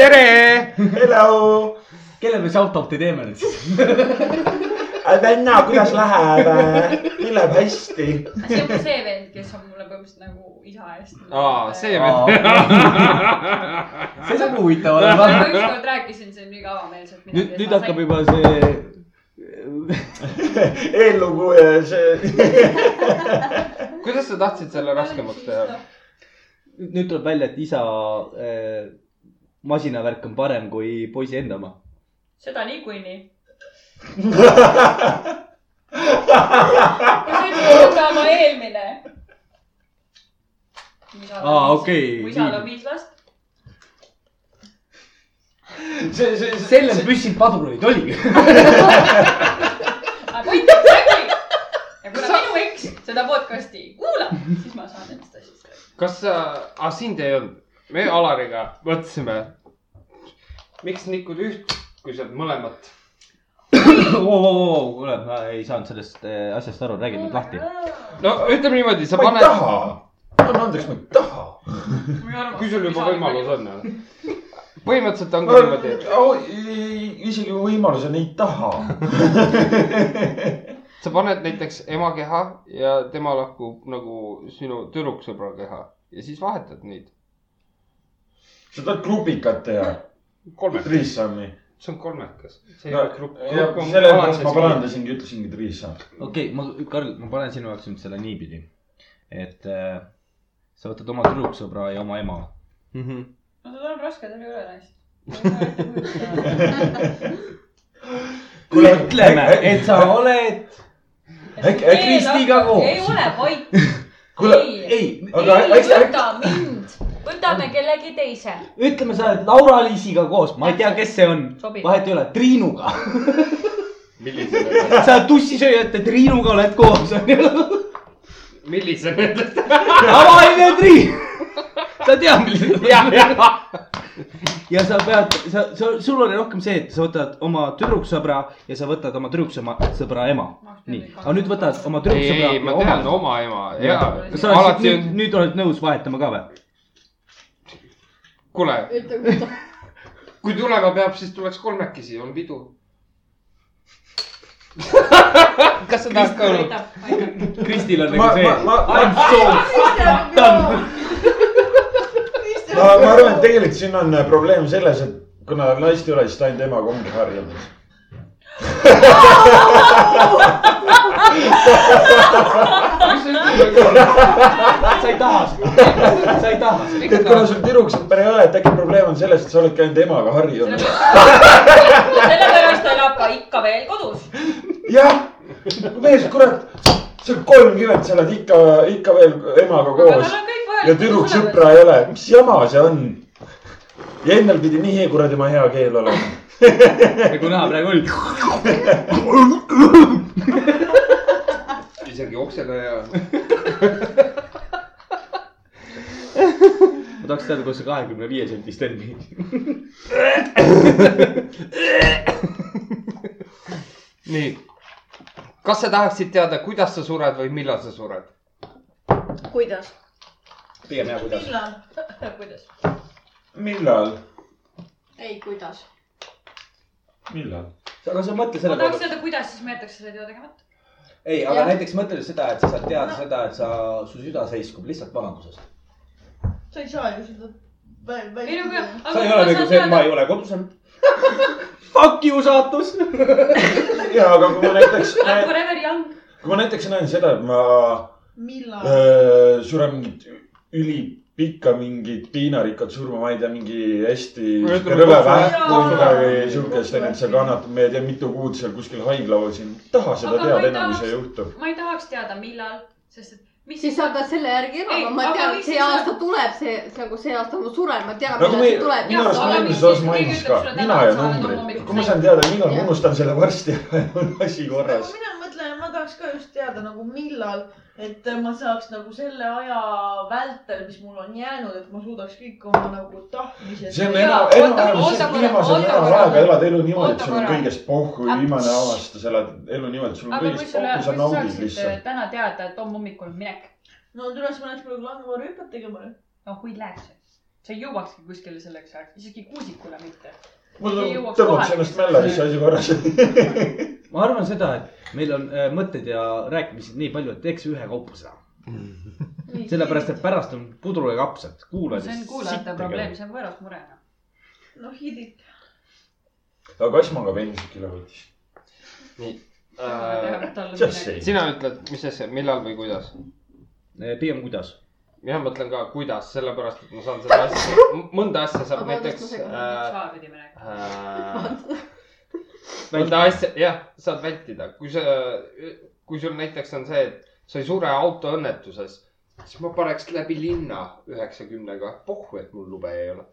tere , hello , kellele me shout-out'i teeme nüüd siis ? Äh, venna , kuidas läheb ? nii läheb hästi . see on see vend , kes on mulle põhimõtteliselt nagu isa eest . aa , see Aa, see saab huvitav olema . ma ükskord rääkisin siin nii avameelselt . nüüd , nüüd hakkab . juba see . eellugu äh, ja see . kuidas sa tahtsid selle raskemaks teha ?? nüüd tuleb välja , et isa äh, masinavärk on parem kui poisi enda oma . seda niikuinii . kas nüüd võta oma eelmine ? Aa, okei, mu isal nii. on viis last . see , see , see . selle püssi padrunid oligi . aga point on see , ja kuna minu eks seda podcast'i kuulab , siis ma saan nendest asjadest rääkida . kas sa , aa sind ei olnud , me Alariga mõtlesime , miks nikud üht , kui sa oled mõlemat . kuule , ma ei saanud sellest äh, asjast aru , räägi nüüd lahti . no ütleme niimoodi , sa ma ei paned , taha . anna andeks , ma ei taha . kui sul juba võimalus on . põhimõtteliselt ongi niimoodi , Äh, isegi kui võimalus on , ei taha . et sa paned näiteks ema keha ja tema lahkub nagu sinu tüdruksõbra keha ja siis vahetad neid . sa tahad grupikat teha , kolmekesi , triissami . see on kolmekas . ja sellepärast ma . parandasingi , ütlesingi triissam . okei okay, , ma , Karl , ma panen sinu jaoks nüüd selle niipidi , et äh, sa võtad oma tüdruksõbra ja oma ema . no seda on raske , tal ei ole naist . Kuule, ütleme , äkki- et sa oled , Äkki- äkki Kristiga koos. ei ole vait . Kuule, ei , ei , aga ei äkki , äkki , võta mind , võtame kellegi teise . ütleme , sa oled Laura-Liisiga koos , ma ei tea , kes see on , Sobib. vahet ei ole , Triinuga . millisele , sa oled tussisööjate Triinuga oled koos , onju . millisele ? tavaline Triin . sa tead , milline ta jah , on . jah . ja sa pead , sa , sa , sul oli rohkem see , et sa võtad oma tüdruksõbra ja sa võtad oma tüdruksõbra ema . nii , aga nüüd võtad oma ei , tüdruksõbra ei , ja ma tean oma . oma ema ja sa oled alati nüüd on ,, nüüd oled nõus vahetama ka või ? kuule , ütle , kui ta , kui tulema peab , siis tuleks kolmekesi , on pidu . kas sa tahad ka olla ? aitab , aitab . Kristil on ma nagu , see ma ,, ma , ma I m so fucked up . ma , ma arvan , et tegelikult siin on äh, probleem selles , et kuna naist ei ole , siis ta ainult emaga ongi harjunud . mis sa ütled ? sa ei taha seda , sa ei taha seda . et kuna sul tüdruks on pere õe , et äkki probleem on selles , et sa oledki ainult emaga harjunud . sellepärast ta elab ka ikka veel kodus . jah , mees , kurat , sa oled kolmkümmend , sa oled ikka , ikka veel emaga aga koos tal on kõik ja vajalikud . tüdruksõpra ei ole , mis jama see on ? ja endal pidi nii hea kuradi oma hea keel olema . nagu näha praegu oli . isegi oksele ja . ma tahaks teada , kus see kahekümne viie sentist on . nii , kas sa tahaksid teada , kuidas sa sured või millal sa sured ? kuidas ? pigem hea kuidas . millal ? kuidas ? millal ? ei , kuidas ? millal ? aga sa mõtle ma selle tahaks peale . teada , kuidas siis ma jätaks selle töö tegemata . ei , aga näiteks mõtle nüüd seda , et sa saad teada seda , et sa , su süda seiskub lihtsalt vanadusest . sa ei saa ju seda väl- , ei no kui , välja . aga sa ei kui ma saan ole nagu see , et ma teada , ei ole kodus olnud . Fuck you , saatus . ja , aga kui ma näiteks , I m forever young . kui ma näiteks näen seda , et ma millal ? öö, suren mingit ülipikka mingit piinarikat surma , ma ei tea , mingi hästi Ma ütlen, sihuke rõve kohtu- vähku jaa. midagi siukest , onju , et sa kannatad , ma ei tea , mitu kuud seal kuskil haiglaos ja taha seda Aga ma ei teada enam , tahaks- kui see juhtub . ma ei tahaks teada , millal , sest et mis siis hakkad selle järgi Ei, elama , ma aga tean , mis et see siis on- aasta tuleb , see nagu see aasta ma suren , ma tean , nagu millal me see , tuleb . minu arust aga eelmises mis osas siis- mainis keegi ka ütleb sulle nina täna, ja et sa oled numbrid hommikul . kui ma saan teada , millal ma Jah. unustan selle varsti ära ja on asi korras nagu . mina mõtlen , ma tahaks ka just teada nagu millal , et ma saaks nagu selle aja vältel , mis mul on jäänud , et ma suudaks kõik oma nagu tahtmised . see on Jaa, enam , oota, enam-vähem oota see korra, viimasel oota nädalal korra. aega elad elu niimoodi , et Oota sul on korra. kõigest pohhu , Aga- viimane aasta , sa elad elu niimoodi , et sul on aga kui kõigest sulle , pohhu , sa kui sa naudid saaksid äh, lihtsalt . täna teada , et homme hommikul on minek , no tuleks , ma läks praegu langvarüüpet tegema . no kui läheks , sa ei jõuakski kuskile selleks ajaks , isegi kuusikule mitte . mul ei jõuaks tõmbaks kohale. ennast välja , siis asi korras . ma arvan seda , et meil on äh, mõtteid ja rääkimisi nii palju , et teeks ühekaupa seda . sellepärast , et pärast on pudru ja kapsad , kuulad . see on kuulajate probleem , see on võõras mure . noh , hidik . aga Kasmaga pensionit kilovatis . Äh, Äh. Just say. sina ütled , mis asja , millal või kuidas ? pigem kuidas ? mina mõtlen ka , kuidas , sellepärast et ma saan seda asja , mõnda asja saab Vabandust, näiteks ma segan. äh, saapidi minema . Äh, mõnda asja , jah , saad vältida , kui sa , kui sul näiteks on see , et sa ei sure autoõnnetuses , siis ma paneks läbi linna üheksakümnega , pohhu , et mul lube ei ole .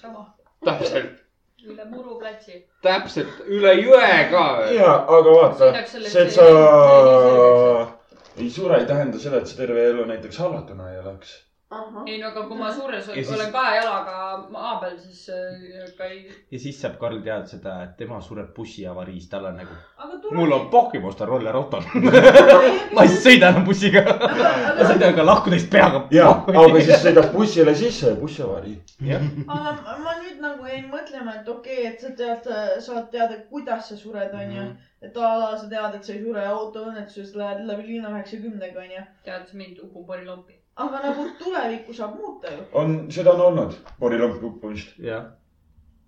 sama , täpselt , üle Muru platsi . täpselt , üle jõe ka veel . ja , aga vaata , Sõidaks selle see , et sa selle- selle- ei sure , ei tähenda seda , et sa terve elu näiteks halvatuna ei elaks . ahah , ei no aga kui ma suures Ja siis- olen kahe jalaga maa peal , siis äh, ka ei . ja siis saab Karl teada seda , et tema sureb bussiavariis , tal on nagu , aga mul tore . on pohkimus , ta on rollerotol . ma ei sõida enam bussiga , ma sõidan ka lahkuteist peaga . ja , aga siis sõidab bussile sisse ja bussiavarii . aga ma- ma nüüd nagu jäin mõtlema , et okei okay, , et sa tead , saad teada , kuidas sa sured , onju . Mhm. et a la sa tead , et sa ei sure autoõnnetuses , lähed läbi linna üheksakümnega , onju . teadis mind , upub porilompi . aga nagu tulevikku saab muuta ju . on , seda on olnud , porilampi uppumist , jah ,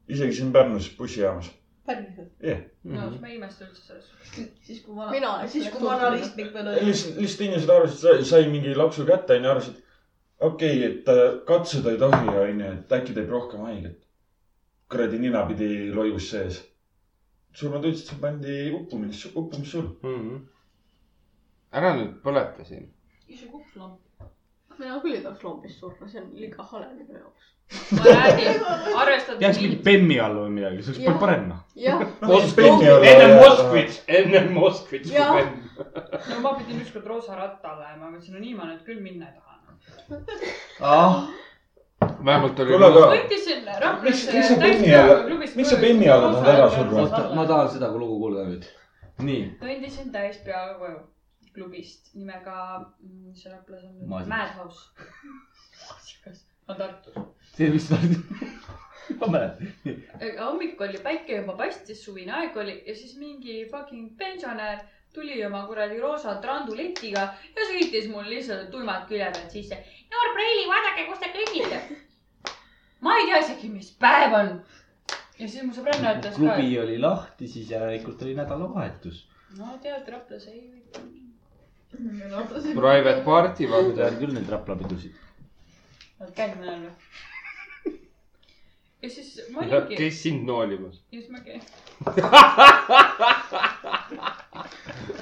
isegi siin Pärnus bussijaamas . päriselt . Mhm. no siis ma ei imesta üldse sellest . siis kui vana , mina siis kui vana . ristmik veel oli . lihtsalt , lihtsalt inimesed arvasid , sai, sai mingi laksu kätte , onju , arvasid , okei okay, , et äh, katsuda ei tohi , onju , et äkki teeb rohkem haiget . kuradi ninapidi loius sees . surnud ütlesid , pandi uppumine , uppumissurm . Mhm. ära nüüd põleta siin . ise kuks lomp . mina küll ei tahaks lombist surma , see on liiga hale minu jaoks . ma räägin , arvestades jääks mingi mind , Bemmi alla või midagi , see oleks palju Jah. parem noh . jah , enne Moskvitš , enne Moskvitš . Jah. no ma pidin ükskord Roosa rattale , ma mõtlesin , no nii ma nüüd küll minna ei taha . noh." ah , vähemalt Kuule, aga- oli . võttis selle Miks- Raplasse miks sa pinni alla- miks sa pinni alla tahad ära surra? oota , ma tahan seda lugu kuulda nüüd . nii , kõndisin täis peaga koju klubist nimega , mis see Raplas on Maasikas. , Madhouse . maasikas , no Tartus . see vist on , ma mäletan . hommik oli , päike juba paistis , suvine aeg oli ja siis mingi fucking pensionär tuli oma kuradi roosa tranduletiga ja sõitis mul lihtsalt tuimad külje pealt sisse . noor preili , vaadake , kus te kõnnite . ma ei tea isegi , mis päev on . ja siis mu sõbranna ütles ka , Nagu klubi oli lahti , siis järelikult oli nädalavahetus . et no tead , Raplas ei . Private party ma vaata . tean küll neid Rapla pidusid . käime jälle . ja siis ma olingi , käis sind noolimas . ja siis ma käin .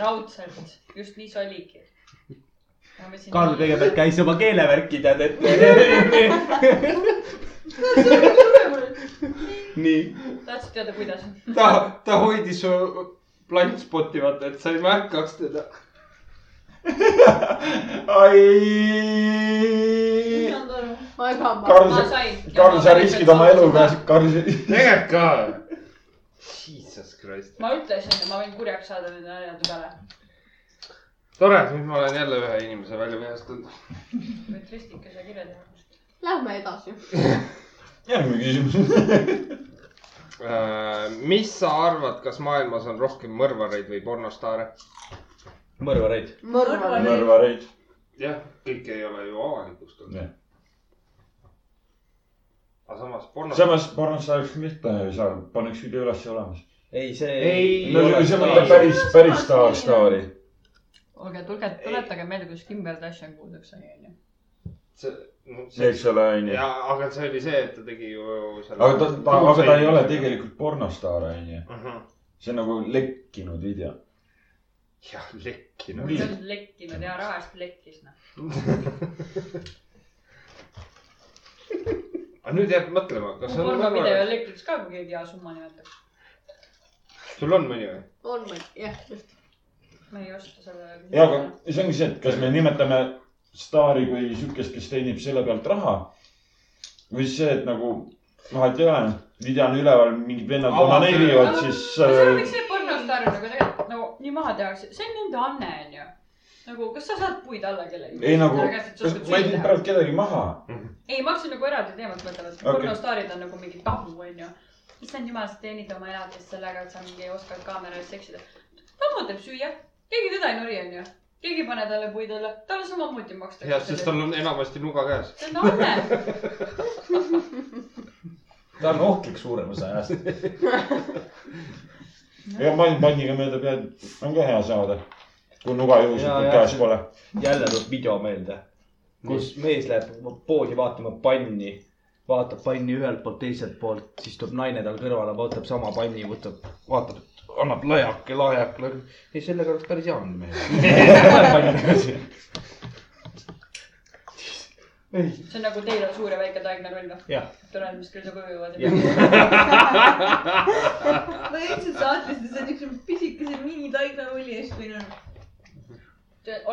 raudselt , just nii see oligi . Karl kõigepealt käis oma keelevärki tead ette . nii , tahtsid teada , kuidas ? ta , ta hoidis su blind spot'i vaata , et sa ei märkaks teda . ai . ma ei kamba . Karl , Karl , sa riskid oma eluga , Karl . tegelikult ka . Jesus Christ . ma ütlesin , et ma võin kurjaks saada nende naljade peale . tore , nüüd ma olen jälle ühe inimese välja vihastanud . võid ristikese kirja teha . Lähme edasi . järgmine küsimus . Äh, mis sa arvad , kas maailmas on rohkem mõrvareid või pornostaare ? mõrvareid . mõrva . mõrvareid . jah , kõik ei ole ju avalikustatud . aga samas pornostaar . samas pornost ajaks mitte , sa paneks video üles ja olemas . ei , see . Ei no see mõtleb päris , päris staar staari . olge , tulge , tuletage meelde , kuidas Kimber Dash on kuulsaks sai , onju . eks ole , onju . ja , aga see oli see , et ta tegi ju selle . aga ta , ta , aga ta ei ole . tegelikult pornostaar , onju . jah , see on nagu lekkinud video . lekkinud . see on lekkinud ja raha eest lekkis , noh . aga nüüd jääb mõtlema , kas sul on nagu pornovideo mõni , lekkiks ka , kui keegi hea summa nimetab . sul on mõni või ? on meil , jah , just . ma ei osta selle . ja , aga see ongi see , et kas me nimetame staari kui siukest , kes teenib selle pealt raha või see , et nagu vahet ei ole , video on üleval , mingid vennad bananeerivad , siis see äh, on , miks see pornostaar nagu tegelikult nagu nii maha tehakse , see on nende anne , onju . nagu , kas sa saad puid alla kellelegi ? ei nagu , kas ma ei teinud praegu kedagi maha . ei , ma hakkasin nagu eraldi teemat mõtlema , et Okei. pornostaarid on nagu mingi tabu , onju . issand jumal , sa teenid oma elatist sellega , et sa mingi oskad kaamera ees seksida . tammu teeb süüa , keegi teda ei nori , onju . keegi ei pane talle puid alla , talle samamoodi makstakse . jah , sest tal on enamasti nuga käes . see on anne , ta on ohtlik suurem osa ajast . ja pann , panniga mööda pead , on ka hea saada . kui nuga Jaa, juhuslikult jaa, käes see- pole . jälle tuleb video meelde , kus mees läheb poodi vaatama panni , vaatab panni ühelt poolt , teiselt poolt , siis tuleb naine tal kõrvale , vaatab sama panni , võtab , vaatab , annab laiake , laiake , ei sellega oleks päris hea olnud mehel . see on nagu teil on suur ja väike taigna roll või ? jah , tuleneb , mis küll sa koju jõuad . ma leidsin saatest ja see on niisugune pisikese minitaigna rolli eest või noh .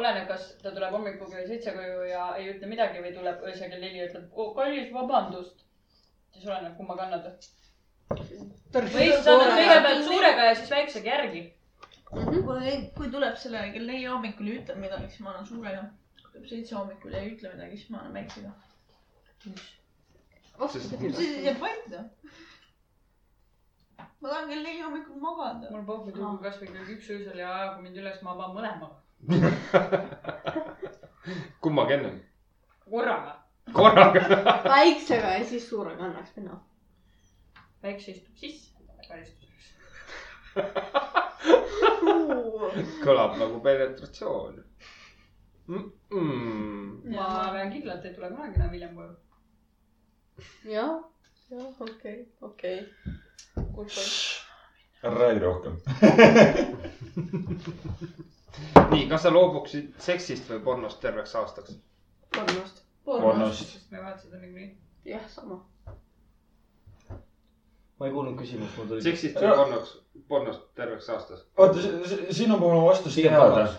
oleneb , kas ta tuleb hommikul kell seitse koju ja ei ütle midagi või tuleb öösel kell neli ja ütleb , kallis , vabandust . siis oleneb , kumma kannad . või siis annad kõigepealt suurega ja siis väiksega järgi . kui , kui tuleb selle kell neli hommikul ja ütleb midagi , siis ma annan suurega . kui tuleb seitse hommikul ja ei ütle midagi , siis ma annan väiksega . see vastupidi . jääb paika . ma tahan kell neli hommikul magada . mul pohvid juhul kasvõi kell üks öösel ja ajab mind üles , ma avan mõlemaga . kummaga ennem ? korraga . korraga . väiksega ja siis suurega annaks minna . väikse istub sisse , karistuseks . kõlab nagu penetratsioon mm . -mm. ma pean kindlalt , ei tule kunagi enam hiljem koju . jah , jah , okei , okei . ära räägi rohkem . nii , kas sa loobuksid seksist või pornost terveks aastaks ? pornost . pornost . sest me vahetasime seda niikuinii . jah , sama . ma ei kuulnud küsimust , mul tuli . seksist või pornost , pornost terveks aastaks ? oota , siin on mul vastus Siia teada .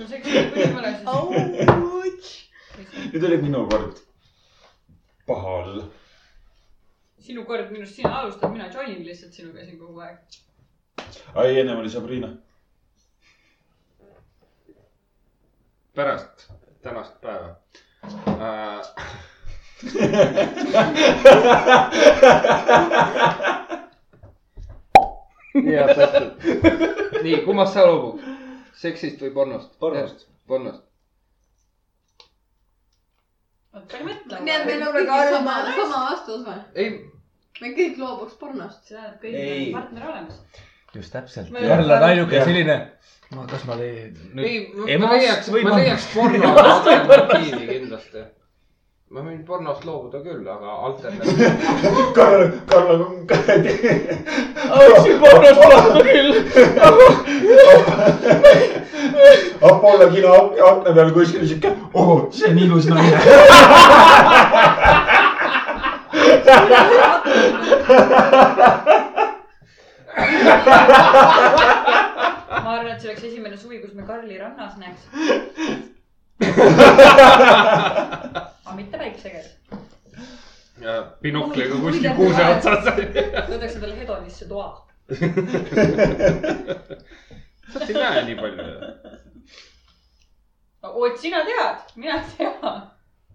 no see kõik võib olla siis . nüüd oli minu kord . paha olla . sinu kord minust , sina alustad , mina joinin lihtsalt sinuga siin kogu aeg . ai , ennem oli Sabrina . pärast tänast päeva äh, . ja täpselt . nii , kummast sa loobud ? seksist või pornost ? Pornost. . pornost . oota , mõtle . nii , et meil on kõigil kõigil sama sama , sama vastus või ? ei , me kõik loobuks pornost . see tähendab , kõigil Ei. on partner olemas . just täpselt , Me- jälle on ainuke selline , ma , kas ma teen ei nüüd ,, ma emast leiaks , või ma ma- leiaks porno alternatiivi kindlasti . ma võin pornost loobuda küll , aga alternatiiv . Karl , Karl on kuradi . pornost vaata küll . Apollo kino ak- akna peal kuskil sihuke , oo , see on ilus naine . ma arvan , et see oleks esimene suvi , kus me Karli rannas näeks . aga mitte väiksega . ja binokliga kuskil kuuse otsas . võtaks endale hedonisse toa . sealt ei näe nii palju . oot , sina tead , mina ei tea .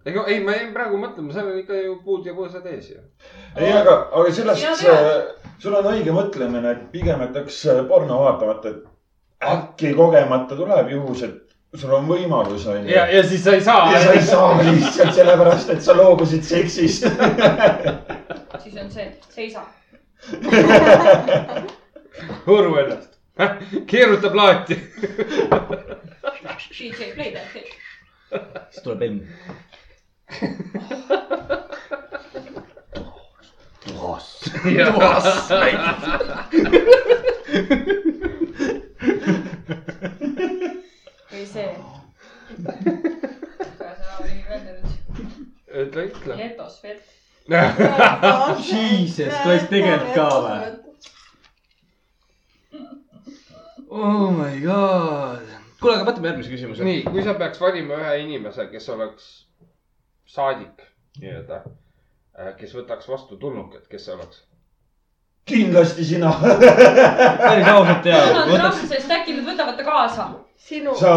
ei , ei , ma jäin praegu mõtlema , seal on ikka ju puud ja kuused ees ju . ei , aga , aga sellest Sina , sul on õige mõtlemine , et pigem jätaks porno vaatamata , et äkki kogemata tuleb juhus , et sul on võimalus , onju . ja , ja siis sa ei ja sa saa ei . saa lihtsalt sellepärast , et sa loobusid seksist . siis on see , seisa . hõõru ennast . keerutab laati . DJ play that shit . siis tuleb Enn . tuhas . või see . kuidas see nimi välja nüüd ? ütle , ütle . letosfett . Jesus Christ, tegelikult ka või? ? Oh my god . kuule , aga võtame järgmise küsimuse . nii , kui sa peaks valima ühe inimese , kes oleks saadik nii-öelda , kes võtaks vastu tulnukad , kes see oleks ? kindlasti sina , päris ausalt ja Donald võtaks Trump , sest äkki nad võtavad ta kaasa . sinu sa ,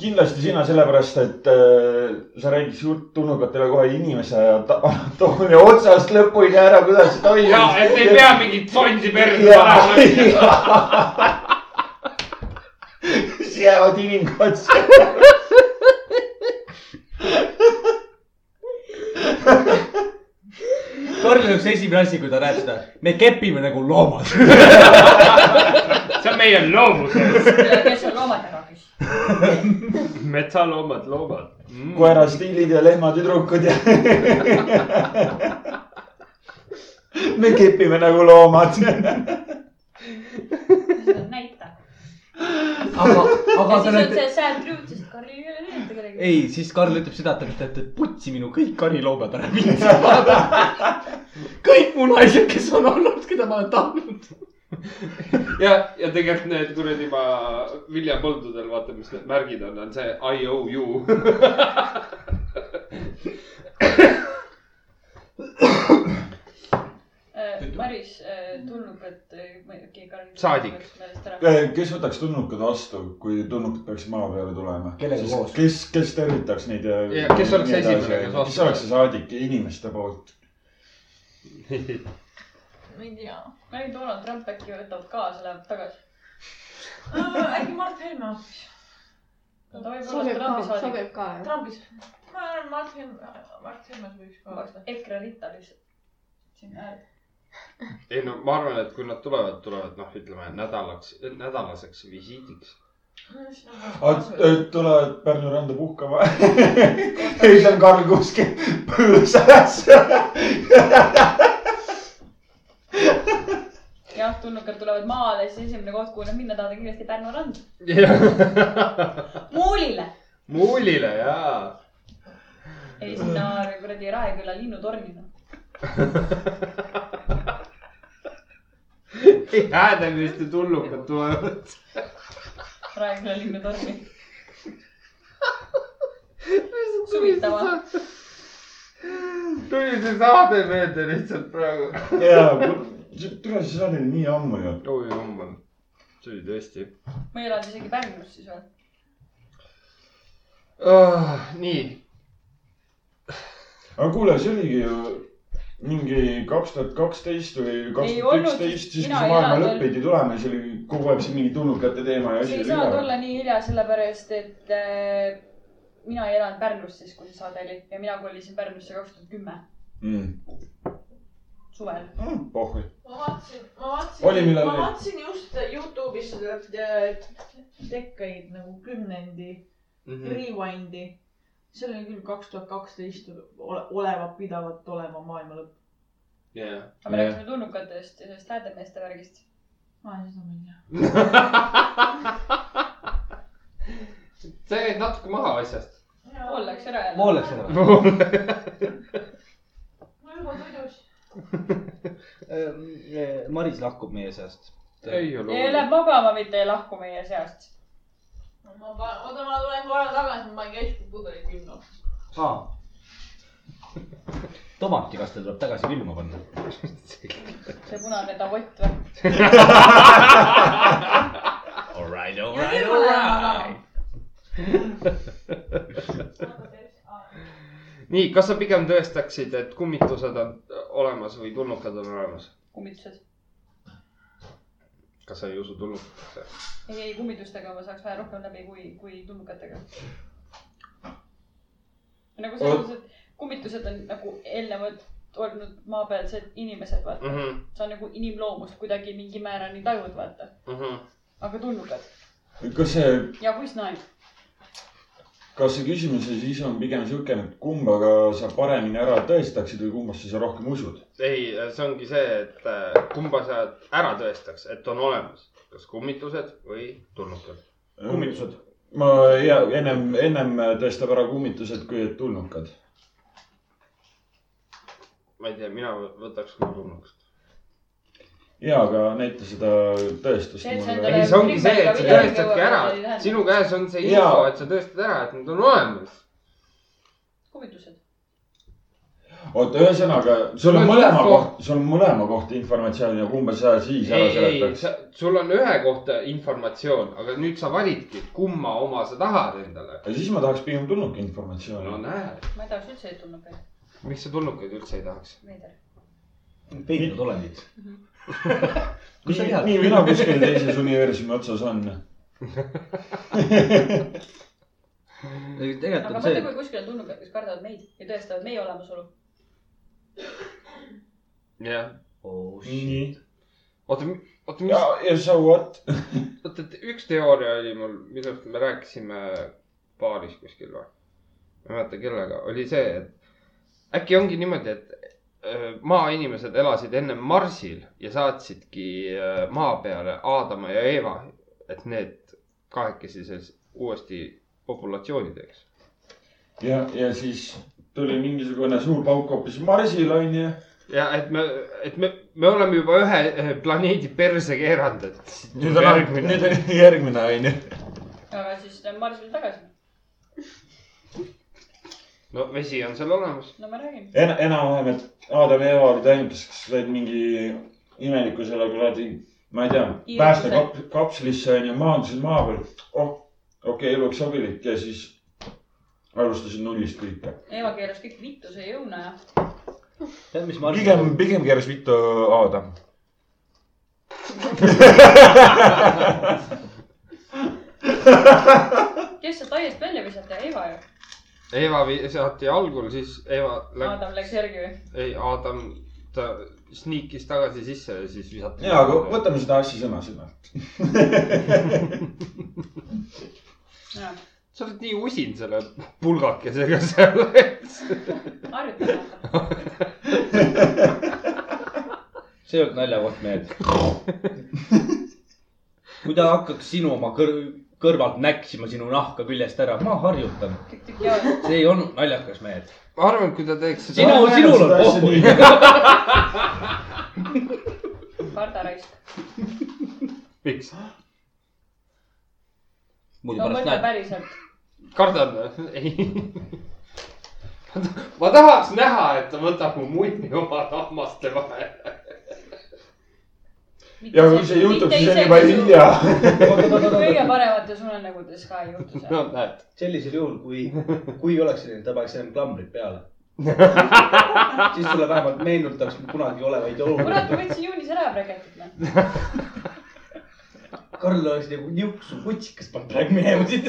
kindlasti sina sellepärast , et äh, sa räägiks jutt tulnukatele kohe inimese ta- anatoomia otsast lõpuni ära , kuidas see toimub . ja , et ei pea mingit sondi perre Jaa. panema . jäävad inimkotsi . Karl on üks esimene asi , kui ta näeb seda , me kepime nagu loomad . see on meie loomuses . kes on loomad ära küsis . metsaloomad , loomad mm. . koerastiilid ja lehmatüdrukud ja . me kepime nagu loomad . seda näita . ja aga , aga siis on te olete , see sad truth , sest Karlil ei ole näidata kellelegi . ei , siis Karl ütleb seda , et te peate putsi minu kõik kariloomad ära viima . kõik mu naised , kes on olnud , keda ma olen tahtnud . ja , ja tegelikult need kuradi ma viljapoldudel vaata , mis need märgid on , on see I O U . Maris äh, tulnub , et äh, ma ei tea , Karl . Saadik. . Äh. kes võtaks tulnukad vastu , kui tulnukad peaksid maa peale tulema ? Kellega koos? kes , kes tervitaks neid ja, Ja kes oleks nii edasi? esimene, kes kes vastu oleks see saadik inimeste poolt ? ma ei tea . ma olin Donald Trump äkki võtab kaasa , läheb tagasi . äkki Mart Helme hoopis ? ta võib olla Trumpi , sobib ka saadik . sobib ka . Trumpis . ma arvan , Mart Helme , Mart Helme sobiks ka vaata . EKRE ritta lihtsalt . siin hääled . ei no ma arvan , et kui nad tulevad , tulevad noh , ütleme nädalaks , nädalaseks visiidiks . äh, tulevad Ah, äh, Pärnu randa puhkama . ei , seal Karl kuskil põõsas . jah , tulnukad tulevad maale , siis esimene koht , kuhu nad minna tahavad , on kindlasti Pärnu rand . Muulile . muulile jaa . ei , sinna kuradi Raeküla linnutornina . häädeliste tulnukad tulevad . Raeküla linnutorni . suvitava . tuli see saade meelde lihtsalt praegu . jaa , tule , see saade oli nii ammu ju . oi jummal , see oli tõesti ma ei elanud isegi Pärnus siis veel . oh, . nii , aga kuule , see oligi ju mingi kaks tuhat kaksteist või kaks Ei tuhat olnud, üksteist , siis kui mina see ei maailma elanud lõpp pidi tulema , siis oli kogu aeg siin mingi tulnukate teema see ja asi ei oli saanud üleval . olla nii hilja , sellepärast et äh, mina ei elanud Pärnus siis , kui see saade oli ja mina kolisin Pärnusse kaks tuhat kümme suvel . Mm. Ah, pohhu . ma vaatasin , ma Oli, vaatasin , millal ma oli? vaatasin just Youtube'is seda te- tekkaid nagu kümnendi mm -hmm. Mhm. rewind'i . seal oli küll kaks tuhat kaksteist olevat pidavat olema maailma lõpp . jah . aga me rääkisime tulnukatest ja sellest häädemeeste värgist . ma ei seda ma ei tea . sa jäid natuke maha asjast . pool läks ära jälle . pool läks ära . ma juba toidus . Ehm, eh, Maris lahkub meie seast . ei ole ei . lähe magama , mitte ei lahku meie seast . ma , oota , ma tulen korra tagasi , ma panin käskupudelit külma . tomatikastel tuleb tagasi külma panna . see punane tavott või ? Alright , alright, alright. . nii , kas sa pigem tõestaksid , et kummitused on olemas või tulnukad on olemas ? kummitused . kas sa ei usu tulnukatesse ? ei , ei kummitustega ma saaks vähe rohkem läbi kui , kui tulnukatega . nagu selles mõttes , et kummitused on nagu eelnevalt olnud maapealsed inimesed , vaata . Mhm, see on nagu inimloomust kuidagi mingi määrani tajud , vaata . mhm. aga tulnukad kas see , ja puissnaid . kas see küsimuse sisu on pigem siukene , et kumbaga sa paremini ära tõestaksid või kumbasse sa rohkem usud ? ei , see ongi see , et äh, kumba sa ära tõestaks , et on olemas , kas kummitused või tulnukad . kummitused . ma ja ennem , ennem tõestab ära kummitused , kui et tulnukad . ma ei tea , mina võ- võtaks küll tulnukast . ja , aga näita seda tõestust See, et sa mulle endale- ei , see ongi see , et sa Midagi tõestadki jõuab ära veel tähendada. , sinu käes on see info Jaa. , et sa tõestad ära , et need on olemas . kummitused . oota , ühesõnaga , sul on Mul on mõlema info. kohta , sul on mõlema kohta informatsiooni ja kumba sa siis ära ei , ei , seletaks sa ., sul on ühe kohta informatsioon , aga nüüd sa validki , kumma oma sa tahad endale . ja siis ma tahaks pigem tulnuka no informatsiooni . näed , ma ei tahaks üldse neid tulnukaid , miks sa tulnukaid üldse ei tahaks ? veider . peidud olendid . nii , nii mina kuskil teises universumi otsas on . tegelikult aga on mõtle , see , kui kuskil on tulnukad , kes kardavad meid ja tõestavad meie olemasolu . jah . oh shit . nii . oota , oota , mis ja , ja so what ? oota , et üks teooria oli mul , millest me rääkisime baaris kuskil või ? ma ei mäleta , kellega , oli see , et äkki ongi niimoodi , et öö, maainimesed elasid ennem Marsil ja saatsidki öö, maa peale Aadama ja Eeva , et need kahekesi siis uuesti populatsiooni teeks . ja , ja siis tuli mingisugune suur pauk hoopis Marsil onju . ja et me , et me , me oleme juba ühe öö, planeedi perse keeranud , et . nüüd on järgmine , nüüd on järgmine onju . aga siis ta on Marsile tagasi . no vesi on seal olemas . no ma räägin . En- , enam-vähem , et Adam ja Eva olid ainukesed , kes said mingi imeliku selle kuradi , ma ei tea , päästekapslisse onju , maandusid maa peal . oh , okei okay, , eluks sobilik ja siis alustasid nullist kõike . Eeva keeras kõik vituse ja jõuna ja tead , mis Marsil pigem , pigem keeras vittu Adam . kes sealt aiast välja visati , Eeva ju . Eeva vi- saati algul , siis Eeva läks Adam läks järgi või ? ei , Adam , ta sniikis tagasi sisse ja siis visati . ja , aga . võtame seda asja sõna-sõnalt . sa oled nii usin selle pulgakesega seal . harjutame Adam . see ei olnud naljakoht meelde . kui ta hakkaks sinu oma kõr- , kõrvalt näksima sinu nahka küljest ära , ma harjutan . tükk-tükk jaoks . see ei olnud naljakas mehed . ma arvan , et kui ta teeks seda sinu , sinul on pohhu . kardaraisk . miks ? muidu no pärast mõtle näed . päriselt . kardan või ? ei . ma tahaks näha , et ta võtab mu munni oma hammaste vahele . ja kui see juhtub , siis on juba . hilja . kõige nagu paremates unenägudes ka ei juhtu see . no näed . sellisel juhul , kui , kui oleks selline , ta paneks enam klambrid peale . siis sulle vähemalt meenutaks kunagi olevaid kurat , olukordi ma . võtsin juunis ära breketid noh . Karl oleks nagu niuksu kutsikas pannud praegu minema siit .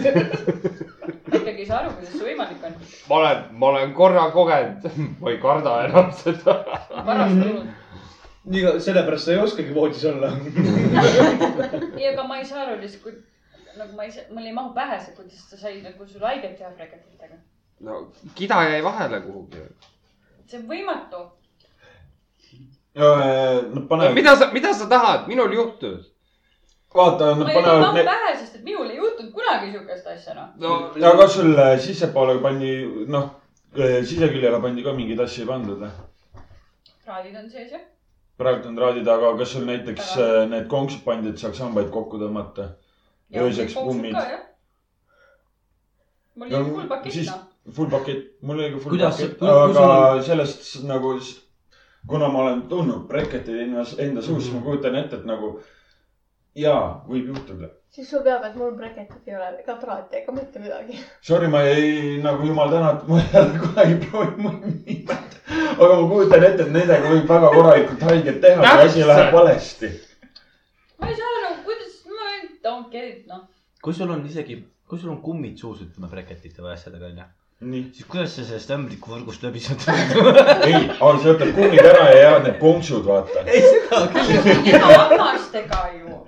ikkagi ei saa aru , kuidas see võimalik on . ma olen , ma olen korra kogenud , ma ei karda enam seda . Mm. varast tulnud . nii , sellepärast sa ei oskagi voodis olla . ei , aga ma ei saa aru lihtsalt , kui nagu ma ei saa , mul ei mahu pähe see , kuidas ta sai nagu sulle haiget teha breketitega . no kida jäi vahele kuhugi . see on võimatu . eh, Nad panevad , mida sa , mida sa tahad , minul juhtus . vaata , nad ma ei ma ei panevad mahu . pähe , sest et minul ei juhtunud kunagi siukest asja noh . no ja kas sul äh, sissepoole pandi , noh , siseküljele pandi ka mingeid asju ei pandud või ? kraadid on sees jah . praegu on traadid , aga kas sul näiteks äh, need konksud pandi , et saaks hambaid kokku tõmmata ? Ööseks kummid. . mul No oli full pakett siis- noh . full pakett , mul oli ka full Kuidas pakett , see- kui- kui aga sul sellest s- nagu , kuna ma olen tundnud breketi enda , enda suus , siis ma kujutan ette , et nagu jaa , võib juhtuda . siis sul peab , et mul breketit ei ole ega traati ega mitte midagi . Sorry , ma ei , nagu jumal tänatud , ma ei ole kunagi proovinud mõnda . aga ma kujutan ette , et nendega võib väga korralikult haiget teha , kui asi läheb valesti . ma ei saa aru , kuidas , ma ei don't get it noh . kui sul on isegi , kui sul on kummid suus , ütleme breketite või asjadega onju , nii , siis kuidas sa sellest ämblikuvõrgust läbi saad ? ei , aga sa võtad kummid ära ja jäävad need konksud , vaata . ei seda küll . ega hammastega ju .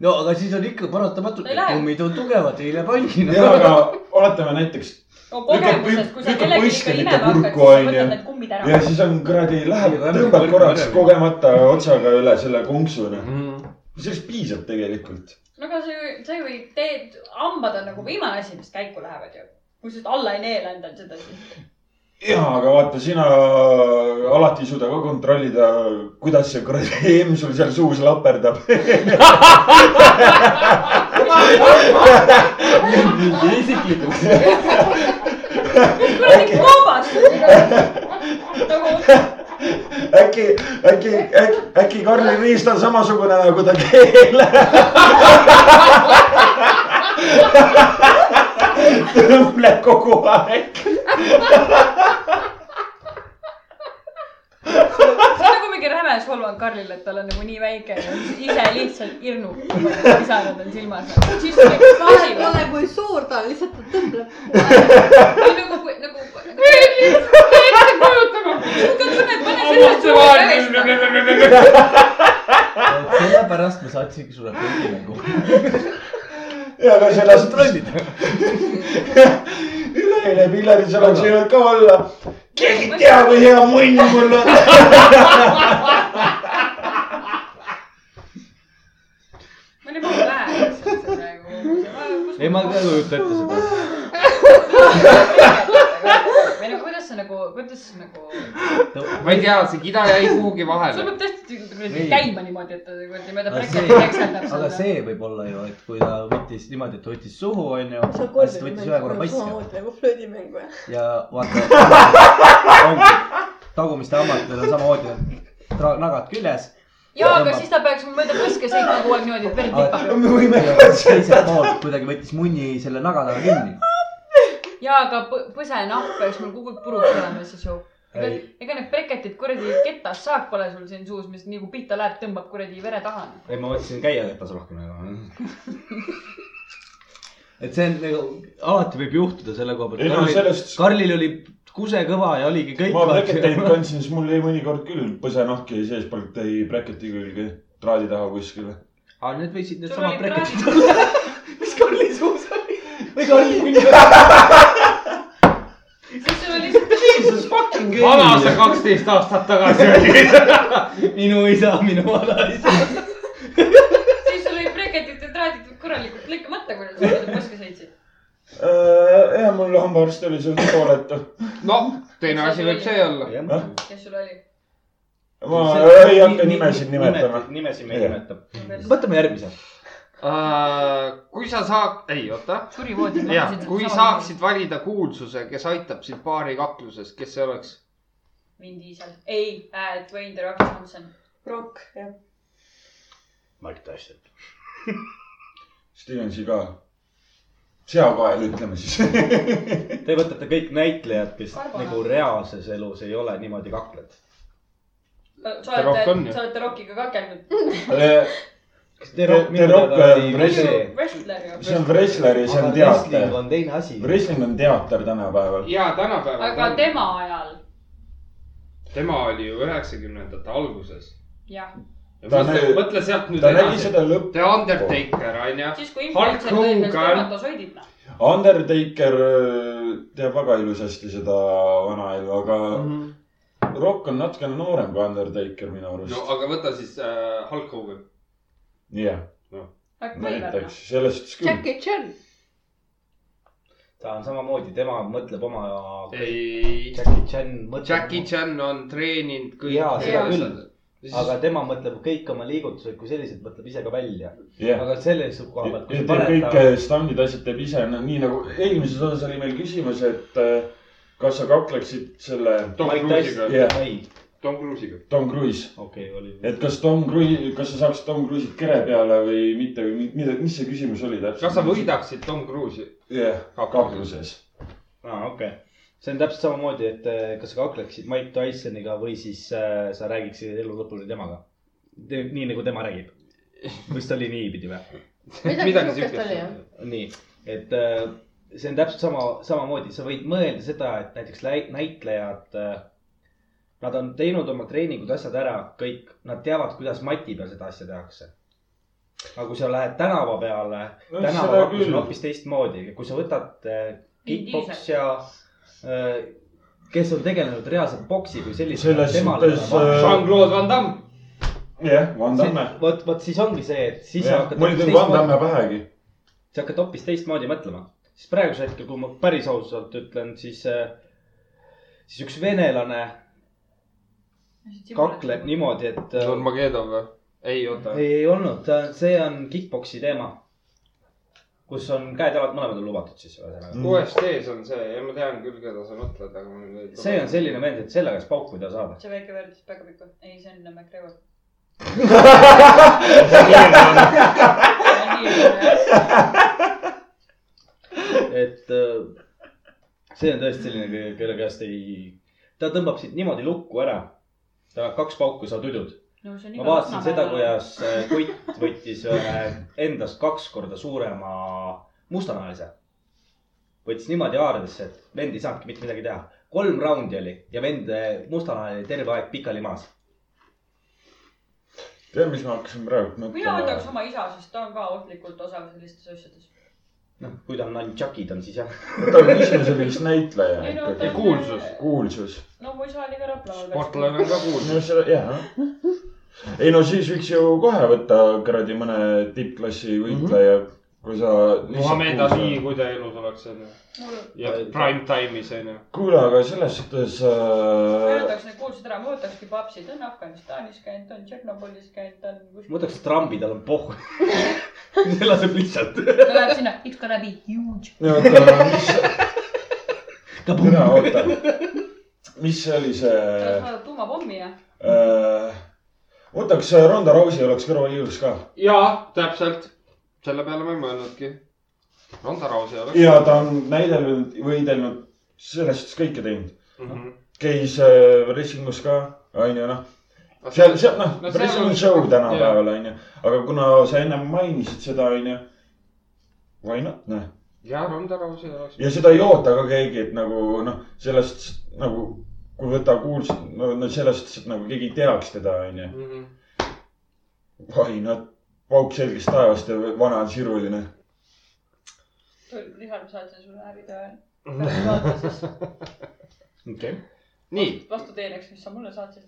no aga siis on ikka paratamatult , Ei et lähe. kummid on tugevad , ei lähe palli . ja , aga oletame näiteks no Lükkab kogemusest , kui sa lükkab kellelegi ikka puiskanite imema hakkad , kurku, siis sa onju. võtad need kummid ära ja . siis on kuradi , läheb Ei, , tõmbab võrgu- korraks võrgu- kogemata otsaga üle selle konksuna . mm. sellest piisab tegelikult . no aga sa ju , sa ju ei tee , hambad on nagu viimane asi , mis käiku lähevad ju . kui sa alla ei neela endal seda siis . ja , aga vaata , sina alati ei suuda ka kontrollida , kuidas see kuradi emm sul seal suus laperdab . isiklikuks . kuradi koobas . nagu , äkki , äkki , äkki , äkki Karli riist on samasugune nagu ta keel . tõmbleb kogu aeg . see on nagu mingi räme räme solvang Karlile , et tal on nagu nii väike ja siis ise lihtsalt irnub . lisanud on silmas . siis ta nagu vahet klaasib . pole , kui suur ta on , lihtsalt ta tõmbleb . või nagu , nagu . kujutama . pane selle suure järjest . sellepärast ma saatsingi sulle nagu. pildilugu . ja aga sellest . üleeile Pillaris oleks võinud ka olla . keegi ei tea , kui hea munn mul on . ma olin väga lähedal praegu . ei , ma ka ei kujuta ette seda . või nagu , kuidas sa nagu , kuidas sa nagu , ma ei tea , see kida jäi kuhugi sul vahele . peab tõesti kuradi Ei. käima niimoodi , et ta kuradi mööda Aga prekali see- teksaldab aga sulle . see võib olla ju , et kui ta võttis niimoodi , et võttis suhu , onju . sa siis ta kordi võttis ühe korra mängid paska samamoodi nagu flöödimäng või ? ja vaata ongi tagumiste hammatega samamoodi tra- nagad küljes . jaa , aga siis ta peaks mööda põske sõitma kogu aeg niimoodi , et verd tipab . me võime teiselt poolt kuidagi võttis munni selle naga taga kinni . jaa , aga põ- põsenahk peaks mul kogu aeg puruks olema siis ju . ega Ei. ega need breketid kuradi ketas saak pole sul siin suus , mis nagu pihta läheb , tõmbab kuradi vere taha . ei , ma mõtlesin käiaketas rohkem nagu . et see on nagu , alati võib juhtuda selle koha ei no pealt . sellest , Karlil oli kuse kõva ja oligi ma breketeid kõik . kandsin , siis mul jäi mõnikord küll põsenahk jäi seestpoolt , jäi breketi külge , traadi taha kuskile . aga Ah, need võisid sul needsamad oli breketid . kraadid , mis Karli suus oli ? või Karli külge ? siis sul oli lihtsalt Jesus fucking vana see kaksteist aastat tagasi oli . minu isa , minu vanaisa . siis sul olid breketid ja traadid korralikult lõikamata , kui nad sinna paska sõitsid . Äh, jah , mul hambaarst oli seal pooletu . noh , teine asi võib see olla . kes sul oli ? ma ei hakka nimesid nimetama .. nimesid me ei nimeta . võtame järgmise . Äh, kui sa saad , ei oota . surivoodis ma ja lasin sealt kui sama saaksid valida kuulsuse , kes aitab sind baari kakluses , kes see oleks ? nimi. Vin Diesel , ei äh, , Dwayne The Rock Johnson . rokk , jah . Mike Tyson . Steven Seagal . seakael , ütleme siis . Te võtate kõik näitlejad , kes Arvo. nagu reaalses elus ei ole niimoodi kakled . sa The Rock on olete , ju. sa olete Rockiga kakelnud . kas Te- Te Rock on wrestler. wrestler ju . see on wrestler ja see on teater wrestling . on teine asi . Wrestling on teater tänapäeval . ja tänapäeval . aga tema ajal , tema oli ju üheksakümnendate alguses . jah . ja Ta mõtle , nägi- mõtle sealt nüüd ta nägi edasi . seda lõppu . The Undertaker onju . siis , kui Hulk influencer tõi ennast Hogan. spermatosoidid , noh . Undertaker äh, teab väga ilusasti seda vanaelu , aga mm -hmm. Rock on natukene noorem kui Undertaker minu no arust . aga võta siis äh, Hulk Hogan . jah , näiteks . näiteks selles suhtes küll . Jackie Chan . ta on samamoodi , tema mõtleb oma . ei , Jackie Chan mõtleb . Jackie Chan on treeninud kõik . Jaa, seda aga tema mõtleb kõik oma liigutused kui sellised , mõtleb ise ka välja . jah , aga selles koha pealt , kui sa teeb paned kõik ta . äh, stand'id , asjad teeb ise , no nii nagu eelmises osas oli meil küsimus , et äh, kas sa kakleksid selle Tom Mike Cruise'iga Tyson- . jah , ei , Tom Cruise'iga . Tom Cruise , okei , oli . et kas Tom Cruise , kas sa saaksid Tom Cruise'it kere peale või mitte või mi- mida , mis see küsimus oli täpselt ? kas sa ? võidaksid Tom Cruise'i ? jah , kakluses . aa , okei . see on täpselt samamoodi , et eh, kas sa kakleksid Mike Tysoniga või siis äh, sa räägiksid elu lõpuni temaga . nii nagu tema räägib . vist oli niipidi või ? midagi siukest oli jah . nii , et äh, see on täpselt sama , samamoodi , sa võid mõelda seda , et näiteks läi- näitlejad , eh, nad on teinud oma treeningud , asjad ära kõik , nad teavad , kuidas mati peal seda asja tehakse . aga kui sa lähed tänava peale , No Noh, seda tänavavakus küll. on hoopis teistmoodi , kui sa võtad äh, Vin kick-poksja , kes on tegelenud reaalselt boksi kui sellise . Selles suhtes, äh, Jean-Claude Van Damme . jah , Van Damme . vot , vot siis ongi see , et siis sa hakkad . mul ei tulnud Van Damme pähegi . sa hakkad hoopis teistmoodi mõtlema , siis praegusel hetkel , kui ma päris ausalt ütlen , siis , äh, siis üks venelane kakleb . niimoodi , et äh, see on Magedov Äh, või ? ei , oota . ei , ei olnud , see on kick-poksi teema , kus on käed-jalad mõlemad on lubatud siis Mm. ühesõnaga . USD-s on see ja ma tean küll , keda sa mõtled , aga ma nüüd ei . see on selline meeld , et sellega saab pauku teha saada . see väike verd , väga pikk , ei , see on MacGregor . et äh, see on tõesti selline , kelle käest ei , ta tõmbab sind niimoodi lukku ära , tähendab kaks pauku sa tudud . no see on ma iga vaatasin seda ,. kuidas äh, Koit võttis ühe endast kaks korda suurema mustanahalise . võttis niimoodi haaradesse , et vend ei saanudki mitte midagi teha . kolm raundi oli ja vend , mustanahaline oli terve aeg pikali maas . tead , mis ma hakkasin praegu mina võtaks oma isa , sest ta on ka ohtlikult osav sellistes asjades . noh , kui ta on ainult tšakid on , siis jah . ta on iseenesest näitleja Ei, no ta ikkagi on- . kuulsus. kuulsus . no mu isa oli ka Rapla valves . sportlane on ka kuulsus . no see , jah . ei no siis võiks ju kohe võtta kuradi mõne tippklassi võitleja , Mhm. kui sa . Muhamed Ali , kui ta elus oleks , onju . ja prime time'is , onju . kuule , aga selles suhtes ma ei äh, . võtaks need kuulsad ära , ma võtakski papsi , ta on Afganistanis käinud , ta on Tšernobõlis käinud , ta on kuskil . ma võtaks trambi , tal on pohhu . see laseb lihtsalt . ta läheb sinna , it's gonna be huge . ja oota , mis , mina oota , mis see oli ta Äh. see oleks vaadanud tuumapommi ja . äh, ? oota , kas see Ronda Rousey oleks kõrvaliius ka ? jaa , täpselt . selle peale ma ei mõelnudki . Ronda Rousey oleks . ja ta on näidelnud , võidelnud , selles suhtes kõike teinud . Mhm. käis äh, wrestlingus ka , onju noh . seal , seal noh No no, , seal on- wrestling show tänapäeval onju , aga kuna sa ennem mainisid seda onju . Why not noh , jaa , Ronda Rousey oleks . ja seda ei oota ka keegi , et nagu noh , selles suhtes nagu kui võta kuuls- , no no selles suhtes , et nagu keegi teaks teda onju . Mhm. Why not , pauk selgest taevast ja vana on siruline . Rihard , ma saatsin sulle ühe video . okei . nii , vastu teeneks , mis sa mulle saatsid .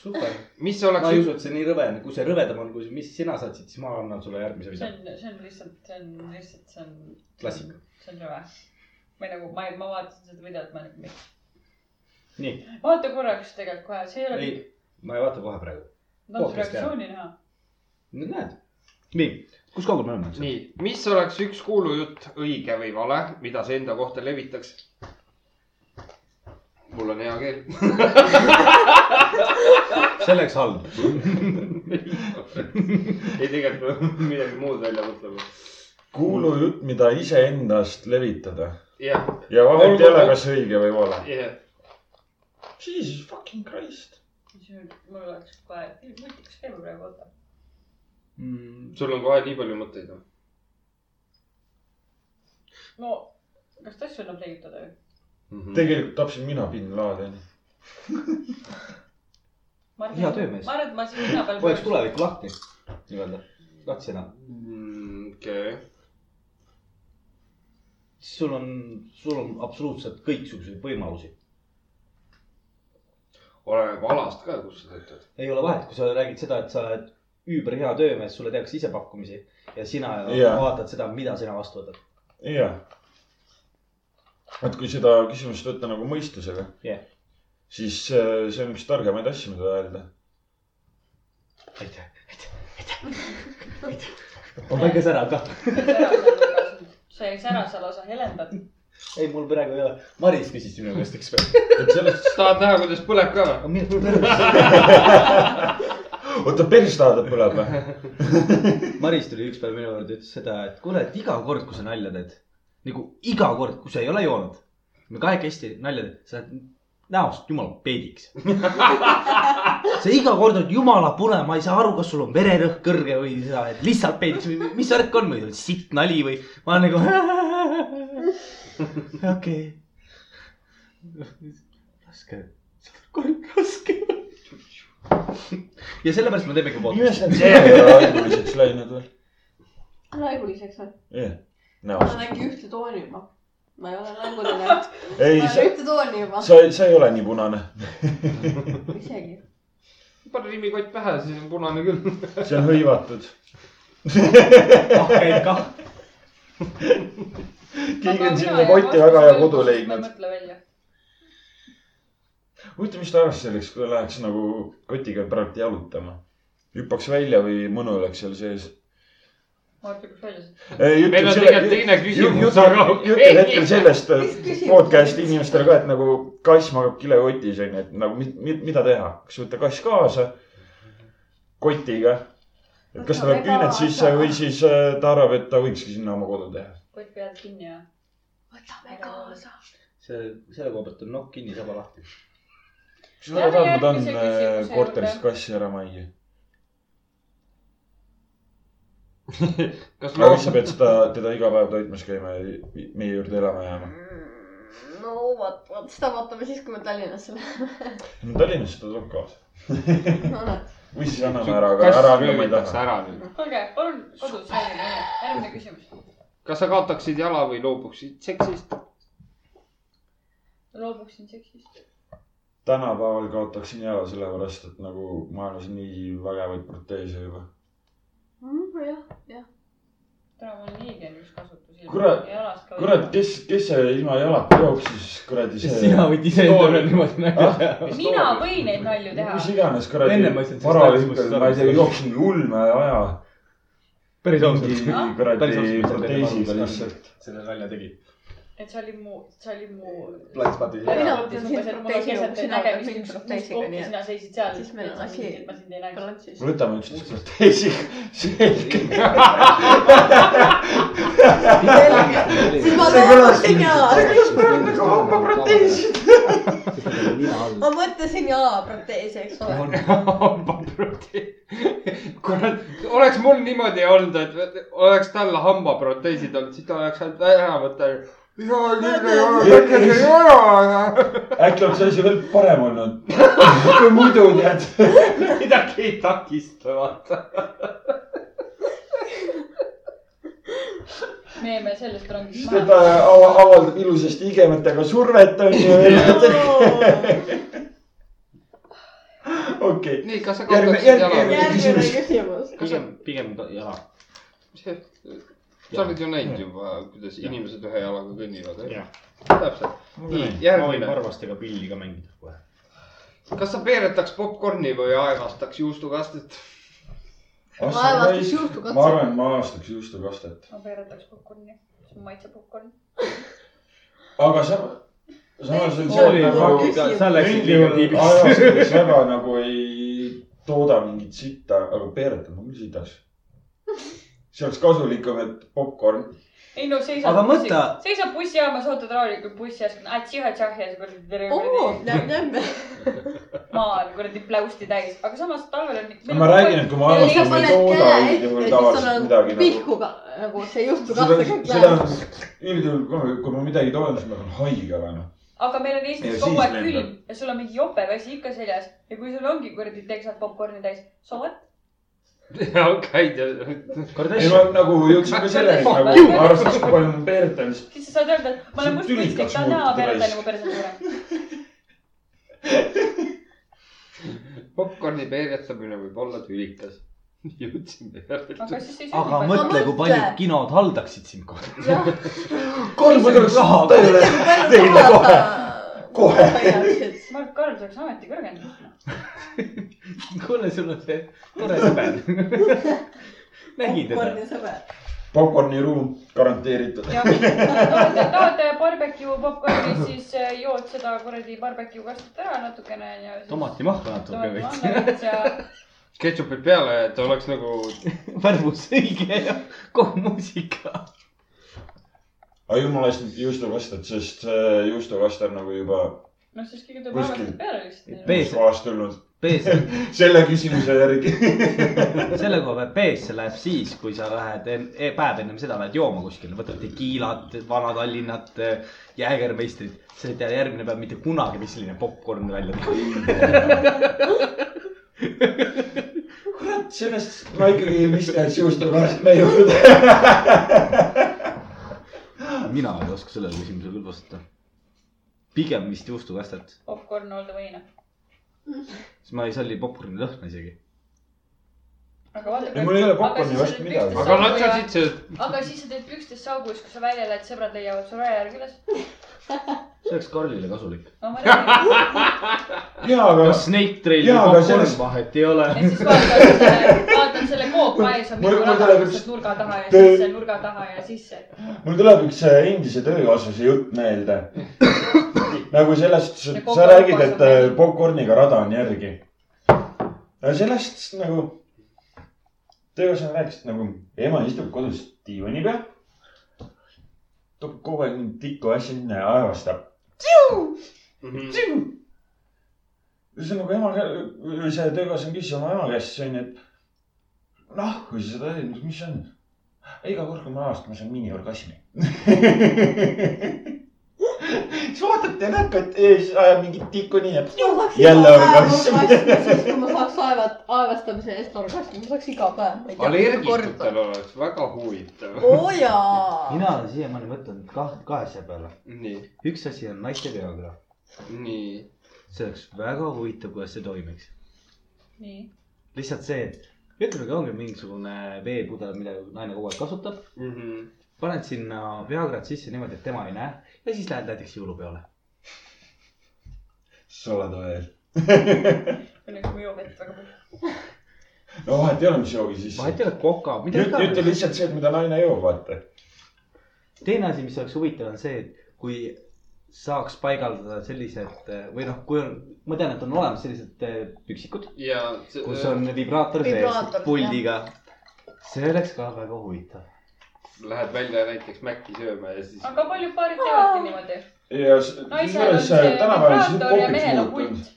super . mis oleks ma ei usu , et see nii rõve on . kui see rõvedam on , kui , mis sina saatsid , siis ma annan sulle järgmise see video . on , see on lihtsalt , see on lihtsalt , see on . Klassika. . see on rõve . ma ei nagu , ma ei , ma vaatasin seda videot , ma nagu , miks . nii , vaata korraks tegelikult kohe , see ei ole ei kõik ., ma ei vaata kohe praegu . ma tahan su podcast, jah. reaktsiooni näha . nüüd näed . nii , kus kaugel me oleme ? nii , mis oleks üks kuulujutt , õige või vale , mida sa enda kohta levitaks ? mul on hea keel . selleks halb . ei , tegelikult ma pean midagi muud välja mõtlema . kuulujutt , mida iseendast levitada jah , ja vahet Olgu- ei ole , kas õige või vale . jah . Jesus fucking Christ . mul oleks kohe , nutikas käib praegu , oota . Mm. sul on kohe nii palju mõtteid või ? no , kas tassi annab leiutada ju ? Mm. tegelikult tapsin mina bin Ladeni . Hea töömees. ma arvan , et ma siin linna peal hoiaks tulevikku lahti nii-öelda , lahti enam . Mm, okei . siis sul on , sul on absoluutselt kõiksuguseid võimalusi . oleneb alast ka , kus sa töötad . ei ole vahet , kui sa räägid seda , et sa oled üüberhea töömees , sulle tehakse ise pakkumisi ja sina Jaa. vaatad seda , mida sina vastu võtad . jah . et kui seda küsimust võtta nagu mõistusega Jah. siis äh, see on üks targemaid asju , mida öelda . aitäh , aitäh , aitäh . ma panin ka sära ka . sa jäid ära seal osa helendad . ei , mul praegu ei ole . Maris küsis minu käest , eks ole . et sellest , tahad näha , kuidas põleb ka või ? aga mine tule persse . oota pers tahab , et põleb või ? Maris tuli ükspäev minu juurde , ütles seda , et kuule , et iga kord , kui sa nalja teed , nagu iga kord , kui sa ei ole joonud , me kahekesti nalja teed , sa oled näost jumala peediks . sa iga kord oled jumala pune , ma ei saa aru , kas sul on vererõhk kõrge või sa oled lihtsalt peediks või mis värk on või sitt nali või ma olen nagu okei . laske , kord laske . ja sellepärast me teemegi podcast'i . inimesed on seega alguliseks läinud või ? laeguliseks või ? jah , ma näost . olen äkki ühte tooni juba . ma ei ole laeguline , ma ei , sa olen , ühte tooni juba , sa , sa ei ole nii punane . isegi . pane rimmikott pähe , siis on punane küll . see on hõivatud . ah , käib kah . keegi on sinna kotti väga hea kodu leidnud . mõtle välja . huvitav , mis ta arvas selleks , kui läheks nagu kotiga praegu jalutama ? hüppaks välja või mõnu oleks seal sees ? vaata , kus välja saab . Meil on tegelikult teine küsimus, aga okei. jutel hetkel sellest Mis küsimus? podcast'i inimestele ka , et nagu kass magab kilekotis onju , et nagu mi- mi- mida teha , kas võtta kass kaasa kotiga , et kas ta Võtame peab küüned kaasa. sisse või siis äh, ta arvab , et ta võikski sinna oma kodu teha . kott pead kinni ja . võtame kaasa . see , selle koha pealt on nokk kinni , saba lahti . kas sa tahad , ma Järgmise tahan küsimuse äh, korterist juurde. kassi ära majja ? kas aga miks sa pead seda , teda iga päev toitmas käima ja meie juurde elama jääma ? Mm, no vot , vot seda vaatame siis , kui me Tallinnasse läheme . no Tallinnas seda tuleb kaasa . no näed , või siis anname ära , aga ära anda ma ei taha . ära nüüd . olge , palun kodus räägime , järgmine küsimus . kas sa kaotaksid jala või loobuksid seksist ? loobuksin seksist . tänapäeval kaotaksin jala sellepärast , et nagu maailmas on nii vägevaid proteese juba . Mm, jah , jah . täna mul niigi on üks kasutus . Kurat- , kurat ,. kes , kes see ilma jalata jooksis , kuradi see sina . võid iseenda üle niimoodi nalja teha . mina võin neid nalju teha . mis iganes kuradi Enne ma ei saanud sellest paralümpel naljamusest , aru. ma ei tea , jooksin ulme aja . päris ausalt . mingi Ah, päris kuradi ausalt, ma ei tea, proteesiga ma lihtsalt . selle nalja tegi . et see oli mu , see oli mu . Blind spot'i . Mina mina mõtlesin mõtlesin, umbes , et mul on proteesiga, keset sina nägemist mõtlesid üks proteesiga, proteesiga , nii et- sina seisid seal . siis meil on asi- ma sind ei näinud . balansis . võtame üksteist proteesiga selga . siis ma See kõlas loobusin jalast . hambaproteesid . ma mõtlesin jalaproteesi , eks ole . hambaprotees . kurat , oleks mul niimoodi olnud , et oleks tal hambaproteesid olnud , siis ta oleks saanud ära võtta . ja , nii ei ole , kõik ei ole . äkki oleks asi veel parem olnud . kui muidu tead . midagi ei takista , vaata . me jäime sellest rongist teda maha . ava- avaldab ilusasti igemetega survet onju . okei , nii , kas sa Järgmine- kaotaksid järgmine- jala ? järgmine küsimus . pigem , pigem ka- jala . sa oled ju näinud juba , kuidas inimesed ühe jalaga kõnnivad , onju Jah. . täpselt . nii , ma võin järgmine . varvastega pilli ka mängida kohe . kas sa peeretaks popkorni või aevastaks juustukastet ? ma aevastas juustu ma arvan , et ma avastaks juustukastet , ma veeretaks popkorni , siis ma maitsen popkorni . aga sa , samas see on see oli nagu fucking , sa läksid liiga üldjuhul tiibiks . ajastus väga nagu ei tooda mingit sitta , aga peeretab on küll sitas . see oleks kasulikum , et popkorn . ei no seisab . Aga mõtle- . seisab bussijaamas , ootad rahulikult bussi ja siis atsi-atsi-ah ja siis kuradi tere oo , kuradi näeme . maa on kuradi pläusti täis , aga samas talvel on . ma räägin , et kui ma liiga avastan , ma ei paned tooda käe ette , üldjuhul tavaliselt midagi siis sul on nagu pihkuga nagu see juustu seda , kahtega seda käes . üldjuhul , kui ma midagi toodan , siis ma pean haige noh. olema . aga meil on Eestis Ja kogu siis aeg lendab. külm ja sul on mingi jopevesi ikka seljas ja kui sul ongi kuradi teksad popkorni täis , so what ? ja käid ja . ei , ma nagu jõudsin ka selleni nagu , arvestades kui palju ma peeretan , siis siis sa saad öelda , et ma olen See mustkunstnik , tülikaks tahan näha muutub perede raisk. nagu perse suurem . popkorni peegetamine võib olla tülikas . jõudsime aga jälle . Noh, kas siis ei aga söö ? mõtle , kui paljud kinod haldaksid sind kohe . korv tuleks teile , teile kohe ,. kohe . Mart Karl saaks ameti kõrgendust . kuule , sul on see tore sõber . nägid teda ? popkorni sõber . popkorniruum garanteeritud . tahate , tahate barbeque popkorni , siis äh, jood seda kuradi barbeque kastet ära natukene ja . tomatimahla natuke veits . veits . ketšupit peale , et oleks nagu värvus õige ja kogu muusika . aga jumala eest nüüd juustukastet , sest see juustukast on nagu juba noh , siis keegi tuleb Kuskil- arvestada peale lihtsalt . Pees- muust kohast tulnud . Pees , selle küsimuse järgi . selle koha pealt peesse läheb siis , kui sa lähed en- e- päev ennem seda lähed jooma kuskile , võtad tekiilat , Vana-Tallinnat , jäägermeistrit . sa ei tea järgmine päev mitte kunagi , mis selline popkorn välja tuleb . kurat , sellest ma ikkagi vist jääks juustukast meie juurde . mina ei oska sellele küsimusele küll vastata . pigem vist juustukastet , popkorn all the way noh . sest ma ei salli popkorni lõhna isegi . aga vaata Ei, . mul ei ole popcorni vastu midagi. aga nad said see , aga siis sa teed pükstest saugus , kui sa välja lähed , sõbrad leiavad su raja järgi üles . see oleks Karlile kasulik . no ma räägin . ja , aga kas Snake Trail'i Jaa, aga popkorn sellest- vahet ei ole ? ja siis vaatad selle , vaatad selle koopa ees on Mul- mitu mul rada tuleb , mis üks- on nurga taha ja töö- sisse , nurga taha ja sisse . mul tuleb üks äh, endise töökaaslase jutt meelde . nagu sellest , Ja sa kogu räägid , õues et äh, on väike. popkorniga rada on järgi . aga sellest nagu , töökaaslane rääkis , et nagu ema istub kodus diivani peal . toob kogu aeg Mhm. mingit tikku asja sinna ja aevastab . ühesõnaga ema käe , või see töökaaslane küsis oma ema käest siis onju , et noh , kui sa seda teed , mis see on ? iga kord , kui ma avastan , ma saan miniorgasmi . siis vaatate ja näkate ja siis ajab mingit tikku nii ja . Jälle orgasm. siis kui ma saaks aevat- , aevastamise eest orgasmi , ma saaks iga päev . allergistutel oleks väga huvitav . oo jaa . mina olen siiamaani mõtelnud kaht , kahe asja peale . nii , üks asi on naiste peaga . nii . see oleks väga huvitav , kuidas see toimiks . nii . lihtsalt see , et ütlemegi , ongi mingisugune veepudel , mida naine kogu aeg kasutab . Mhm. paned sinna Viagrat sisse niimoodi , et tema ei näe ja siis lähed näiteks jõulupeole . sa oled õel . enne kui me joome ette väga palju . no vahet ei ole , mis joogi siis . vahet ei ole , koka , mida nüüd , nüüd on iganes . lihtsalt see , et mida naine joob , vaata . teine asi , mis oleks huvitav , on see , et kui saaks paigaldada sellised eh, või noh , kui on , ma tean , et on olemas sellised eh, püksikud , ja see, äh, kus on vibraator sees Vibraator, puldiga . see oleks ka väga huvitav . lähed välja näiteks Maci sööma ja siis . aga paljud paarid teevadki niimoodi . ja s- naisel on kusjuures see tänapäeval siis vibraator ja kopiks mehel on muutunud . punt .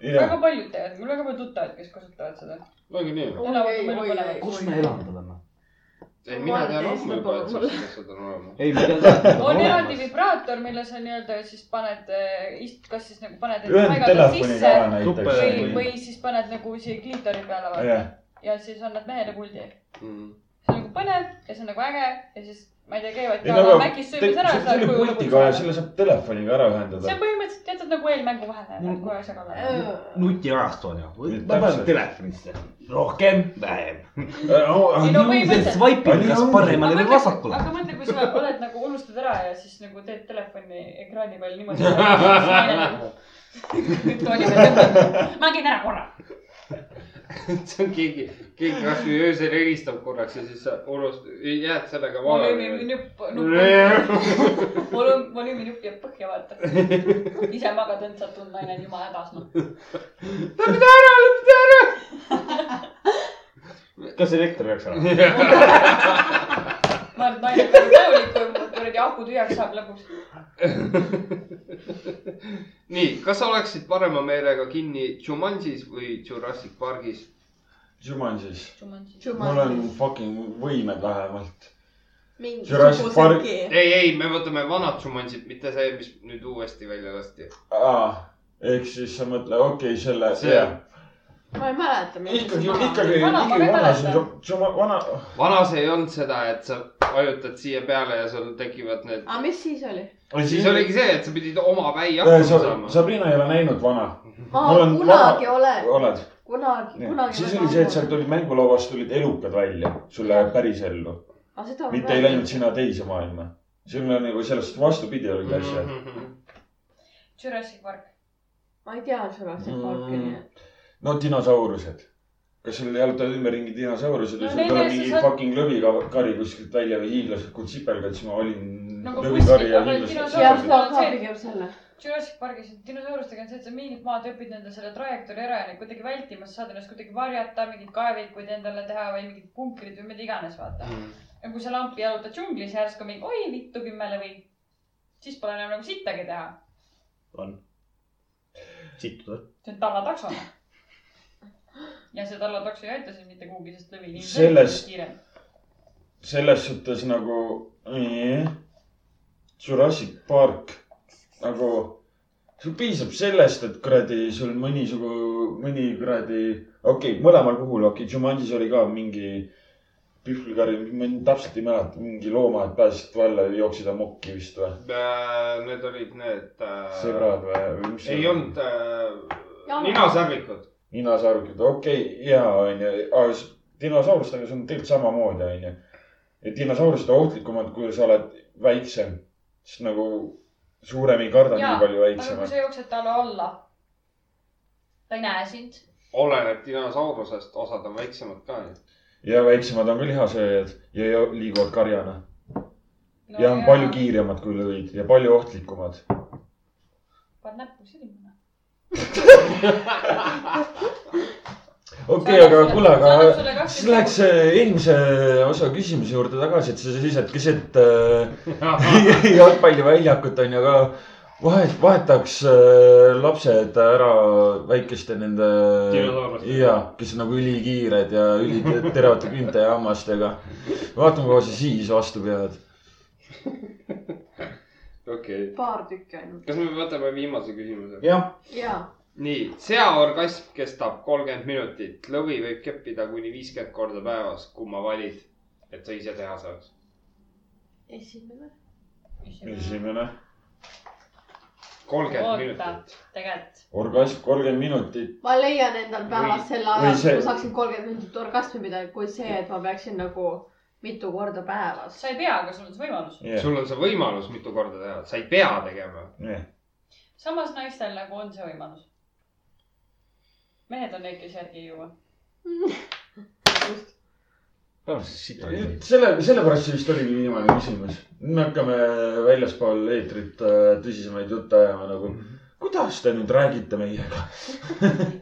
jah , Mhm. väga paljud teevad , mul on väga palju tuttavaid , kes kasutavad seda . ongi nii . kus me elanud oleme ? ei , mina tean ammu juba , et sellised asjad on olemas . ei , ma tean seda , et on eraldi vibraator , mille sa nii-öelda siis paned , kas siis nagu paned ühend telefoniga ära Tupper- või , näiteks . või siis paned nagu siia kliitori peale vaata jah , ja siis annad mehele puldi . Mhm. see on nagu põnev ja see on nagu äge ja siis ma ei tea , käivad ei ka no no, aga Macis te- söömas ära ja see saad oli koju pultiga ja lõpuks . selle saab telefoniga ära see ühendada on . põhimõtteliselt jätad nagu eelmängu vahele , kohe asja kallale . nutiajast on ju Nüüd , ma panen täpselt. telefonisse , rohkem , vähem . Äh, oh, ah, ei no põhimõtteliselt . swipe'id Aga kas nii paremale või vasakule . aga mõtle , kui sa oled nagu unustad ära ja siis nagu teed telefoni ekraani peal niimoodi . ma käin ära korra . see on keegi , keegi kasvõi öösel helistab korraks ja siis sa unust- , jääd sellega volüümi vahele . nupp , nupp , volüüm , volüümi nupp jääb põhja , vaata . ise magad õndsalt tund , naine on jumala hädas , noh . lõpeta ära , lõpeta ära . kas elekter peaks olema ? ma arvan , et naine on väga tänulik , kui kuradi aku tühjaks saab lõpuks . nii , kas sa oleksid parema meelega kinni Jumansis või Jurassic Parkis ? Jumansis . mul on mingisugune fucking võimed vähemalt . Jurassic Park- ei , ei , me võtame vanad Jumansit , mitte see , mis nüüd uuesti välja lasti . ehk siis sa mõtle , okei okay, , selle . See- ma ei mäleta . ikkagi , ikkagi , Vana, ma ka ikkagi ei vanas mäleta. , vana , vanas ei olnud seda , et sa vajutad siia peale ja sul tekivad need . aga mis siis oli ? siis oligi see , et sa pidid oma päi hakkama Äh, Sa- saama . Sabrina ei ole näinud vana , ma Mul on kunagi vana- olen , oled ? kunagi , kunagi . siis oli see , et sealt tulid mängulauast tulid elukad välja , sul läheb päris ellu , mitte ei läinud . sina teise maailma . sul on nagu sellest vastupidi olid asjad . Mm-hmm. Jurassic Park . ma ei tea Jurassic Parki Mm. nii et . no dinosaurused , kas sul jalutavad ümberringi dinosaurused või No sul nende tuleb eest mingi sa saad- fucking lõvikari kuskilt välja või hiiglased kui sipelgad , siis ma olin No aga lõvikari kuskil- ja aga hiiglased Jurassic jah , Park- sipelgad . ma ka pigem selle . Jurassic Parkis on dinosaurustega on see , et sa mingit maad õpid nende selle trajektoori ära ja neid kuidagi vältima , sa saad ennast kuidagi varjata , mingeid kaevikuid endale teha või mingid punkrid või mida iganes , vaata . Mm-hmm. ja kui sa lampi jalutad džunglis ja järsku mingi oi vittu kümmele või , siis pole enam nagu sittagi teha . situda . see on tallataksono . ja see tallatakso ei aita sind mitte kuhugi , sest lõvi nii Sellest- kiirem . selles suhtes nagu nii, Jurassic Park nagu sul piisab sellest , et kuradi sul mõnisugu , mõni kuradi , okei okay, , mõlemal puhul , okei okay, , Jumanjis oli ka mingi pühvlikari , ma ei- täpselt ei mäleta , mingi looma , et pääsesid välja ja jooksid amokki vist või , Äh, Need olid need äh, sõbrad või , või mis . ei olnud äh, Jaa. ninasarvikud . ninasarvikuid , okei okay, , ja onju , dinosaurustega see on tegelikult samamoodi , onju . et dinosaurused on ohtlikumad , kui sa oled väiksem , siis nagu suurem ei karda Jaa, nii palju aga kui väiksemat . sa jooksed talle alla , ta ei näe sind . oleneb dinosaurusest , osad on väiksemad ka . ja väiksemad on ka lihasööjad ja jo- liiguvad karjana ja on palju . kiiremad kui lõvid ja palju ohtlikumad . paned näppu silma . okei okay, , aga kuule , aga siis läheks see . äh, eelmise osa küsimuse juurde tagasi , et sa siis ütlesid , et äh, jalgpalliväljakut on ju , aga vahet , vahetaks äh, lapsed ära väikeste nende Dinosaurustega. ja , kes on nagu ülikiired ja üliteravate küünte ja hammastega . vaatame , kaua sa siis vastu pead . okei okay. , paar tükki ainult . kas me võtame viimase küsimuse ? jah , jaa , nii , seaorgasm kestab kolmkümmend minutit , lõvi võib keppida kuni viiskümmend korda päevas , kumma valid , et sa ise teha saaks . esimene . esimene . kolmkümmend oota minutit ., tegelikult orgasm kolmkümmend minutit . ma leian endal päevas Või- selle või aja , kus see- ma saaksin kolmkümmend minutit orgasmi pidada , kui see , et ma peaksin nagu mitu korda päevas . sa ei pea , aga sul on see võimalus . jah , sul on see võimalus mitu korda teha , sa ei pea tegema . jah . samas naistel nagu on see võimalus . mehed on need , kes järgi ei jõua . selle , sellepärast see vist oligi viimane küsimus . me hakkame väljaspool eetrit äh, tõsisemaid jutte ajama nagu . kuidas te nüüd räägite meiega ?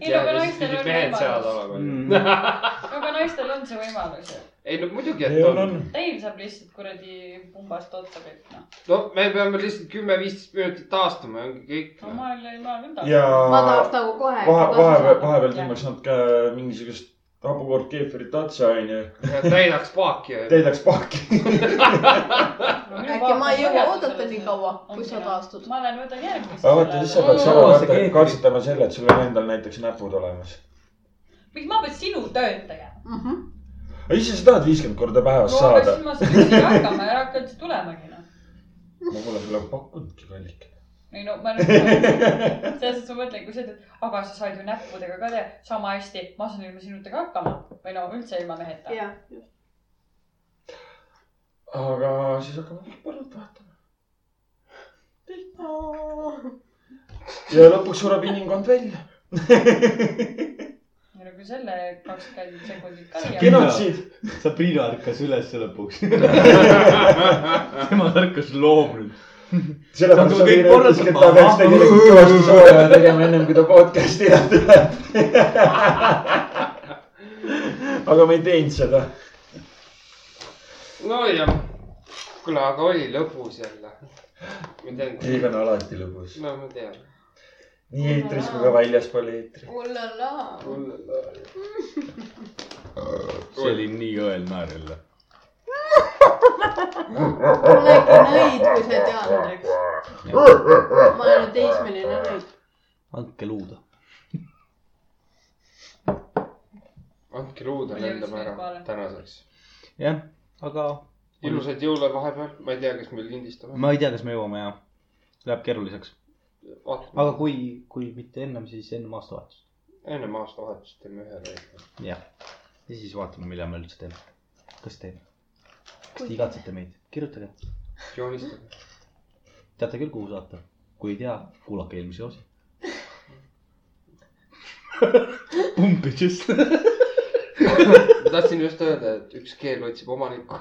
ei , aga naistel on võimalus . Mm. võimalus . aga naistel on see võimalus ju . ei no muidugi , et on , on . on . Teil saab lihtsalt kuradi pumbast otsa kõik , noh . no me peame lihtsalt kümme-viisteist minutit taastuma ja ongi kõik no . ma olen , ma olen tahtnud . ja ma tahaks nagu kohe . vahe , vahepeal , vahepeal Jah. tõmbaks natuke mingisugust hapukord keefrit otsa , onju . täidaks paaki . täidaks paki . äkki ma ei jõua oodata nii kaua , kui sa . taastud . ma lähen võtan järgmise . aga vaata , siis sa pead Mm. seda Kaua see vaata keefri- , katsetama selle , et sul on endal näiteks näpud olemas . miks ma pean sinu tööd tegema ? Mhm. aga ise sa tahad viiskümmend korda päevas no aga saada siis . ma saan üksi hakkama ja ära hakka üldse tulemagi , noh . ma pole sulle pakkunudki , kallik . ei no ma nüüd , selles suhtes ma mõtlen , kui sa ütled , aga sa said ju näppudega ka teha , sama hästi , ma saan ilma sinutega hakkama või no üldse ilma meheta . jah , aga siis hakkame põllult vaatama . ja lõpuks sureb inimkond välja . ja no kui selle kakskümmend sekundit ka ei jää . genotsiid . Sabrina ärkas üles lõpuks . tema ärkas loomult . sellepärast See on kõik Sabrina ütles , et ta korratud, peaks ahah. tegelikult kõvasti sooja tegema ennem kui ta podcast'i ära tuleb . aga ma ei teinud seda . nojah , kuule , aga oli lõbus jälle . ma tean , keegi on alati lõbus . no ma tean . nii eetris kui ka väljaspool eetrit . ullala . see oli nii õel naer jälle . mul on ikka nõid , kui sa ei tea nendeks . ma olen ju teismeline nõid . andke luuda . andke luude Ma ei jõudnud lendame ära kohale. tänaseks . jah , aga ilusaid jõule vahepeal , ma ei tea , kas me lindistame . ma ei tea , kas me jõuame ja läheb keeruliseks . vaatame aga kui , kui mitte ennem , siis ennem aastavahetust . ennem aastavahetust teeme ühe reisi . jah . ja siis vaatame , millal me üldse teeme . kas teeme ? kas te igatsete meid ? kirjutage . joonistame . teate küll , kuhu saata . kui ei tea , kuulake eelmise osa . Pump bitches . ma tahtsin just öelda , et üks keel otsib omanikku .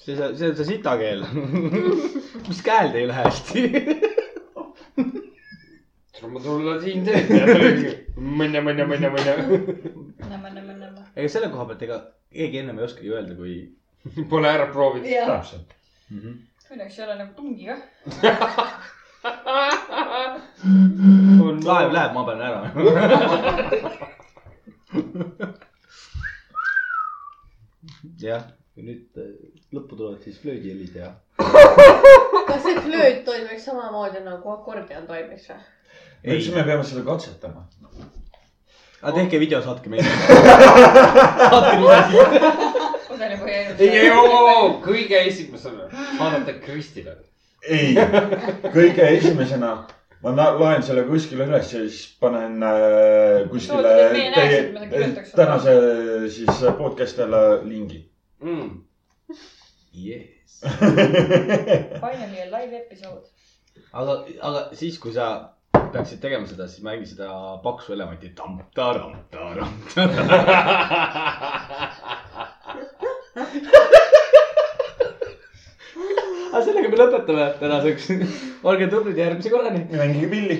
see , see , see on see sita keel . mis käel teil hästi ? ma tulla siin teen . mõnna , mõnna , mõnna , mõnna . näeme , näeme , näeme . ega selle koha pealt , ega keegi ennem ei oskagi öelda , kui Pole ära proovinud . jah , täpselt . Mhm. õnneks ei ole nagu tungi kah . laev läheb , ma pean ära . jah , ja nüüd äh, lõppu tulevad siis flöödihelid ja . kas see flööt toimiks samamoodi nagu akordion toimiks või ? me üldse , me peame seda katsetama . aga tehke video , saatke meile . saatke midagi . pudeli ei , ei , oo , oo , põhjal . kõige esimesena saadate Kristile . ei , kõige esimesena ma na- loen selle kuskile üles ja siis panen äh, kuskile Oota, et meie teie näeksime, et me kirjutaks sulle. tänase siis podcast'ile lingi . Mm. Yes. Finally a live episood . aga , aga siis , kui sa peaksid tegema seda , siis mängi seda paksu elevanti . aga sellega me lõpetame tänaseks . olge tublid ja järgmise korrani . mängige pilli .